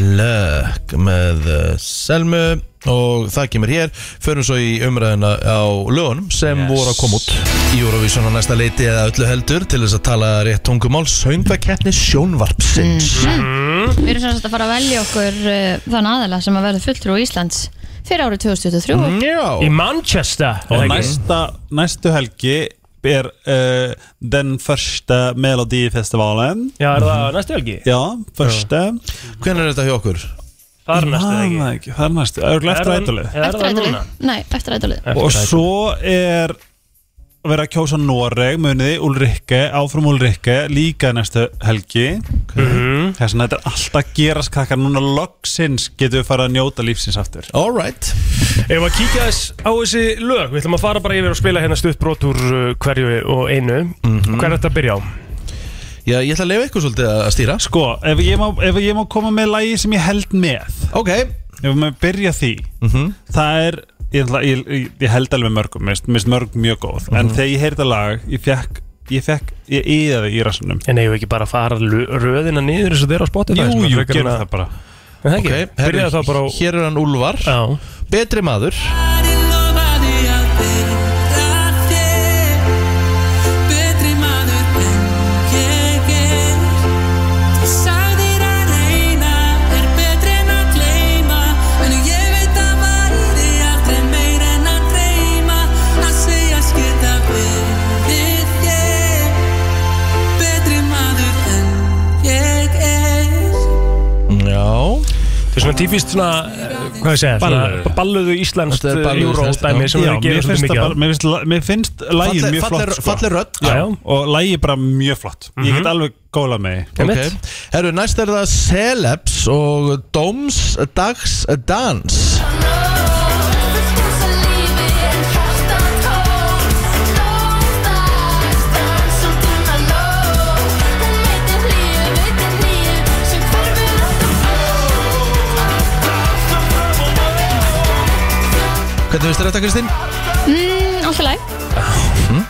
S1: með uh, Selmu og það kemur hér förum svo í umræðina á lögunum sem voru að koma út í Eurovision á næsta leiti eða öllu heldur til þess að tala rétt tungumál söngvakeppni sjónvarpsins
S2: Við erum sem sagt að fara að velja okkur uh, þann aðala sem að verða fulltrú Íslands fyrir árið 2023
S1: Mm,
S15: Mm,
S3: Í Manchester
S15: og
S3: er það ekki?
S15: næsta, næstu helgi er uh, den första melodifestivalen
S3: Já, er það næstu helgi?
S15: já, första
S1: hvernig er þetta hjá okkur?
S3: Það er
S15: næstu helgi það er næstu, örgulega eftir ætlið
S2: Eftir ætlið, nei, eftir ætlið
S15: og svo er verið að kjósa Noreg muniði Ulrikke, áfram Ulrikke líka næstu helgi okay. þess að þetta er alltaf að gerast krakkar núna loksins getum við fara að njóta lífsins aftur
S1: alright
S3: Ef að kíkja þess á þessi lög Við ætlum að fara bara yfir og spila hérna stutt brot úr uh, hverju og einu mm
S15: Mhm.
S3: -hmm. Hver er þetta að byrja á?
S1: Já, ég ætla að leifa ykkur svolítið að stýra
S15: sko, ef ég má, ef ég má koma með lægi sem ég held með
S1: ok Mhm.
S15: ef við maður byrja því það er ég, ætla- ég, ég, ég held alveg mörgum mist, mist mörg mjög góð en
S3: Mhm.
S15: þegar ég heyrði þetta lag ég fekk ég fekk, ég íðaði í rassunum
S3: En eigum við ekki bara að fara lu- röðina niður eins og þeirra á Spotify
S15: Jú,
S3: svona,
S15: jú,
S3: frekar en
S15: gerum
S3: að-
S15: það bara.
S3: Er Það
S1: Ok,
S3: ekki, okay, byrjaði
S1: herru,
S3: þá bara á
S1: hér er hann Úlvar
S3: Já.
S1: betri maður
S9: Ég veit að væri aldrei meir en að dreyma að segja
S3: Þetta er svona típist svona, eh, hvað ég segja,
S15: Balluðu.
S3: svona balluðu íslenskt
S15: Þetta er balluðu íslenskt,
S3: júródæmi eh, sem
S15: já.
S3: við
S15: Já,
S3: gerum
S15: mér
S3: svolítið
S15: finnst
S3: mikið
S15: það
S3: af.
S15: bara- mér finnst la- Mér finnst lagið
S1: Falleg-
S15: mjög
S1: falleg-
S15: flott sko.
S1: falleg rödd.
S15: Já,
S1: Já.
S15: og lagið bara mjög flott Ég
S3: Mhm.
S15: get alveg góla með því
S1: Ok, herru, næst er það Celebs og Dóms Dags Dans Hvernig finnst þér þetta, Kristín?
S2: mm, Alltaf læg
S15: Hm?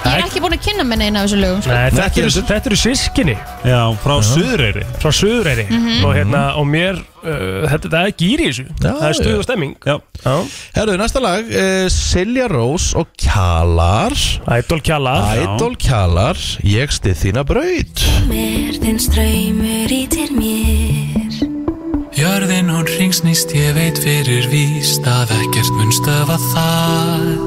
S2: Ég er ekki búin að kynna mér neina af þessu lögum sko.
S3: Nei, þetta, eru, þetta eru sískinni
S15: Já, frá Suðureyri
S3: Frá Suðureyri
S2: Mhm.
S3: og, hérna, og mér, uh, þetta það er gýr í þessu Það er stuð og stemming
S15: Já.
S3: Já.
S1: Herru, næsta lag, uh, Silja Rós og Kjalar
S3: Ædol Kjalar
S1: Ædol Kjalar, ég stið þína braut
S14: Merðin ströymur í til mér
S4: Jörðin hún ringsnýst, ég veit fyrir víst að ekkert mun stöfa það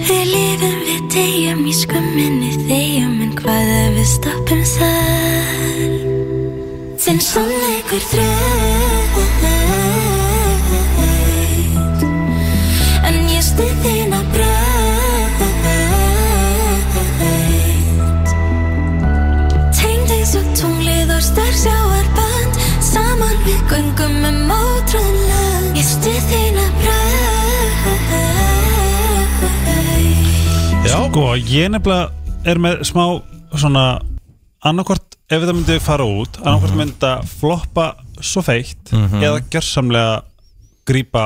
S14: Við lifum, við deyjum í skömminni þegjum En hvað ef við stoppum þar Þinn sannleikur þraut En ég stuð þín að braut Tengd eins og tunglið og starfsjáarband Saman við göngum með mótröðn land Ég stuð þín að braut
S15: Sko, ég nefnilega er með smá svona annarkvort ef þetta myndi fara út annarkvort
S3: Mhm.
S15: myndi þetta floppa svo feitt
S1: Mhm.
S15: eða gjörsamlega grípa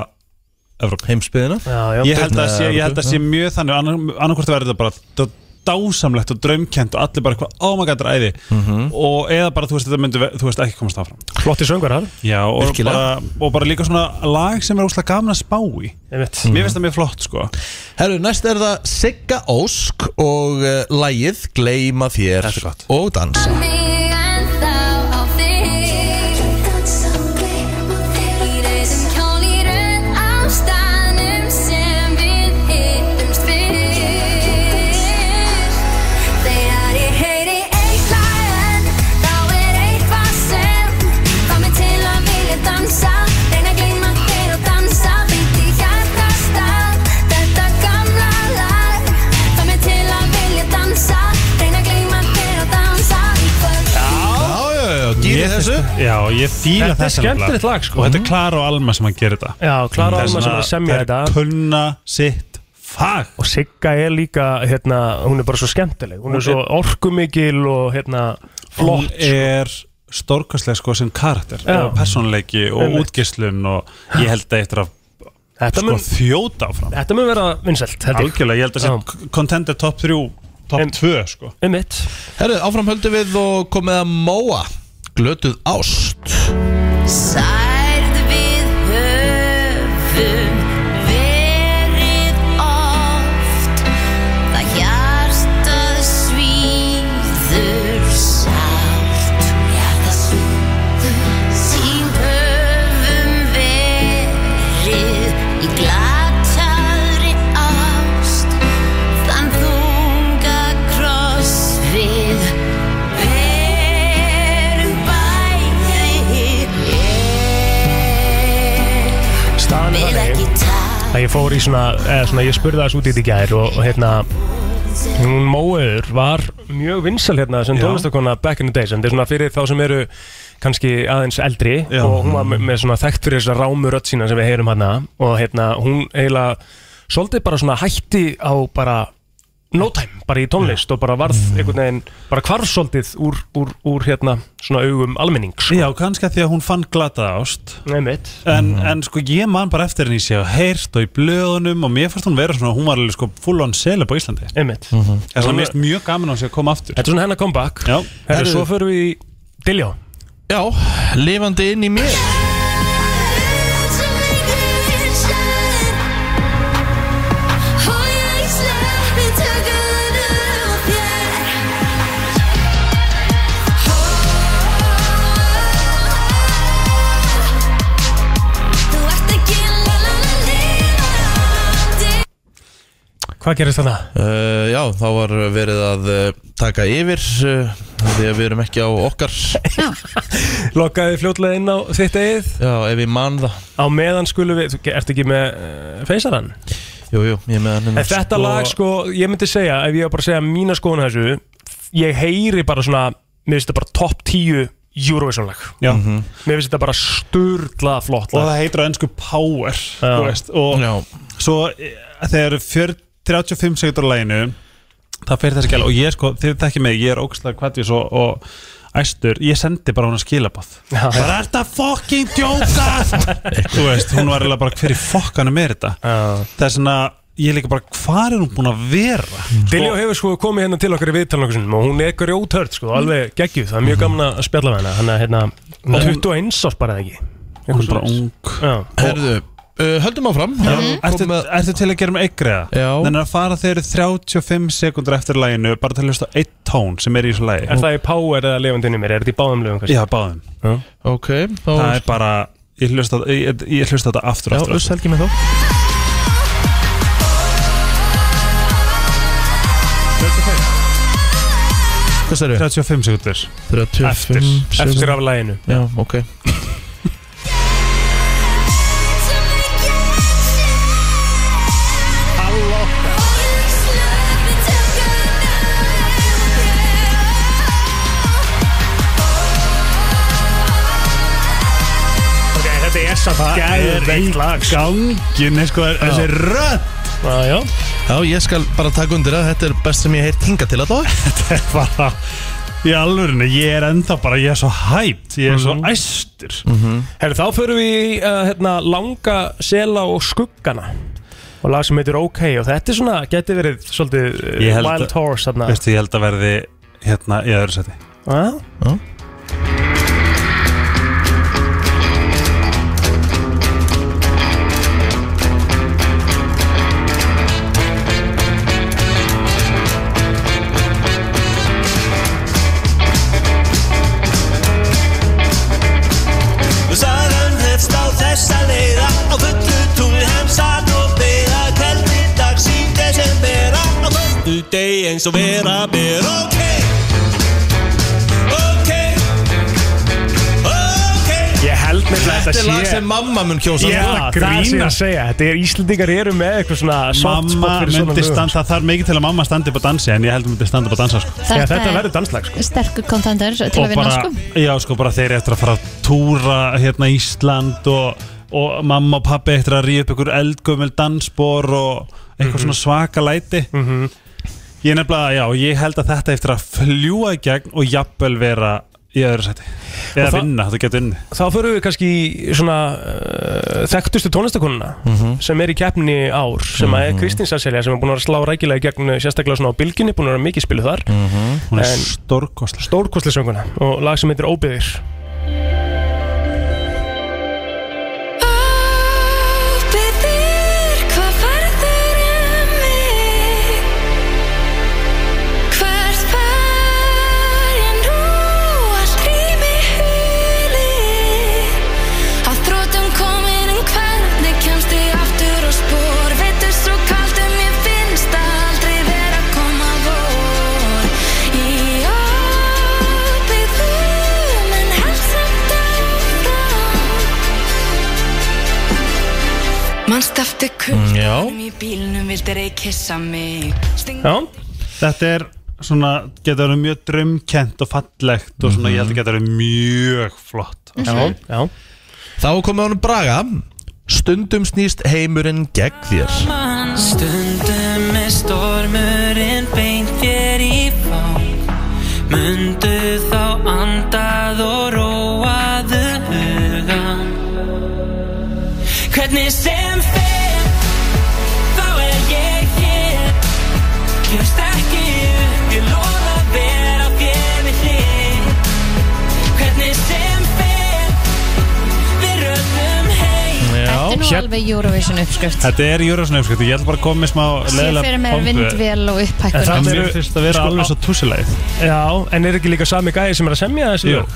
S15: Evróp
S1: Heimsbyðina
S3: já,
S15: ég, held að sé, ég held að sé mjög þannig annar- annarkvort verður þetta bara d- dásamlegt og draumkent og allir bara eitthvað "Oh ámagatur æði
S3: Mhm.
S15: og eða bara þú veist þetta myndi ve- þú veist ekki komast áfram
S3: Flotti söngarar
S15: Já, og,
S3: Virkilega.
S15: bara, og bara líka svona lag sem er óslega gaman að spá í
S3: Einmitt.
S15: Mér finnst það mjög flott sko
S1: Mhm. Herru, næst er það Sigga Ósk og uh, lagið Gleima þér og dansa
S14: Þetta gamla lag Það með til að vilja dansa Reyna að gleyma þér og dansa í kvöld
S1: Já, já, já, dýri þessu
S15: Já, ég fýla
S3: Þetta er
S15: þessu
S3: skemmtilegt
S15: nefnilega.
S3: lag, sko.
S15: Og þetta er Klara og Alma sem að gera þetta
S3: Já, Klara og Alma sem er að semja þetta.
S15: Það er kunna sitt fag
S3: Og Sigga er líka, hérna, hún er bara svo skemmtileg Hún er svo orkumikil og hérna, flott
S15: Hún er stórkastlega sko sem karakter
S3: Já.
S15: og persónuleiki og
S3: Einmitt.
S15: útgislun og ég held að eftir að
S3: Þetta
S15: sko
S3: mun-
S15: þjóta áfram
S3: Þetta mun vera vinsælt
S15: Algjörlega, ég held að
S3: Já.
S15: sé contender top 3 top 2 sko
S3: Um mitt
S1: Herru, áfram höldu við og komið að Móa Glötuð ást
S9: Særð við höfum verið oft Það hjartað svíður sárt Hjartað svíður Sín höfum verið í glataðri ást Þann þunga kross við verum bæði
S3: Staðan er þannig að ég fór í svona, eða svona, ég spurði þess út í þetta í gær og, og hérna hún Móður var mjög vinsal hérna sem
S15: Já.
S3: tónlistakona back in the days en þetta er svona fyrir þá sem eru kannski aðeins eldri
S15: Já.
S3: og hún var me- með svona þekkt fyrir þessa rámu rödd sína sem við heyrum hérna og hérna hún eiginlega svolítið bara svona hætti á bara no time, bara í tónlist og bara varð
S15: Mm.
S3: einhvern veginn, bara hvarf svolítið úr, úr, úr hérna svona augum almennings
S15: Já, kannski að því að hún fann glataða ást
S3: Nei mitt
S15: en,
S1: Mhm.
S15: en sko ég man bara eftir henni séu heyrt og í blöðunum og mér fannst hún vera svona hún var alveg sko full on seleb á Íslandi
S3: Einmitt
S1: Mhm.
S15: Það er svona mest mjög gaman að hún sé að koma aftur
S3: Þetta er svona hennar comeback
S15: Já
S3: Herru, svo förum við í Diljá
S1: Já, lifandi inn í mér
S3: Hvað gerist þarna?
S1: Eh, Uh, já, þá var verið að uh, taka eh, yfir uh,
S16: því að við erum ekki á okkar
S3: Lokkaði fljótlega inn á þitt eigið
S16: Já, ef ég man það
S3: Á meðan skulum við, þú ert ekki með uh, feysarann?
S16: Jú, jú, ég með hann
S3: En þetta lag sko, ég myndi segja ef ég var bara að segja mína skoðun á þessu ég heyri bara svona, mér finnst þetta bara topp 10 Eurovision lag
S15: Já.
S1: Mhm.
S3: Mér finnst þetta bara sturla flott
S15: og
S3: lag
S15: það heitir á ennsku Power
S3: Já.
S15: þú veist, og svo e, þegar fjör, 35 sekundur á læginu það fer þessi gæla og ég sko, þið tekki mig, ég er ógæslega kvættis og, og æstur, ég sendi bara hún að skilabað bara er þetta fucking djóka þú veist, hún var eiginlega bara hver í fokkanum er þetta
S3: Já.
S15: það er svona, ég er líka bara hvar er hún búin að vera
S3: Diljó hefur sko komið hérna til okkar í viðtalinu okkur sinnum og hún er grjóthörd sko,
S15: Mm.
S3: alveg geggjuð það er mjög gaman að spjalla við hana hann er hérna, hún er 21 árs bara eða ekki Hún
S15: er bara ung
S16: Herðu, uh, höldum áfram
S15: Ertu, ertu til að gera um með eikriða? Já Þannig að fara þeir eru 35 sekundur eftir læginu bara til að hlusta á eitt tón sem er í þessu lægi
S3: Er það í Power eða lefandinu mér? Er þetta í báðum lögum? kannski?
S15: Já, báðum
S16: Ok, þá
S15: Það er bara, ég hlusta, ég, ég hlusta þetta aftur
S16: Já,
S15: aftur,
S16: uss
S15: aftur.
S16: helgi með þá Hvað sér
S15: 35 sekundur
S16: 35
S15: Eftir.
S16: sekúndur.
S15: Eftir af laginu.
S16: Já, ok
S3: Ok, þetta er samt geðveikt lag
S15: Gangin, sko, þessi rödd
S3: Já, já
S16: Já, ég skal bara taka undir að þetta er best sem ég heirt hinga til að það
S15: Þetta er bara Í alvörinu, ég er enda bara, ég er svo hæpt Ég er svo æstur
S16: Mhm.
S3: Herri, þá förum við í uh, hérna, langa sela og skuggana og lag sem heitir OK og þetta er svona, geti verið svolítið uh,
S15: Ég held
S3: Wild
S15: að-
S3: Horse þarna
S15: Veistu, ég held að verði hérna í öðru seti
S3: Já.
S17: Sagan hefst á þessa leiða Á fullu tungli hemsar og beða Kveldi dags í desembera Á föstu deg eins og vera ber Ok, ok, ok
S3: Ég held með þetta
S16: Þetta er lag
S3: sé-
S16: sem mamma mun kjósa
S3: Já, það sé að segja Þetta er Íslendingar eru með eitthvað svona soft spot
S15: Mamma
S3: fyrir svona
S15: myndi
S3: lögum.
S15: standa, það er mikið til að mamma standi upp á dansi En ég held að myndi standa upp á dansa sko.
S2: Þetta Já, þetta er- verður
S15: danslag sko.
S2: Sterkur kontendur til að
S15: og
S2: vinna
S15: bara,
S2: sko
S15: já sko bara þeir eru eftir að fara að túra hérna Ísland og, og mamma og pappi eftir að ríða upp einhver eldgömmel dansbor og eitthvað
S3: Mhm.
S15: svona svaka læti ég nefnilega, já, ég held að þetta eftir að fljúa í gegn og jafnvel vera í öðru sæti eða
S3: Og það-
S15: vinna, þetta getur unni
S3: Þá förum við kannski í svona uh, þekktustu tónlistakonuna sem er í keppni í ár sem að er Kristín Sasselja sem er búin að vera að slá rækilega í gegn uh, sérstaklega svona á bylginni, búin að vera mikið spilu þar
S15: hún er
S3: En-
S15: stórkosla
S3: stórkostlega sönguna og lag sem heitir Óbyðir
S14: Óbyggðir, hvað farður um mig? Hvert fær ég nú? Allt rými hulið. Að þrotum komin en hvernig kemst ég aftur á spor? Vetur svo kalt um ég finnst að aldrei vera að koma vor. Í óbyggðum en held samt áfram. Manst eftir
S16: kunstnum
S14: í bílnum vildir ei kissa mig
S3: Já
S15: þetta er svona, getur verið mjög drömkent og fallegt og svona, ég
S3: Mhm.
S15: held að getur verið mjög flott
S16: Já,
S3: já
S16: Þá komið honum Braga Stundum snýst heimurinn gegn þér
S17: Stundum er stormurinn beint þér í fang Mundu þá andað og róaðu hugan Hvernig sem fer, þá er ég hér Gefst ekki upp, ég lofa að vera þér við hlið Hvernig sem fer, við röðum heim
S2: Þetta er nú
S15: hér-
S2: alveg Eurovision uppskrift
S15: Þetta er Júrasson uppskrift, ég ætla bara að koma með smá
S2: Sér fyrir mér vindvél og
S3: En
S2: upphækkun
S3: það
S15: Mér
S3: eru-
S15: finnst það vera
S3: sko,
S15: alveg svo túsilegð
S3: Já, en er ekki líka sami gæði sem er að semja þessi
S15: Jú.
S3: lög?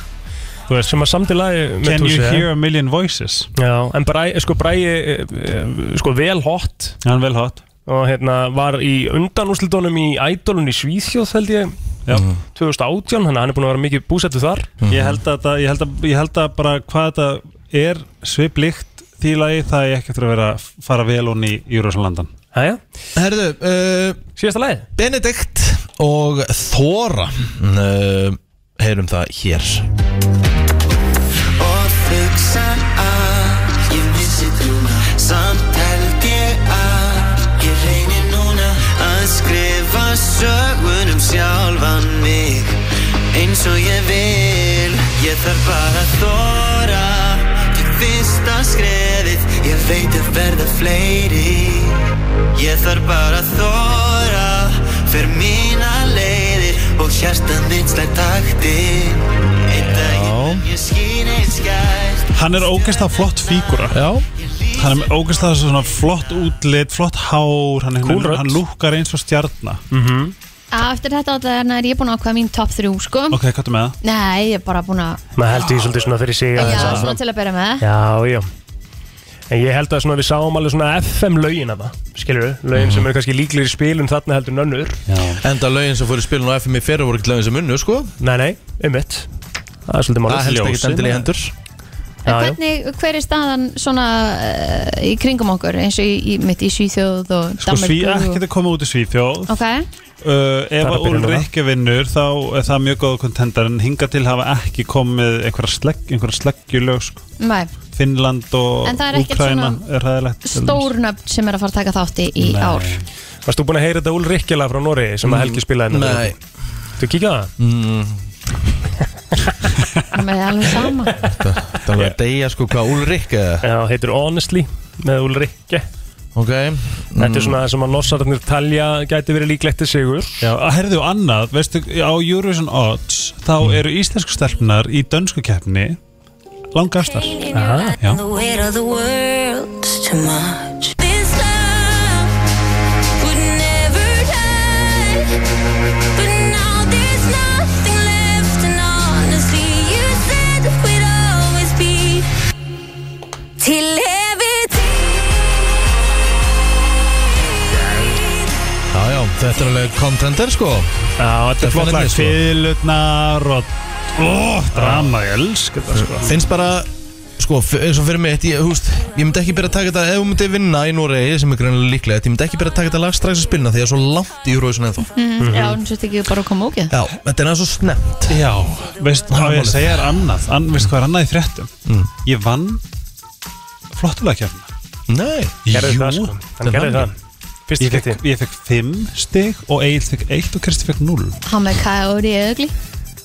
S3: Veist, sem að samti lagi með eh?
S15: Can you
S3: Túsi,
S15: hear a million voices?
S3: Já, en Bræ, sko Bræi eh, eh, sko vel hot
S15: Hann vel hot
S3: og hérna var í undanúslitunum í Idolun í Svíþjóð held ég 2018, þannig að hann er búin að vera mikið búsettu þar
S15: Ég held að, þetta- ég, held að, ég held að bara hvað þetta er sviplikt því lagi það er ekki eftir að vera fara vel honni í Júruðslandan
S3: Æja
S1: Herðu uh,
S3: Síðasta leið
S1: Benedikt og Þóra uh,
S16: Ehm,
S1: Heyrum það hér
S17: og hugsa að ég vissi trúna samt held ég að ég reyni núna að skrifa sögun um sjálfan mig eins og ég vil ég þarf bara að þóra til fyrsta skrefið ég veit að verða fleiri ég þarf bara að þóra fyrir mína leiðir og hjarta mitt slætt taktir einn daginn mun ég skýn eins skært
S15: Hann er ógeðslega flott fígura
S1: Já
S15: Hann er með ógeðslega svona flott útlit, flott hár Hann,
S3: Cool
S15: hann,
S3: rödd.
S15: hann lúkkar eins og stjarnar
S3: mm -hmm.
S2: Eftir þetta alltaf er ég búin að ákveða mín top 3 sko
S15: Ok, hvað er með það?
S2: Nei, ég er bara búin að
S3: maður heldur því svolítið svona fyrir sig
S2: Já,
S3: aðeins áfram.
S2: svona til að byrja með
S3: Já, já En ég held að svona við sáum alveg svona FM-lögin af það Skilur við, lögin sem eru kannski líklegir í spilun þarna heldur nönnur
S1: Enda lögin sem fóru í spilun á FM í fyrir voru ekki lögin sem unnu sko
S3: Nei, nei, ummitt Það er svolítið málið.
S1: Það helst ekki
S3: Ljósið,
S1: endilega í
S3: maður.
S1: hendur
S2: En
S3: Já, já.
S2: hvernig, hver er staðan svona uh, í kringum okkur eins og í, í, mitt í Svíþjóð og
S15: Sko,
S2: Danmörku
S15: sví,
S2: og-
S15: ekki að koma út í Svíþjóð
S2: Ok,
S15: Uh, ef
S3: Það er að
S15: að
S3: byrja núna.
S15: Ulrikki vinnur þá er það mjög góða kontendar en hinga til hafa ekki komið einhverja, slegg, einhverja sleggjulög sko.
S2: nei
S15: Finnland og
S2: En það er ekkert
S15: Úkraina
S2: svona
S15: er ræðilegt
S2: Stórnöfn sem er að fara að taka þátti í
S15: Nei. Mm,
S2: ár
S3: Varst þú búin að heyra þetta úlrikkjala frá Noregi sem að Helgi spilaði hérna?
S1: Nei.
S3: Þú kíkja á það?
S1: Mm,
S2: Með alveg sama
S1: Það var að deyja sko hvað Ulrik eða
S3: Já, heitir Honestly með Ulrikke
S1: Ok
S3: Þetta er svona það sem að nossararnir talja gæti verið líklegt til sigur
S15: Já, að herðu annað, veistu, á Eurovision Odds þá
S3: Mm.
S15: eru íslensku stelpunar í dönsku keppni langastar Já,
S14: The weight of the world's too much. This love would never die. But now there's nothing left, and honestly, you said we'd always be till everything.
S1: Já, já, þetta er alveg contender sko
S15: Já, þetta er flott lag Fyðlutnar og Ó, drama, ég elska þetta sko
S1: Finnst bara, sko, f- eins og fyrir mitt Ég, húst, ég myndi ekki byrja að taka þetta Ef hún myndi vinna í Noregi, sem er greinlega líklegt Ég myndi ekki byrja að taka þetta lag strax að spilna Því að það er svo langt í Eurovision ennþá
S2: mm, Já, hún svolítið ekki bara að koma ógeð
S1: Já, þetta er aðeins svo snemt
S15: Já, veist
S1: Það er
S15: hvað
S1: málið.
S15: ég að segja er annað An, Veist hvað er annað í fréttum
S1: Mm.
S15: Ég vann flottulega kjörna
S1: Nei
S3: Gerði það, sko. Hann gerði það. Fyrsta
S15: Ég fekk, ég fekk 5 stig og Egil fekk 1 og Kristi fekk 0
S2: Hann með Kaori Ögli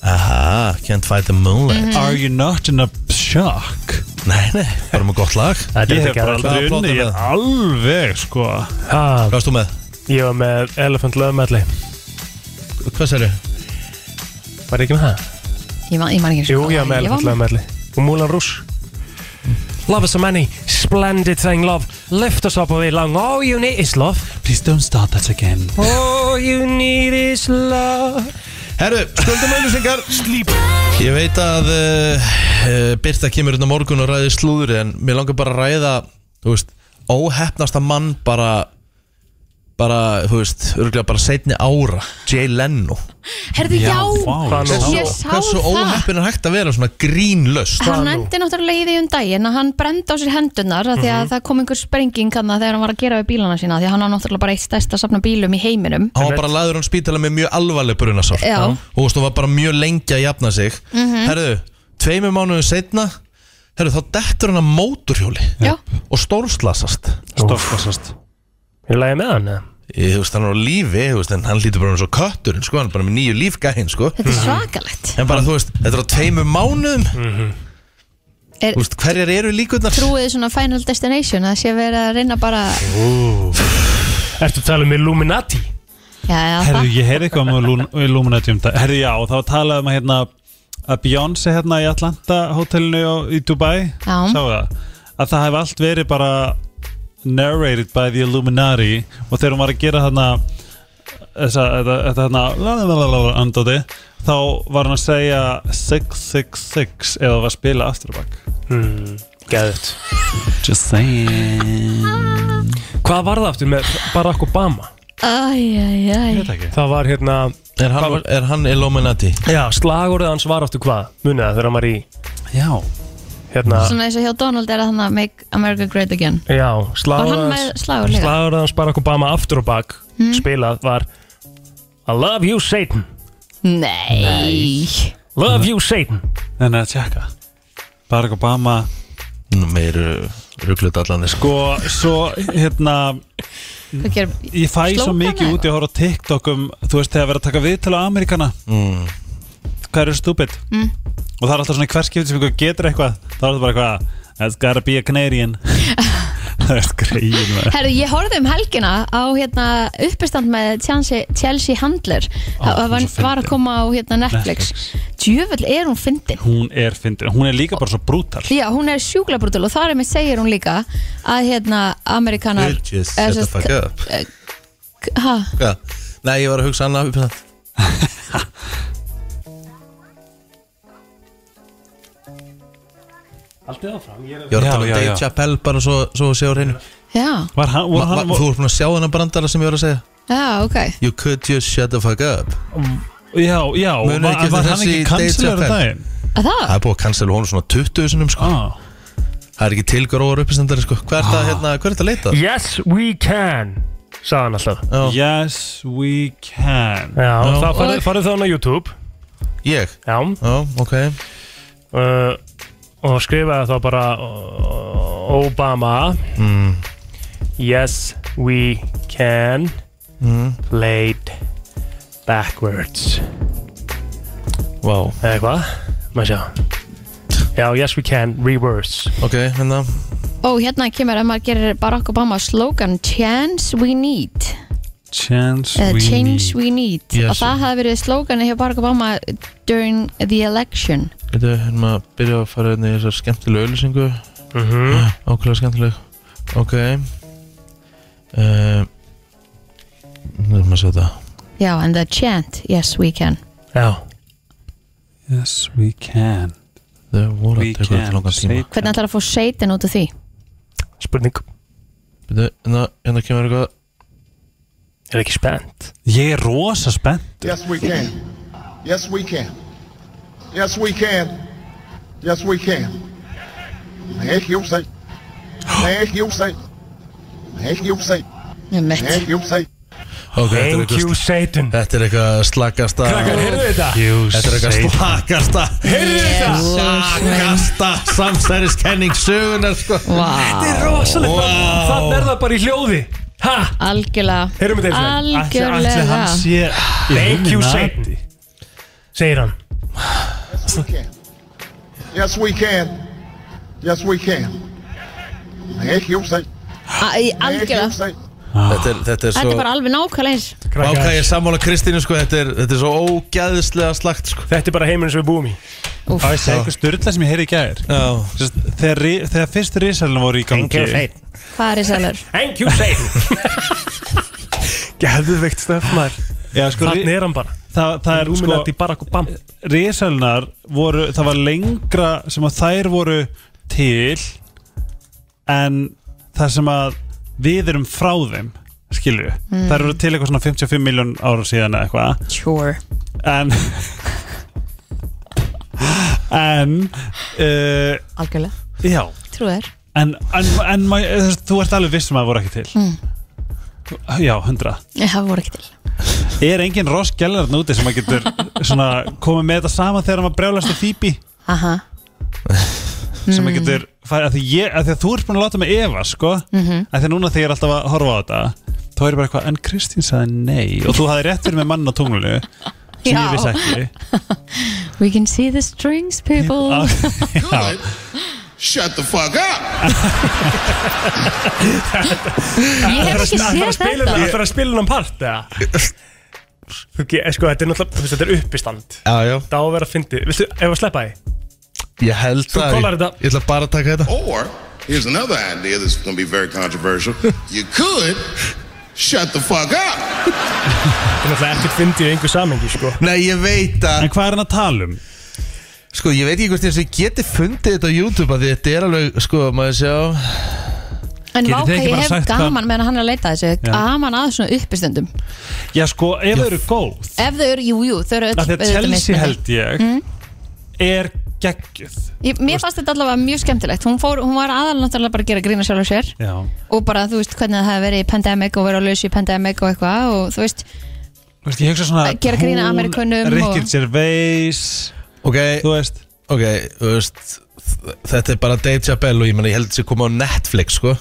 S1: Aha, can't fight the moonlight
S2: Mhm.
S15: Are you not in a shock?
S1: Nei, nei, bara með gott lag
S15: Ég hef bara aldrei unni Ég er alveg sko
S3: Hvað
S1: varst þú með?
S3: Ég var með Elephant Love Medley
S1: Hvað sér þau?
S3: Var ég ekki með það?
S2: Ég man, ég man ekki eins og
S3: Jú,
S2: hvað
S3: ég var með
S2: var
S3: Elephant Love Medley Og Moulin Rouge Love is a many, splendid thing love Lift us up a way long, all you need is love
S15: Please don't start that again
S3: All you need is love
S1: Herru, skuldum auðvisingar Sleep Ég veit að uh, uh, Birta kemur hérna á morgun og ræði slúður En mér langar bara að ræða Þú veist, óhefnasta mann bara Bara, þú veist Örgulega bara setni ára Jay Leno
S2: Herðu, já, Ég sá
S1: Hversu
S2: það
S1: óheppin er hægt að vera svona grínlöst
S2: Hann endi náttúrulega í því um daginn að hann brendi á sér hendunar af því að
S1: Mhm.
S2: það kom einhver sprenging hann þegar hann var að gera við bílana sína af því að hann á náttúrulega bara eitt stærsta safna bílum í heiminum
S1: Hann var bara laður hann spítala með mjög alvarleg brunasár
S2: Já.
S1: Og þú veist, hún var bara mjög lengi að jafna sig
S2: Mhm.
S1: Herðu, tveimur mánuðum setna Herðu, þá dettur hann að móturhjóli
S2: Já.
S1: Og stórslasast
S15: Stórslasast
S3: Ég lagði með hann eða?
S1: Ég, þú veist, hann er á lífi, þú veist, en hann lítur bara um svo köttur, sko, hann er bara með nýju lífgæðin, sko
S2: Þetta er svakalegt
S1: En bara, þú veist, þetta er á tveimur mánuðum
S3: Mhm.
S2: Er-
S1: Þú veist, hverjar eru líkurnar?
S2: Trúið þið svona Final Destination að sé verið að reyna bara
S3: Ertu að tala um Illuminati?
S2: Já, já, það
S15: Herðu, ég heyrði eitthvað um Illum- Illuminati um dag Herðu, já, þá talaðum að hérna að Beyoncé hérna í Atlanta hótelinu og- í Dubai
S2: Já.
S15: Sáu það? Að það hef allt verið bara narrated by the Illuminati og þegar hún var að gera þarna þessa, þetta þetta hérna, þarna lalalala andóti þá var hann að segja 666 eða var að spila Afterback
S3: hmm, Gæðut
S15: Just saying
S3: Hvað var það aftur með Barack Obama?
S2: Æ, æ, æ
S3: Það var hérna
S1: Er hann,
S3: Hvað var-
S1: er hann Illuminati?
S3: Já, slagorðið hans var áttu hvað Munið það þegar hann var í
S15: Já
S3: Hérna
S2: Svona eins og hjá Donald er það þannig að make America great again
S3: Já,
S2: Var hann
S3: slagorðið
S2: með
S3: hans
S2: slagorð líka?
S3: Slagorðið hans Barack Obama aftur og bak
S2: Hmm.
S3: Spilað var I love you Satan
S2: Nei
S3: Love you Satan
S15: Þannig að tjekka Barack Obama
S1: Nú uh, meiru rugglut allan
S15: Sko, svo hérna
S2: Hvað gerum-
S15: Ég fæ svo
S2: Slógan
S15: mikið
S2: eða
S15: út, ég horf á TikTok um Þú veist, þegar verið að taka við til á Amerikana
S1: mm.
S15: Hvað eru stúpid?
S2: Mm.
S15: Og það er alltaf svona í hverskipti sem ykkur getur eitthvað þá er það bara eitthvað That's gotta be a Canadian Það er greiðin maður.
S2: Herru, ég horfði um helgina á hérna, uppistand með Chelsea, Chelsea Handler
S15: Ó,
S2: Það var,
S15: hún er svo fyndin.
S2: var að koma á hérna, Netflix. Djöfull er hún fyndin
S15: Hún er fyndin, hún er líka bara svo brútal
S2: Já, hún er sjúkla brutal og þar er með segir hún líka að hérna Amerikanar
S1: Bitches,
S2: eða
S1: shut the
S2: sem sagt-
S1: fuck up
S2: eh, Ha?
S1: Hvað? Nei, ég var að hugsa annað upp í það
S3: Haldið áfram Ég
S1: Ég var að tala um Dave Chappelle bara svo, svo séu hreinu
S2: Já,
S15: Var hann,
S1: Ma, ma, Þú voru búin að sjá hennar brandara sem ég var að segja
S2: já, ok
S1: You could just shut the fuck up
S15: Já, já,
S1: Munið
S15: var,
S1: ekki eftir
S15: var hann
S1: þessi
S15: ekki
S1: Dave
S15: kanslegur
S1: Chappelle?
S15: daginn?
S2: Að það?
S1: Það er búið að cancela honum svona 20 sinum sko
S15: ah.
S1: Það er ekki tilgróður uppistendari sko Hvað er það hérna, hvað er þetta að leita?
S3: Yes we can Sagði hann alltaf
S15: Yes we can
S3: Já,
S1: Já.
S3: það farið,
S1: Og-
S3: farið þá hann á YouTube
S1: Ég?
S3: Já
S1: Já, ok
S3: uh, Og skrifaði þá bara uh, Obama
S1: mm.
S3: Yes we can
S1: Mm.
S3: Played backwards
S1: Wow
S3: Eða hvað? Má sjá Já, yes we can, reverse
S1: Ok, hérna
S2: Ó, hérna kemur að maður gerir Barack Obama slogan Chance we need
S15: Chance
S2: eða
S15: we
S2: Change we need
S1: Yes.
S2: og það hafi verið slogani hjá Barack Obama during the election
S1: Þetta er hérna að byrja að fara hérna í þessar skemmtilegu auðlýsingu mm
S3: -hmm.
S1: Ákveðlega skemmtileg Ok uh, Nú erum að sjá þetta
S2: Já, and the chant, yes we can
S3: Já
S15: Yes we can
S1: Það voru
S15: We
S1: að teka þetta
S15: can
S1: langan tíma
S15: say-
S2: Hvernig ætlar að fá seitin út af því?
S3: Spurning
S1: Bíddu, Hérna, hérna kemur eitthvað
S3: Er ekki spennt?
S15: Ég er rosa spennt
S18: Yes, we can. Yes, we can. Yes, we can. Yes, we can. Nee, you say. Nee, you say. Nee, you say. Nee, you say.
S1: Ok, þetta er
S3: Thank
S1: eitthvað-
S3: you, Satan
S1: Þetta er eitthvað slakasta
S3: Krakkar, heyrðu þetta?
S15: You
S1: Þetta er eitthvað
S15: Satan.
S1: slakasta
S3: Heyrðu þetta?
S1: Slakasta samsæriskenning sögunar sko
S2: Þetta
S3: er rosalegt
S1: Vá.
S3: Það er það bara í hljóði Ha?
S2: Algjörlega
S3: Heyrum við þeir
S2: Algjörlega
S3: Thank you, Satan Segir hann
S18: Yes, we can. Yes, we can. Nee, you say.
S2: Æ, Algjörlega
S1: Þetta er, þetta er
S2: Þetta
S1: svo
S2: er bara alveg nákvæmlega eins
S1: Váka ég er sammála Kristínu sko Þetta er, þetta er svo ógæðislega slakt sko
S3: Þetta er bara heimurinn sem við búum í
S15: Það er eitthvað styrla sem ég heyri í gær Sest, þegar, ri- þegar fyrst risalinn voru í gangi
S3: you, Satan.
S2: Hvað er í sælur?
S3: Thank you, Satan Gæðveikt stöfnar
S15: Já, sko,
S3: Þannig er hann bara
S15: það, það er
S3: Illuminati Barack
S15: sko risalinnar voru það var lengra sem að þær voru til en það sem að við erum frá þeim skilju,
S2: Mm.
S15: þær voru til eitthvað svona 55 miljón ára síðan eða eitthvað
S2: Sure
S15: en en uh,
S2: Algjörlega
S15: já
S2: Trú þér
S15: en, en, en ma- þú veist, þú ert alveg viss um að það voru ekki til
S2: Mm.
S15: já, 100
S2: Nei, Það voru ekki til
S15: Er engin Ross Gellar þarna úti sem að getur svona komið með þetta saman þegar maður brjálast að þýpi
S2: Aha Hmm.
S15: sem
S2: Mm.
S15: að getur farið að því, ég, að því að þú ert búin að láta mig efa sko
S2: Mhm.
S15: að því að núna þegar ég er alltaf að horfa á þetta þá er ég bara eitthvað en Kristín sagði nei og þú hafði rétt fyrir með mann á tunglunu sem
S2: Já.
S15: ég vissi ekki
S2: We can see the strings people
S15: Já.
S17: Shut the fuck up
S2: Ég hef ekki séð þetta.
S3: Það er að spila hann part eða? Þú ge- Sko, þetta er náttúrulega þú veist, Þetta er uppistand
S1: Já, já
S3: Það á að vera að fyndi Viltu, ef að sleppa því?
S1: Ég held
S3: Þú
S1: það
S3: kollar
S1: ég,
S3: þetta.
S1: ég ætla bara að taka þetta
S17: Or here's another idea that's going to be very controversial You could shut the fuck up
S3: Það er náttúrulega ekkert fyndi í einhver samengi sko.
S1: Nei, ég veit að
S15: En hvað er hann að tala um?
S1: Sko, ég veit ekki hvort þess að ég geti fundið þetta á YouTube að Þetta er alveg, sko, maður sjá
S2: En
S15: Getið
S2: vá
S15: þið
S2: hvað
S15: ekki
S2: ég
S15: bara
S2: hef
S15: sagt það-
S2: gaman meðan hann er að leita að þessu
S15: Já.
S2: Gaman að svona uppistöndum
S15: Já sko, ef þau eru góð
S2: Ef þau eru, jú, jú, þau eru öll
S15: Það er
S2: auðvitað
S15: Chelsea
S2: mismunandi.
S15: held ég
S2: Mm.
S15: Er geggjöð
S2: Ég, mér fannst þetta allavega mjög skemmtilegt hún, fór, hún var aðal náttúrulega bara að gera grína sjálf og sér
S15: Já
S2: og bara þú veist hvernig það hefði verið í pandemic og verið á lausu í pandemic og eitthvað og þú veist,
S15: Þú veist, ég hugsa svona
S2: Að gera grín að
S15: hún,
S2: Ameríkönum og-
S15: Ricky Gervais
S1: Ok,
S15: þú veist
S1: Ok, þú veist þ- Þetta er bara Dave Chappelle og ég meina ég held þessi koma á Netflix sko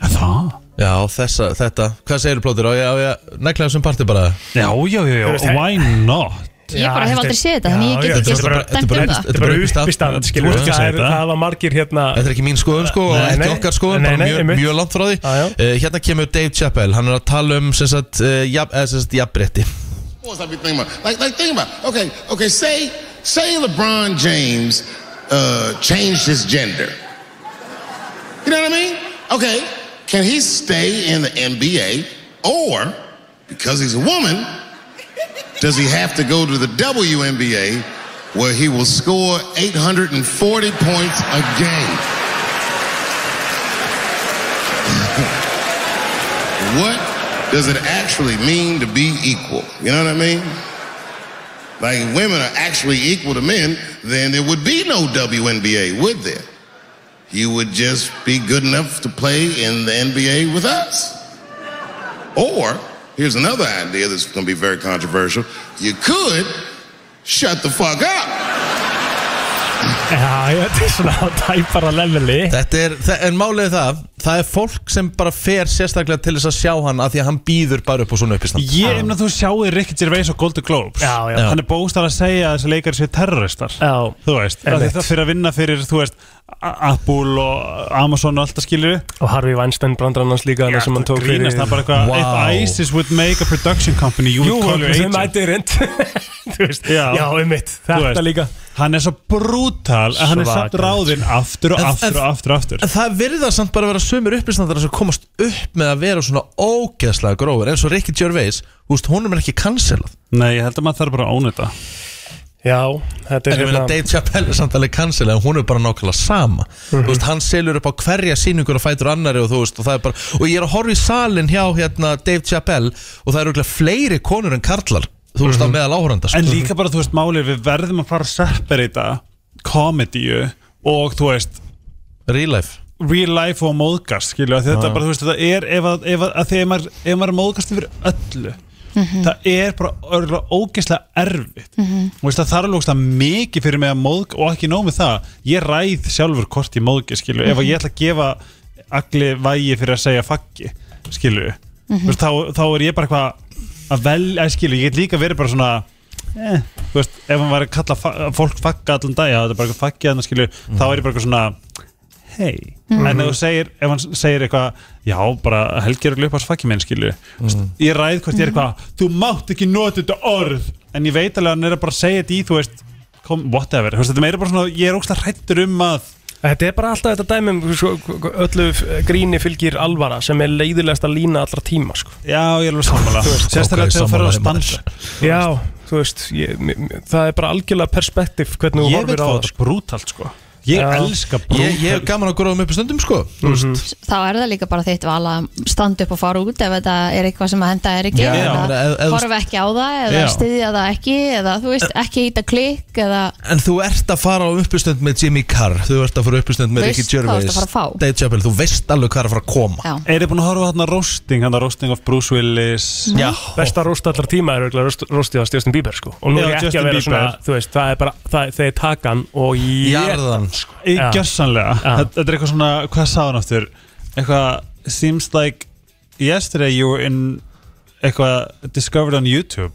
S15: Það?
S1: Já, þessa, þetta Hvað segir plótur? Já, já, neglaðum sem parti bara
S15: Já, já, já,
S1: Þú veist, það-
S15: why not?
S2: Ég bara hef aldrei séð þetta, þannig ég get
S1: já,
S2: ekki
S1: þetta er bara-
S2: dæmt um
S1: þetta er bara-
S2: það.
S1: Þetta er bara uppistand skilur við.
S3: Það eru- það var margir hérna
S1: Þetta er ekki mín skoðun sko og
S3: Nei,
S1: ekki
S3: nei.
S1: okkar skoðun,
S3: Nei,
S1: bara
S3: nei,
S1: mjög,
S3: einmitt.
S1: mjög langt frá því uh, Hérna kemur Dave Chappelle, hann er að tala um sem sagt, uh, jaf, eh, sem sagt jafnrétti
S13: Of course, I be thinking about. Like, like think about. Okay, okay. Say, say LeBron James uh, changed his gender. You know what I mean? Okay, can he stay in the NBA, or because he's a woman, does he have to go to the WNBA, where he will score 840 points a game? what does it actually mean to be equal? You know what I mean? Like, if women are actually equal to men, then there would be no WNBA, would there? You would just be good enough to play in the NBA with us. Or, here's another idea that's gonna be very controversial you could shut the fuck up.
S3: Já, já, þetta er svona á tæpara leveli
S1: Þetta er, þa- en málið er það Það er fólk sem bara fer sérstaklega til þess að sjá hann af því að hann býður bara upp á svona uppistand
S15: Ég emna þú sjáir Ricky Gervais á Golden Globes
S1: Já, já.
S15: Hann er bóstar að segja að þessi leikari séu terroristar
S3: Já
S15: Þú veist, af því
S3: Einmitt.
S15: það fyrir að vinna fyrir, þú veist A- Apple og Amazon og allt það skilur
S3: Og Harvey Weinstein brandarinn hans líka Já, sem hann tók
S15: Grínast það bara eitthvað If ISIS would make a production company You
S3: Jú,
S15: would call your
S3: sem
S15: agent
S3: ættirint Þú veist, já, um mitt
S15: Þú
S3: Þetta
S15: veist,
S3: líka
S15: Hann er svo brútal En hann er samt
S3: Svakalegt.
S15: ráðinn aftur og
S1: En-
S15: aftur
S1: en-
S15: og aftur og aftur
S1: En það virða samt bara að vera sömur uppistandar sem komast upp með að vera svona ógeðslega grófur eins og Ricky Gervais, þú veist, honum er ekki cancelað
S15: Nei, ég held að maður þarf bara að óna þetta
S3: Já,
S1: En
S3: þetta er hérna-
S1: ég meina Dave Chappelle er samt alveg cancelað en hún er bara nákvæmlega sama Þú
S3: Mhm.
S1: veist, hann selur upp á hverja síningur og fætur annari og þú veist, og það er bara og ég er að horfa í salin hjá hérna Dave Chappelle og það eru örugglega fleiri konur en karlar þú veist,
S3: Mhm.
S1: á meðal áhoranda sko.
S15: En líka bara, þú veist, málið Við verðum að fara að separata Komedíu og, þú veist
S1: Real life
S15: Real life og móðgast, skilju að Þetta
S1: Já.
S15: bara, þú veist, þetta er Ef, að, ef, að, að því ef maður, ef maður er móðgast yfir öllu Það er bara örgulega ógeðslega erfitt
S17: Mhm.
S15: Þú veist, það þarf lókst að mikið fyrir mig að móðg og ekki nóg með það, ég ræð sjálfur hvort ég móðgi, skilju, ef að ég ætla að gefa allir vægi fyrir að segja faggi, skilju,
S17: Mhm.
S15: þú veist, þá, þá er ég bara eitthvað að velja, skilju, ég get líka verið bara svona eh, þú veist, ef hann var að kalla fa fólk fagga allan dag, já, þetta er bara eitthvað faggi þannig, skilju, þá er ég bara eitthvað svona hei,
S17: Mhm.
S15: en ef þú segir ef hann segir eitthvað, já, bara helgi er að löpa á faggi minn, skilju, mm ég ræð hvort ég er eitthvað, þú mátt ekki nota þetta orð en ég veit alveg að hann er að bara segja þetta í þú veist, kom, whatever þú veist, þetta er meira bara svona, ég er ógstlega hrættur um að
S3: Þetta er bara alltaf þetta dæmi um, sko, öllu f- gríni fylgir alvara sem er leiðilegast að lína allra tíma sko.
S15: Já, ég er alveg sammála Sérstaklega þegar þú ferð á spansa
S3: Já, þú veist, ég, m- m- það er bara algjörlega perspektíf hvernig þú
S15: Ég vil
S3: horfir á
S15: fá
S3: það
S15: þetta brútalt sko Ég elska brútal
S1: Ég, ég hef gaman að gróðum upp í stundum sko mm -hmm.
S3: Mhm.
S2: þá er það líka bara þitt val að standa upp og fara út ef þetta er eitthvað sem að henda er ekki
S1: Já,
S2: eða
S1: eða- eða-
S2: horfa ekki á það eða
S1: Já.
S2: styðja það ekki eða þú veist ekki hýta klikk eða
S1: En þú ert að fara á uppistund með Jimmy Carr Þú ert að fara á uppistund með
S2: Veist
S1: Ricky
S2: hvað þú ert að
S1: Gervais
S2: fara að fá.
S1: Dave Chappelle, þú veist alveg hvað er að fara að koma
S2: já.
S15: Er þið búin að horfa á þarna roasting, hann roasting of Bruce Willis
S3: Já. Besta roast allar tíma er auðvitað roast, roastið á Justin Bieber sko. og nú
S15: Já,
S3: er ég ekki
S15: Justin
S3: að vera svona,
S15: Bieber.
S3: þú veist, það er bara það, þeir taka hann og ég
S15: Jarðan.
S3: sko.
S15: Í
S3: Já.
S15: gjörsanlega
S3: Já.
S15: þetta, þetta er eitthvað svona, hvað sagði hann aftur Eitthvað Seems like yesterday you were in Eitthvað discovered on YouTube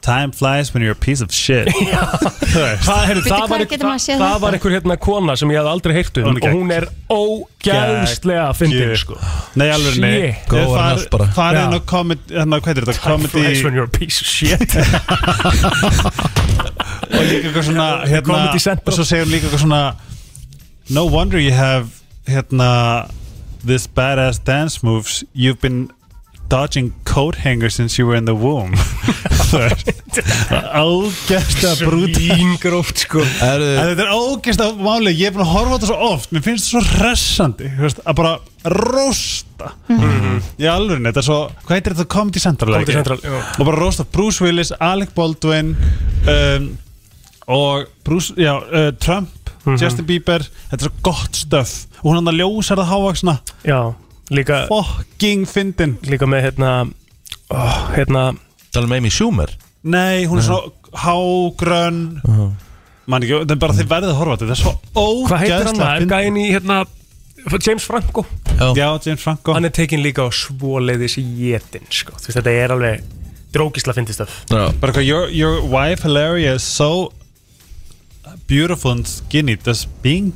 S15: Time flies when you're a piece of shit Þú veist.
S3: Það, heyrðu,
S2: Bíddu,
S3: það,
S2: hvar
S3: var,
S2: getur maður
S3: það,
S2: séð
S3: það
S2: þetta?
S3: var einhver hérna kona sem ég hafði aldrei heyrt um
S15: Hún er
S3: og
S15: gegg.
S3: hún er ógæðslega að fyndin
S15: Gegg.
S3: sko.
S15: Nei, alveg nei
S3: Shit. Góð var hann allt bara.
S15: Farið
S3: Já.
S15: inn á comedy hérna, Hvað er þetta?
S3: Time
S15: Comedy
S3: flies when you're a piece of shit
S15: Og líka
S3: sko.
S15: eitthvað svona
S3: Comedy
S15: hérna,
S3: Central.
S15: Og svo segir hún líka eitthvað svona No wonder you have hérna, This badass dance moves You've been dodging coat hangers Since you were in the womb Þú veist. Ágæsta brút
S3: Svíngróft sko
S15: en Þetta er ágæsta máli Ég er búin að horfa á þetta svo oft Mér finnst þetta svo hressandi þú veist, Að bara rosta Í alveg, þetta er svo Hvað heitir þetta? Comedy Central
S3: Mhm. Comedy
S15: ekki?
S3: Central, já.
S15: Og bara rosta Bruce Willis, Alec Baldwin um, Og Bruce, já, uh, Trump Justin Bieber Þetta er svo gott stöf Og hún hann að ljósar það hávaksna
S3: Já, líka
S15: Fucking fyndin
S3: Líka með hérna oh, Hérna
S1: Talum Amy Schumer
S15: Nei, hún er svona hágrönn Man ekki, þetta er bara þið verðið að horfa á þetta Þetta er svo ógæðslega
S3: Hvað heitir hann? Það er gæin í hérna James Franco
S15: Já, James Franco
S3: Hann er tekin líka á svoleiðis í jetin sko. Þú veist, þetta er alveg drókisla fyndistöf
S15: Bara hvað, your, your wife Hilaria is so beautiful and skinny Does being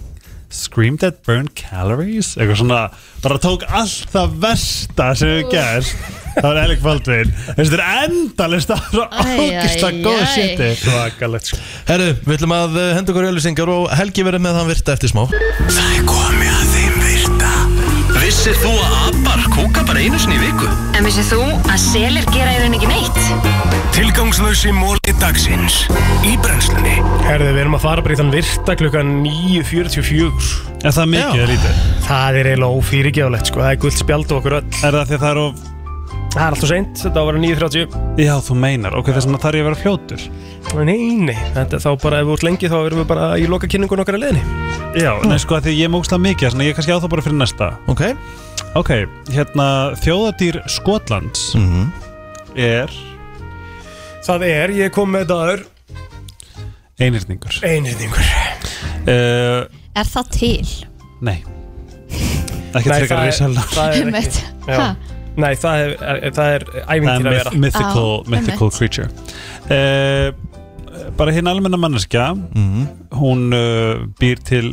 S15: screamed at burn calories? Eitthvað svona, bara tók allt það versta sem við gerst Það var Alec Baldwin Þessi þetta er endalist Það er svo
S1: Æ, æ,
S15: ógæðslega góð
S1: æ.
S15: sétti
S3: Svakalegt sko
S1: Herru, við ætlum að eh, henda okkur í öllusingar og Helgi verður með hann virta eftir smá
S17: Það er komið að þeim virta Vissir þú að abar kúka bara einu sinni í viku?
S19: En vissið þú að selir gera í rauninni ekki neitt?
S17: Tilgangslösi móli dagsins Í brennslunni
S3: Herðu, við erum að fara bara í þann virta klukkan 9.44
S15: Er það mikið eða lítið?
S3: Það er eiginlega ófyrirgefalegt sko, það er gullt spjald á okkur öll
S15: Er það því að það er of
S3: Það er alltaf seint, þetta á að vera 9.30
S15: Já, þú meinar, ok, þess vegna þarf ég að vera fljótur
S3: Nei, nei, þetta, þá bara ef við út lengi þá erum við bara í loka kynningun okkar að leiðinni Hm.
S15: Já, nei sko að því ég mókst það mikið Þannig að ég kannski á það bara fyrir næsta
S1: Ok
S15: Ok, hérna þjóðadýr Skotlands Er
S3: Mhm. Það er, ég kom með dagur
S15: Einhyrningur
S3: Einhyrningur
S15: uh,
S2: Er það til?
S15: Nei Ekki
S3: Nei,
S15: frekar
S3: það er-
S15: risalar.
S3: það er ekki-
S2: Einmitt.
S3: já.
S2: Ha?
S3: Nei, það er, er, það er æfintýr að
S15: myth-
S3: vera
S15: mythical,
S2: Já,
S15: mythical creature uh, Bara hinn almenna manneskja
S1: Mhm.
S15: Hún uh, býr til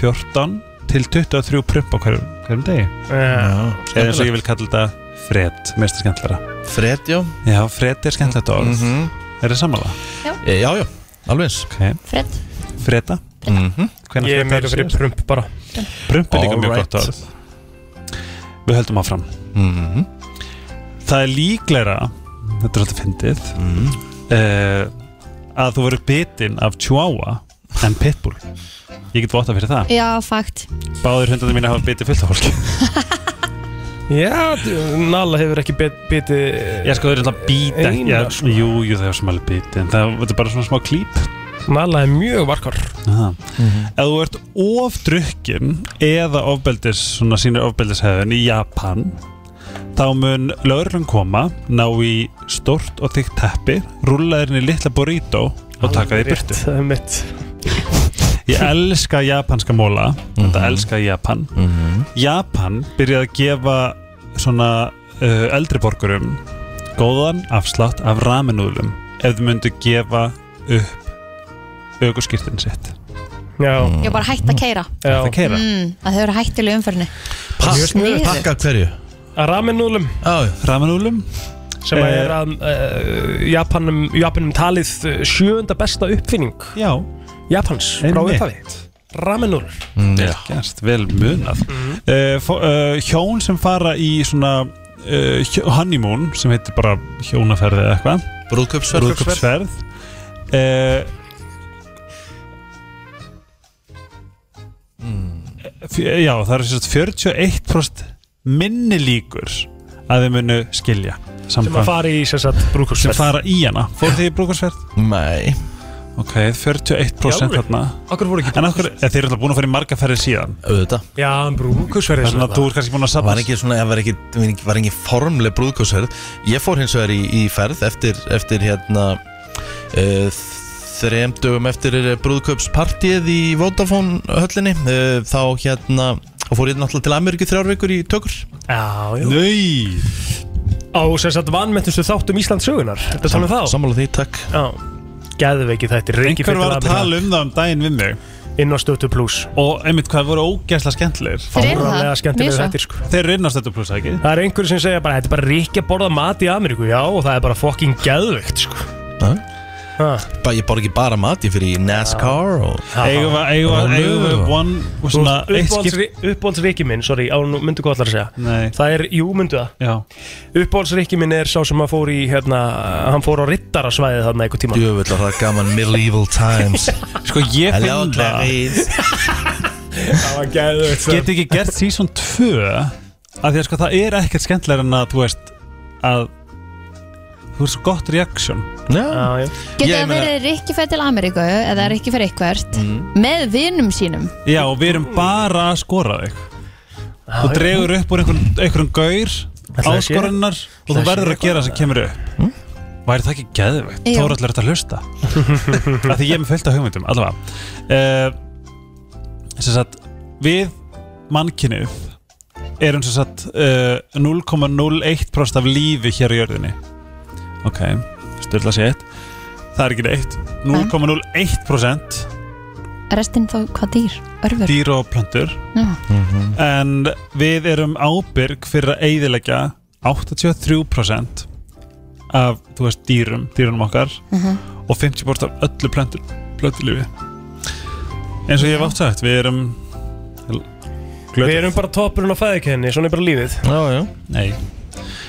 S15: 14 til 23 prump á hverjum, hverjum degi
S3: Eh, Já.
S15: Eða eins og ég vil kalla þetta fred, mest er skemmtlara
S1: Fred, já
S15: Já, fred er skemmtilegt orð
S1: Mhm.
S15: Er það sammála?
S2: Já.
S1: E, Já, já, alveg eins
S15: okay.
S2: Fred
S15: Freda
S1: Mhm.
S15: Hvenær
S3: Ég er
S15: frétta
S3: meira
S15: er
S3: fyrir
S15: síðast?
S3: prump bara
S15: Prump er líka mjög
S3: Alright.
S15: gott orð Við höldum áfram
S1: Mhm.
S15: Það er líklegra Þetta er alltaf fyndið mm. Að þú verður bitinn af Chihuahua En Pitbull Ég get votta fyrir það
S2: Já, fakt
S15: Báðir hundarnir mínu hafa bitið fullt af fólki
S3: Já, d- Nala hefur ekki bet- bitið sko.
S15: Ég sko þau eru alltaf bítið
S3: Einar,
S15: já, Jú, jú, það er sem alveg bitið En það þetta er bara svona smá klíp
S3: Nala er mjög varkar
S15: Ef þú ert ofdrukkin eða ofbeldis, svona sínir ofbeldishefðin í Japan þá mun lögurlun koma ná í stort og þykkt teppi rúlla þér inn í litla burrito og taka því burtu
S3: Það er mitt
S15: Ég elska japanska móla Þetta elska ég Japan Japan byrjaði að gefa svona uh, eldri borgurum góðan afslátt af ramenúðlum ef þau myndu gefa upp aukurskýrtin sitt
S3: Já
S2: Ég var bara hægt að keira
S15: Hægt að keyra.
S2: mm, Að þau eru hættilega umferðinni
S1: Pass,
S2: Sniðugt.
S1: pakka hverju?
S3: Að ramenúlum
S15: Ramenúlum Eh,
S3: Sem að er að uh, Japanum, Japanum talið uh, sjöunda besta uppfinning
S15: Já
S3: Japans frá
S15: Einmitt.
S3: upphafi Ramenúlur
S15: Vel gert, vel munað
S3: Mhm.
S15: uh, fó- uh, Hjón sem fara í svona uh, hjó- honeymoon sem heitir bara hjónaferði eða eitthvað
S1: Brúðkaupsferð.
S15: Brúðkaupsferð uh, fjö- Já, það eru sérst 41% minni líkur að þau munu skilja
S3: Sem að fara í sérsagt brúkursferð
S15: sem fara í hana Fóruð þið í brúkursferð?
S1: Nei
S15: Ok, 41%
S3: Í alvöru?
S15: þarna
S3: Akkur voru ekki
S15: En okkur, þeir eru alltaf búin að fara í marga ferðir síðan
S1: Auðvitað
S3: Já, en brúðkaupsferð
S15: er svona Þú ert kannski búin að
S1: Það
S15: sapna
S1: var ekki svona, það var ekki, það var ekki formleg brúðkásferð Ég fór hins vegar í, í ferð eftir, eftir hérna uh, þrem dögum eftir brúðkaupspartíð í Vodafone höllinni uh, Þá hérna, þá fór ég náttúrulega til Ameríku þrjár vikur í tökur
S3: Já, já
S15: Nei
S3: Á sérsagt vanmetnustu þáttum Íslands sögunar Þetta
S1: Sam-
S3: talum um þá
S1: Sammála því, takk
S3: Já Gæðveiki þættir Ríki
S15: Einhver var að tala um það um daginn við mig
S3: Inn á stötu pluss
S15: Og einmitt hvað voru ógæsla skemmtilegir
S3: Þeir eru það, Fáránlega skemmtilegir mjög svo. þættir, sko.
S15: Þeir eru inn á stötu pluss ekki
S3: Það er einhverju sem segja bara Þetta er bara ríkja borða mat í Ameríku Já, og það er bara fokkin gæðveikt sko.
S1: Já. Bara- Ég borði ekki bara mat, ég fyrir í NASCAR og
S15: Eigum við- eigum við- eigum við one- svona eitt skip-
S3: Uppbólsriki minn, sorry, á nú myndu hvað allar að segja
S15: Nei.
S3: Það er, jú, myndu það Uppbólsriki minn er sá sem að fór í hérna, hann fór á riddarasvæðið þarna einhver tíma
S1: Jöfull að það er gaman medieval times
S15: Sko ég finn
S1: Hello, Clarice
S3: Það var sko. gæðugt
S15: Get ekki gert season 2 Af því að sko það er ekkert skemmtilega en að þú veist að þú veist gott reaction
S1: Já,
S15: já
S2: Getur það verið Rikki fætt til Ameríku eða Rikki fætt eitthvert
S3: Mm.
S2: með vinum sínum
S15: Já, og við erum bara að skora þig Þú
S2: já.
S15: dregur upp úr einhvern, einhvern gaur
S3: Ætli það sé-
S15: áskorinnar og þú
S3: ætli það sé
S15: verður að
S3: eitthvað?
S15: gera það sem kemur upp
S1: Hm?
S15: Væri það ekki geðveikt?
S3: Jú.
S15: Þórall er þetta að hlusta Af því ég er með fullt af hugmyndum, allavega uh, Sem sagt, við mannkynið erum sem sagt uh, 0,01% af lífi hér á jörðinni Ok, styrla sér eitt Það er ekki neitt 0,01%
S2: Restinn þá hvað dýr? Örfur?
S15: dýr og plöntur
S2: Já.
S3: Mhm.
S15: en við erum ábyrg fyrir að eigðilegja 83% af þú veist dýrum, dýrunum okkar
S2: Mhm.
S15: og 50% af öllu plöntur plöntulífi eins og ég hef átt sagt, við erum
S3: Við erum bara toppurinn á fæðikenni, svona er bara lífið
S1: Já, já
S15: Nei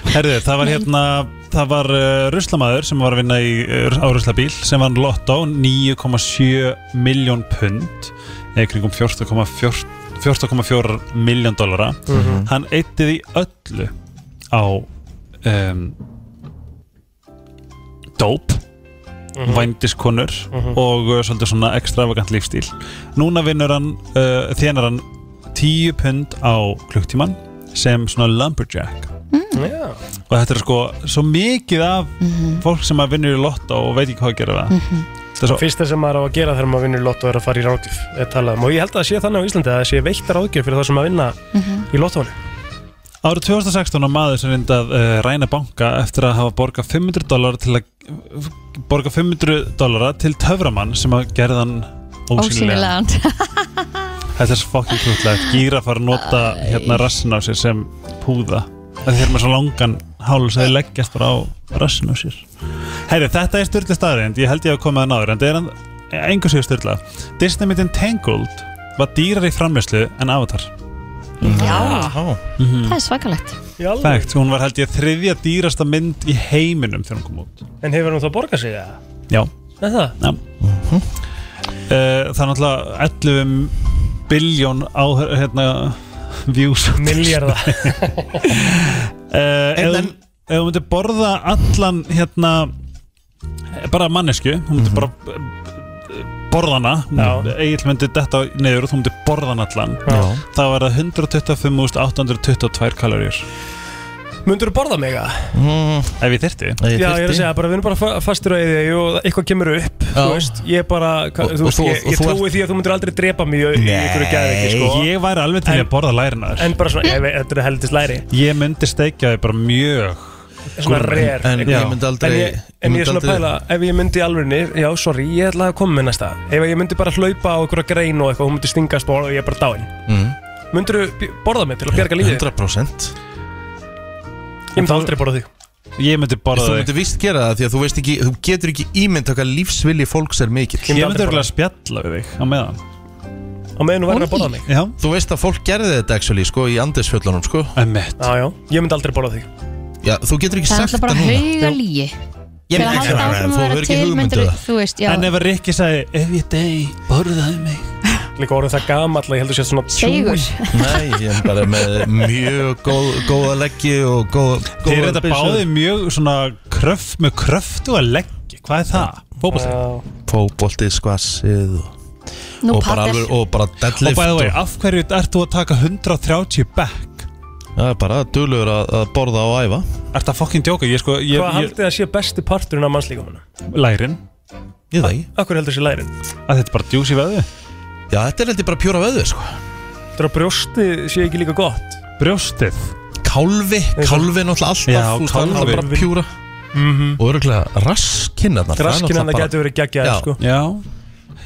S15: Herðu, það var hérna það var uh, ruslamæður sem var að vinna í, uh, á ruslabíl sem vann lottó 9,7 miljón pund eða kringum 14,4 14,4 miljón dollara
S3: Mhm.
S15: hann eitti því öllu á um, dóp
S3: Mhm.
S15: vændiskonur
S3: Mhm.
S15: og uh, svolítið svona extravagant lífstíl núna vinnur hann, uh, þénar hann 10 pund á klukktíman sem svona lumberjack
S3: Já
S15: og þetta er sko svo mikið af fólk sem að vinnur í lotta og veit ekki hvað að gera við það Það er svo-
S3: Fyrsta sem maður á að gera þegar maður vinnur í lotto er að fara í ráðgjöf er talað um og ég held að það sé þannig á Íslandi að það sé veitt ráðgjöf fyrir það sem að vinna
S15: Mhm.
S3: í lottónu
S15: Árið 2016 á maður sem reyndi að uh, ræna banka eftir að hafa borgað 500 dólar til að borga 500 dólara til töframann sem að gerði hann Oh, ósýnilega
S2: Ósýnilegan
S15: Þetta er svo fokkin krútlegt Gýra fara að nota hérna rassin á sér sem púða Það þeir með svo langan háls að þeir leggjast bara á rassin á sér Heyri, þetta er styrla staðrind Ég held ég að koma að náður En þetta er engu sér styrla Disneymyndin Tangled var dýrar í framleyslu en Avatar
S2: Já,
S15: Mhm.
S2: það er svakalegt
S15: Fakt, hún var held ég þriðja dýrasta mynd í heiminum þegar hún kom út
S3: En hefur hún það borgað sig það?
S15: Já
S3: Er það?
S15: Já uh, Það er náttúrulega 11 biljón á hérna views
S3: Milljarða.
S15: uh, Ef þú- ef þú myndir borða allan hérna eh, bara mannesku þú myndir bara eh, borða hana Egil myndi detta niður og þú myndir borða hana allan
S3: Já.
S15: þá er það 125.822 kaloríur
S3: Mundur þú borða mig það?
S15: Ef ég þyrti
S3: Já, ég er að segja, bara við erum bara fa- fastur á eði og eitthvað kemur upp, þú veist, ég bara, ka,
S15: Og-
S3: þú
S15: og
S3: veist,
S15: þú-
S3: ég,
S15: og
S3: ég
S15: þú
S3: trúi því að þú myndir aldrei drepa mig í- í ykkur gæði ekki, sko.
S15: Ég væri alveg til
S3: En-
S15: að borða lærin að
S3: En bara svona, ég veit, þetta er heldist læri.
S15: Ég myndi steikja þau bara mjög
S3: Svona rare.
S15: Já.
S3: En ég, en ég er svona að pæla, ef ég myndi í alvörinni, já, sorry, ég ætla að koma með næsta. Ef ég myndi bara hlaupa á einhverja grein og eitthvað, hún myndi stingast og ég er bara dáinn. Myndir þú borða mig til að bjarga
S1: Mm.
S3: lífið?
S1: 100%
S3: Ég myndi aldrei borða þig.
S15: Ég myndi borða
S1: Þú
S15: þig.
S1: myndir víst gera það því að þú veist ekki Þú getur ekki ímynd okkar lífsvilji fólks er mikill
S15: Ég myndi örugglega spjalla við þig á meðan
S3: Á meðan þú verður að borða mig.
S15: Já.
S1: Þú veist að fólk gerði þetta actually sko í andesfjöllunum sko
S15: Emmett
S3: Já, já, ég myndi aldrei borða þig.
S1: Já, þú getur ekki
S2: Það er
S1: sagt
S2: alltaf bara
S1: núna.
S2: hauga lígi
S1: Ég
S2: Til að
S1: myndi ekki
S2: halda
S1: gera það,
S2: áfram
S1: þú
S2: að vera
S1: hefur ekki
S2: til
S1: hugmynd
S2: myndir
S1: um
S2: þú- Þú veist, já
S15: En ef Rikki sagði Ef ég degi, borðaði mig
S3: Líka orðið það gamall að ég heldur sér svona
S2: Seigur.
S1: Nei, ég er bara með mjög góð, góða leggji og góð,
S15: Þeir
S1: góða
S15: eru þetta báði mjög svona kröf, með kröftu að leggja Hvað er það? Fótbolti
S1: Fóboltið, skvassið og,
S15: Nú,
S1: og, bara
S15: padel.
S1: alveg, og bara deadlift
S15: Og bæði vei, af hverju ert þú að taka 130 back?
S1: Það er bara duglegur að, að borða og æfa
S15: Ert það fokkin djóka? Ég sko, ég,
S3: Hvað
S15: ég,
S3: haldið að sé besti parturinn af mannslíkamannu?
S15: lærin
S1: Ég það ekki
S3: Akkur heldur þessi lærin?
S15: Að þetta er bara djúsi veðu
S1: Já, þetta er heldur bara pjóra veðu sko
S3: Þetta er að brjósti sé ekki líka gott
S15: Brjóstið
S1: Kálfi, kálfi náttúrulega alltaf
S3: Já,
S1: þú veist, það er
S3: kálfi.
S1: náttúrulega bara pjúra
S3: Mhm.
S1: Og örgulega raskinnarnar það er
S3: Raskinnarnar
S1: náttúrulega bara-
S3: gætu verið geggjaðar,
S1: Já.
S3: sko.
S15: Já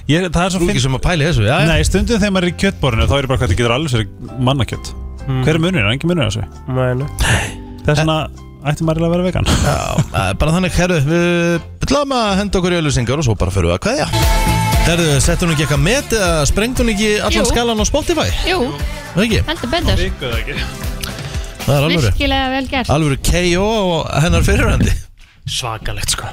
S15: ég, Það er svo
S1: Þú ekki sem að pæli þessu, já, já.
S15: Nei, stundum þegar maður er í kjöttborinu Þá er ég bara hvað þetta getur alveg sér mannakjött
S3: Mm.
S15: Hver er munurinn? Engin munurinn á þessu
S3: Nei, nei
S15: Það er svona ætti maður eiginlega að vera vegan
S1: Já, það er bara þannig, herru, við ætlum að henda okkur í öllusingar og svo bara fyrir við að kveðja Herru, sett hún ekki eitthvað met eða sprengd hún ekki
S2: Jú.
S1: allan skalan á Spotify?
S2: Jú,
S1: Það ekki?
S2: heldur betur
S1: Það er alvöru
S2: Virkilega vel gert
S1: Alvöru KO og hennar fyrirhandi
S3: Svakalegt sko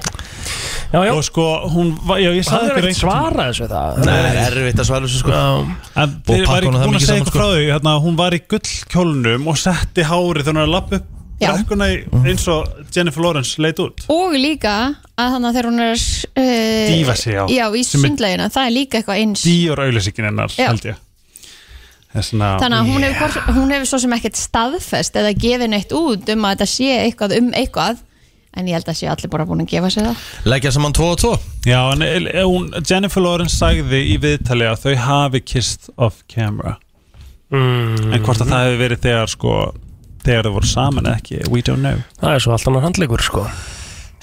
S15: já, já. Og sko, hún, var- já, ég
S3: Hann
S15: sagði
S3: er
S15: ykkur
S3: ekkert svara þessu það
S1: Nei, það er erfitt að svara þessu sko
S15: En
S1: Og
S15: þeir var
S1: pakka
S15: ekki
S1: honum það
S15: búin
S1: mikið
S15: að
S1: saman,
S15: segja
S1: sko.
S15: eitthvað frá því hérna, Hún var í gullkjólnum og setti hárið Þegar hún er að lappa upp
S2: Já.
S15: brekkuna í-
S1: Mm.
S15: Eins og Jennifer Lawrence leit út
S2: Og líka að þannig að þegar hún er uh,
S15: Dýfa sig, já.
S2: Já, í
S15: Sem er-
S2: sundlegina, það er líka eitthvað eins
S15: Díor auðlýsingin hennar,
S2: Já.
S15: held ég Þessna,
S2: Þannig að hún hefur, hvort, hún hefur svo sem ekkert staðfest eða gefið neitt út um að þetta sé eitthvað um eitthvað en ég held að sé allir bara búin að gefa sér það
S1: Leggja saman 2 og 2
S15: Já, en el- el- hún, Jennifer Lawrence sagði í viðtali að þau hafi kissed off camera
S3: Mm.
S15: En hvort að það hefur verið þegar sko Þegar þau voru saman eða ekki, we don't know
S3: Það er svo allt annar handleikur sko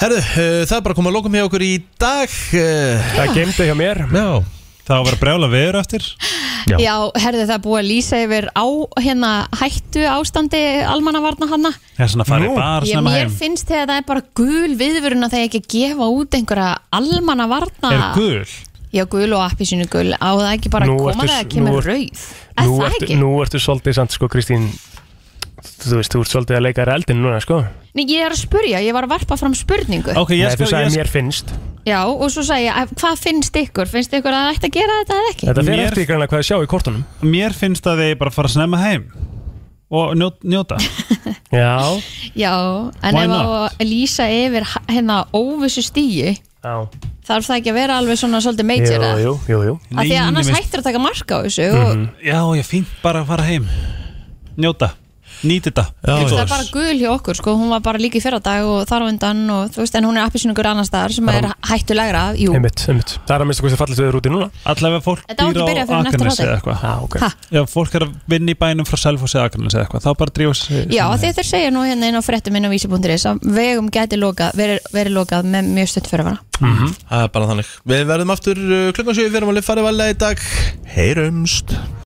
S1: Herru, uh, það er bara komið að lokum hjá okkur í dag uh,
S3: Það gemdi hjá mér
S1: Já
S15: Það á að vera brjála veður eftir
S2: Já, herðu það er búið að lýsa yfir á hérna hættu ástandi almannavarna hanna
S15: Það er svona að fara í bar
S2: Ég,
S15: snemma
S2: mér
S15: heim
S2: finnst þegar það er bara gul viðvörun að það er ekki að gefa út einhverja almannavarna
S15: Er gul?
S2: Já, gul og appi sínu gul á það ekki bara
S3: Nú
S2: að koma
S3: ertu-
S2: þegar það
S3: nú
S2: kemur
S3: ertu-
S2: rauð Er
S3: nú
S2: það
S3: ertu,
S2: ekki?
S3: nú ertu svolítið samt sko Kristín Þú veist, þú ert svolítið að leika þér eldin núna sko
S2: Nei, ég er að spurja, ég var að varpa fram spurningu
S3: Nei, þú sagði mér finnst
S2: Já, og svo sagði ég, "Að- hvað finnst ykkur? Finnst ykkur að það ætti að gera þetta eða ekki?
S3: Þetta fyrir eftir ykkur hvað að sjá í kortunum
S15: Mér finnst að þið bara fara að snemma heim og njóta, njóta.
S3: Já,
S2: Já, en
S15: Why
S2: ef
S15: not?
S2: á að lýsa yfir h- hérna óvissu stíu
S3: já
S2: þarf það ekki að vera alveg svona svolítið major
S3: Jú,
S2: eða?
S3: jú, jú, jú.
S2: Af því að annars hættir að taka marka á þessu
S3: Mhm.
S2: og
S15: Já, ég fínt bara að fara heim Njóta, nýti þetta
S2: þú veist, það er bara gul hjá okkur sko, hún var bara líka í fyrradag og þar á undan og þú veist, en hún er appisynungur annar staðar sem er hættulegra, jú
S3: Einmitt, einmitt Það er að minnst að hvað það fallist við úti núna
S15: Allavega fólk
S2: Þetta á ekki byrjað fyrir næsta
S15: Akranesi
S2: þáttinn.
S15: eða eitthvað
S3: ah, okay.
S2: Ha?
S15: Já, fólk er að vinna í bænum frá Selfossi eða Akranes eða eitthvað, þá bara drífa sig
S2: Já, af því að þeir segja nú hérna inn á fréttum inn á vísi.is að vegum gæti lokað, verið veri lokað með mjög stutt fyrir vana.
S1: Mhm. eh, Það er bara þannig Við verðum aftur uh, klukkan 7 Við verðum að lifa farið valega í dag Heyrumst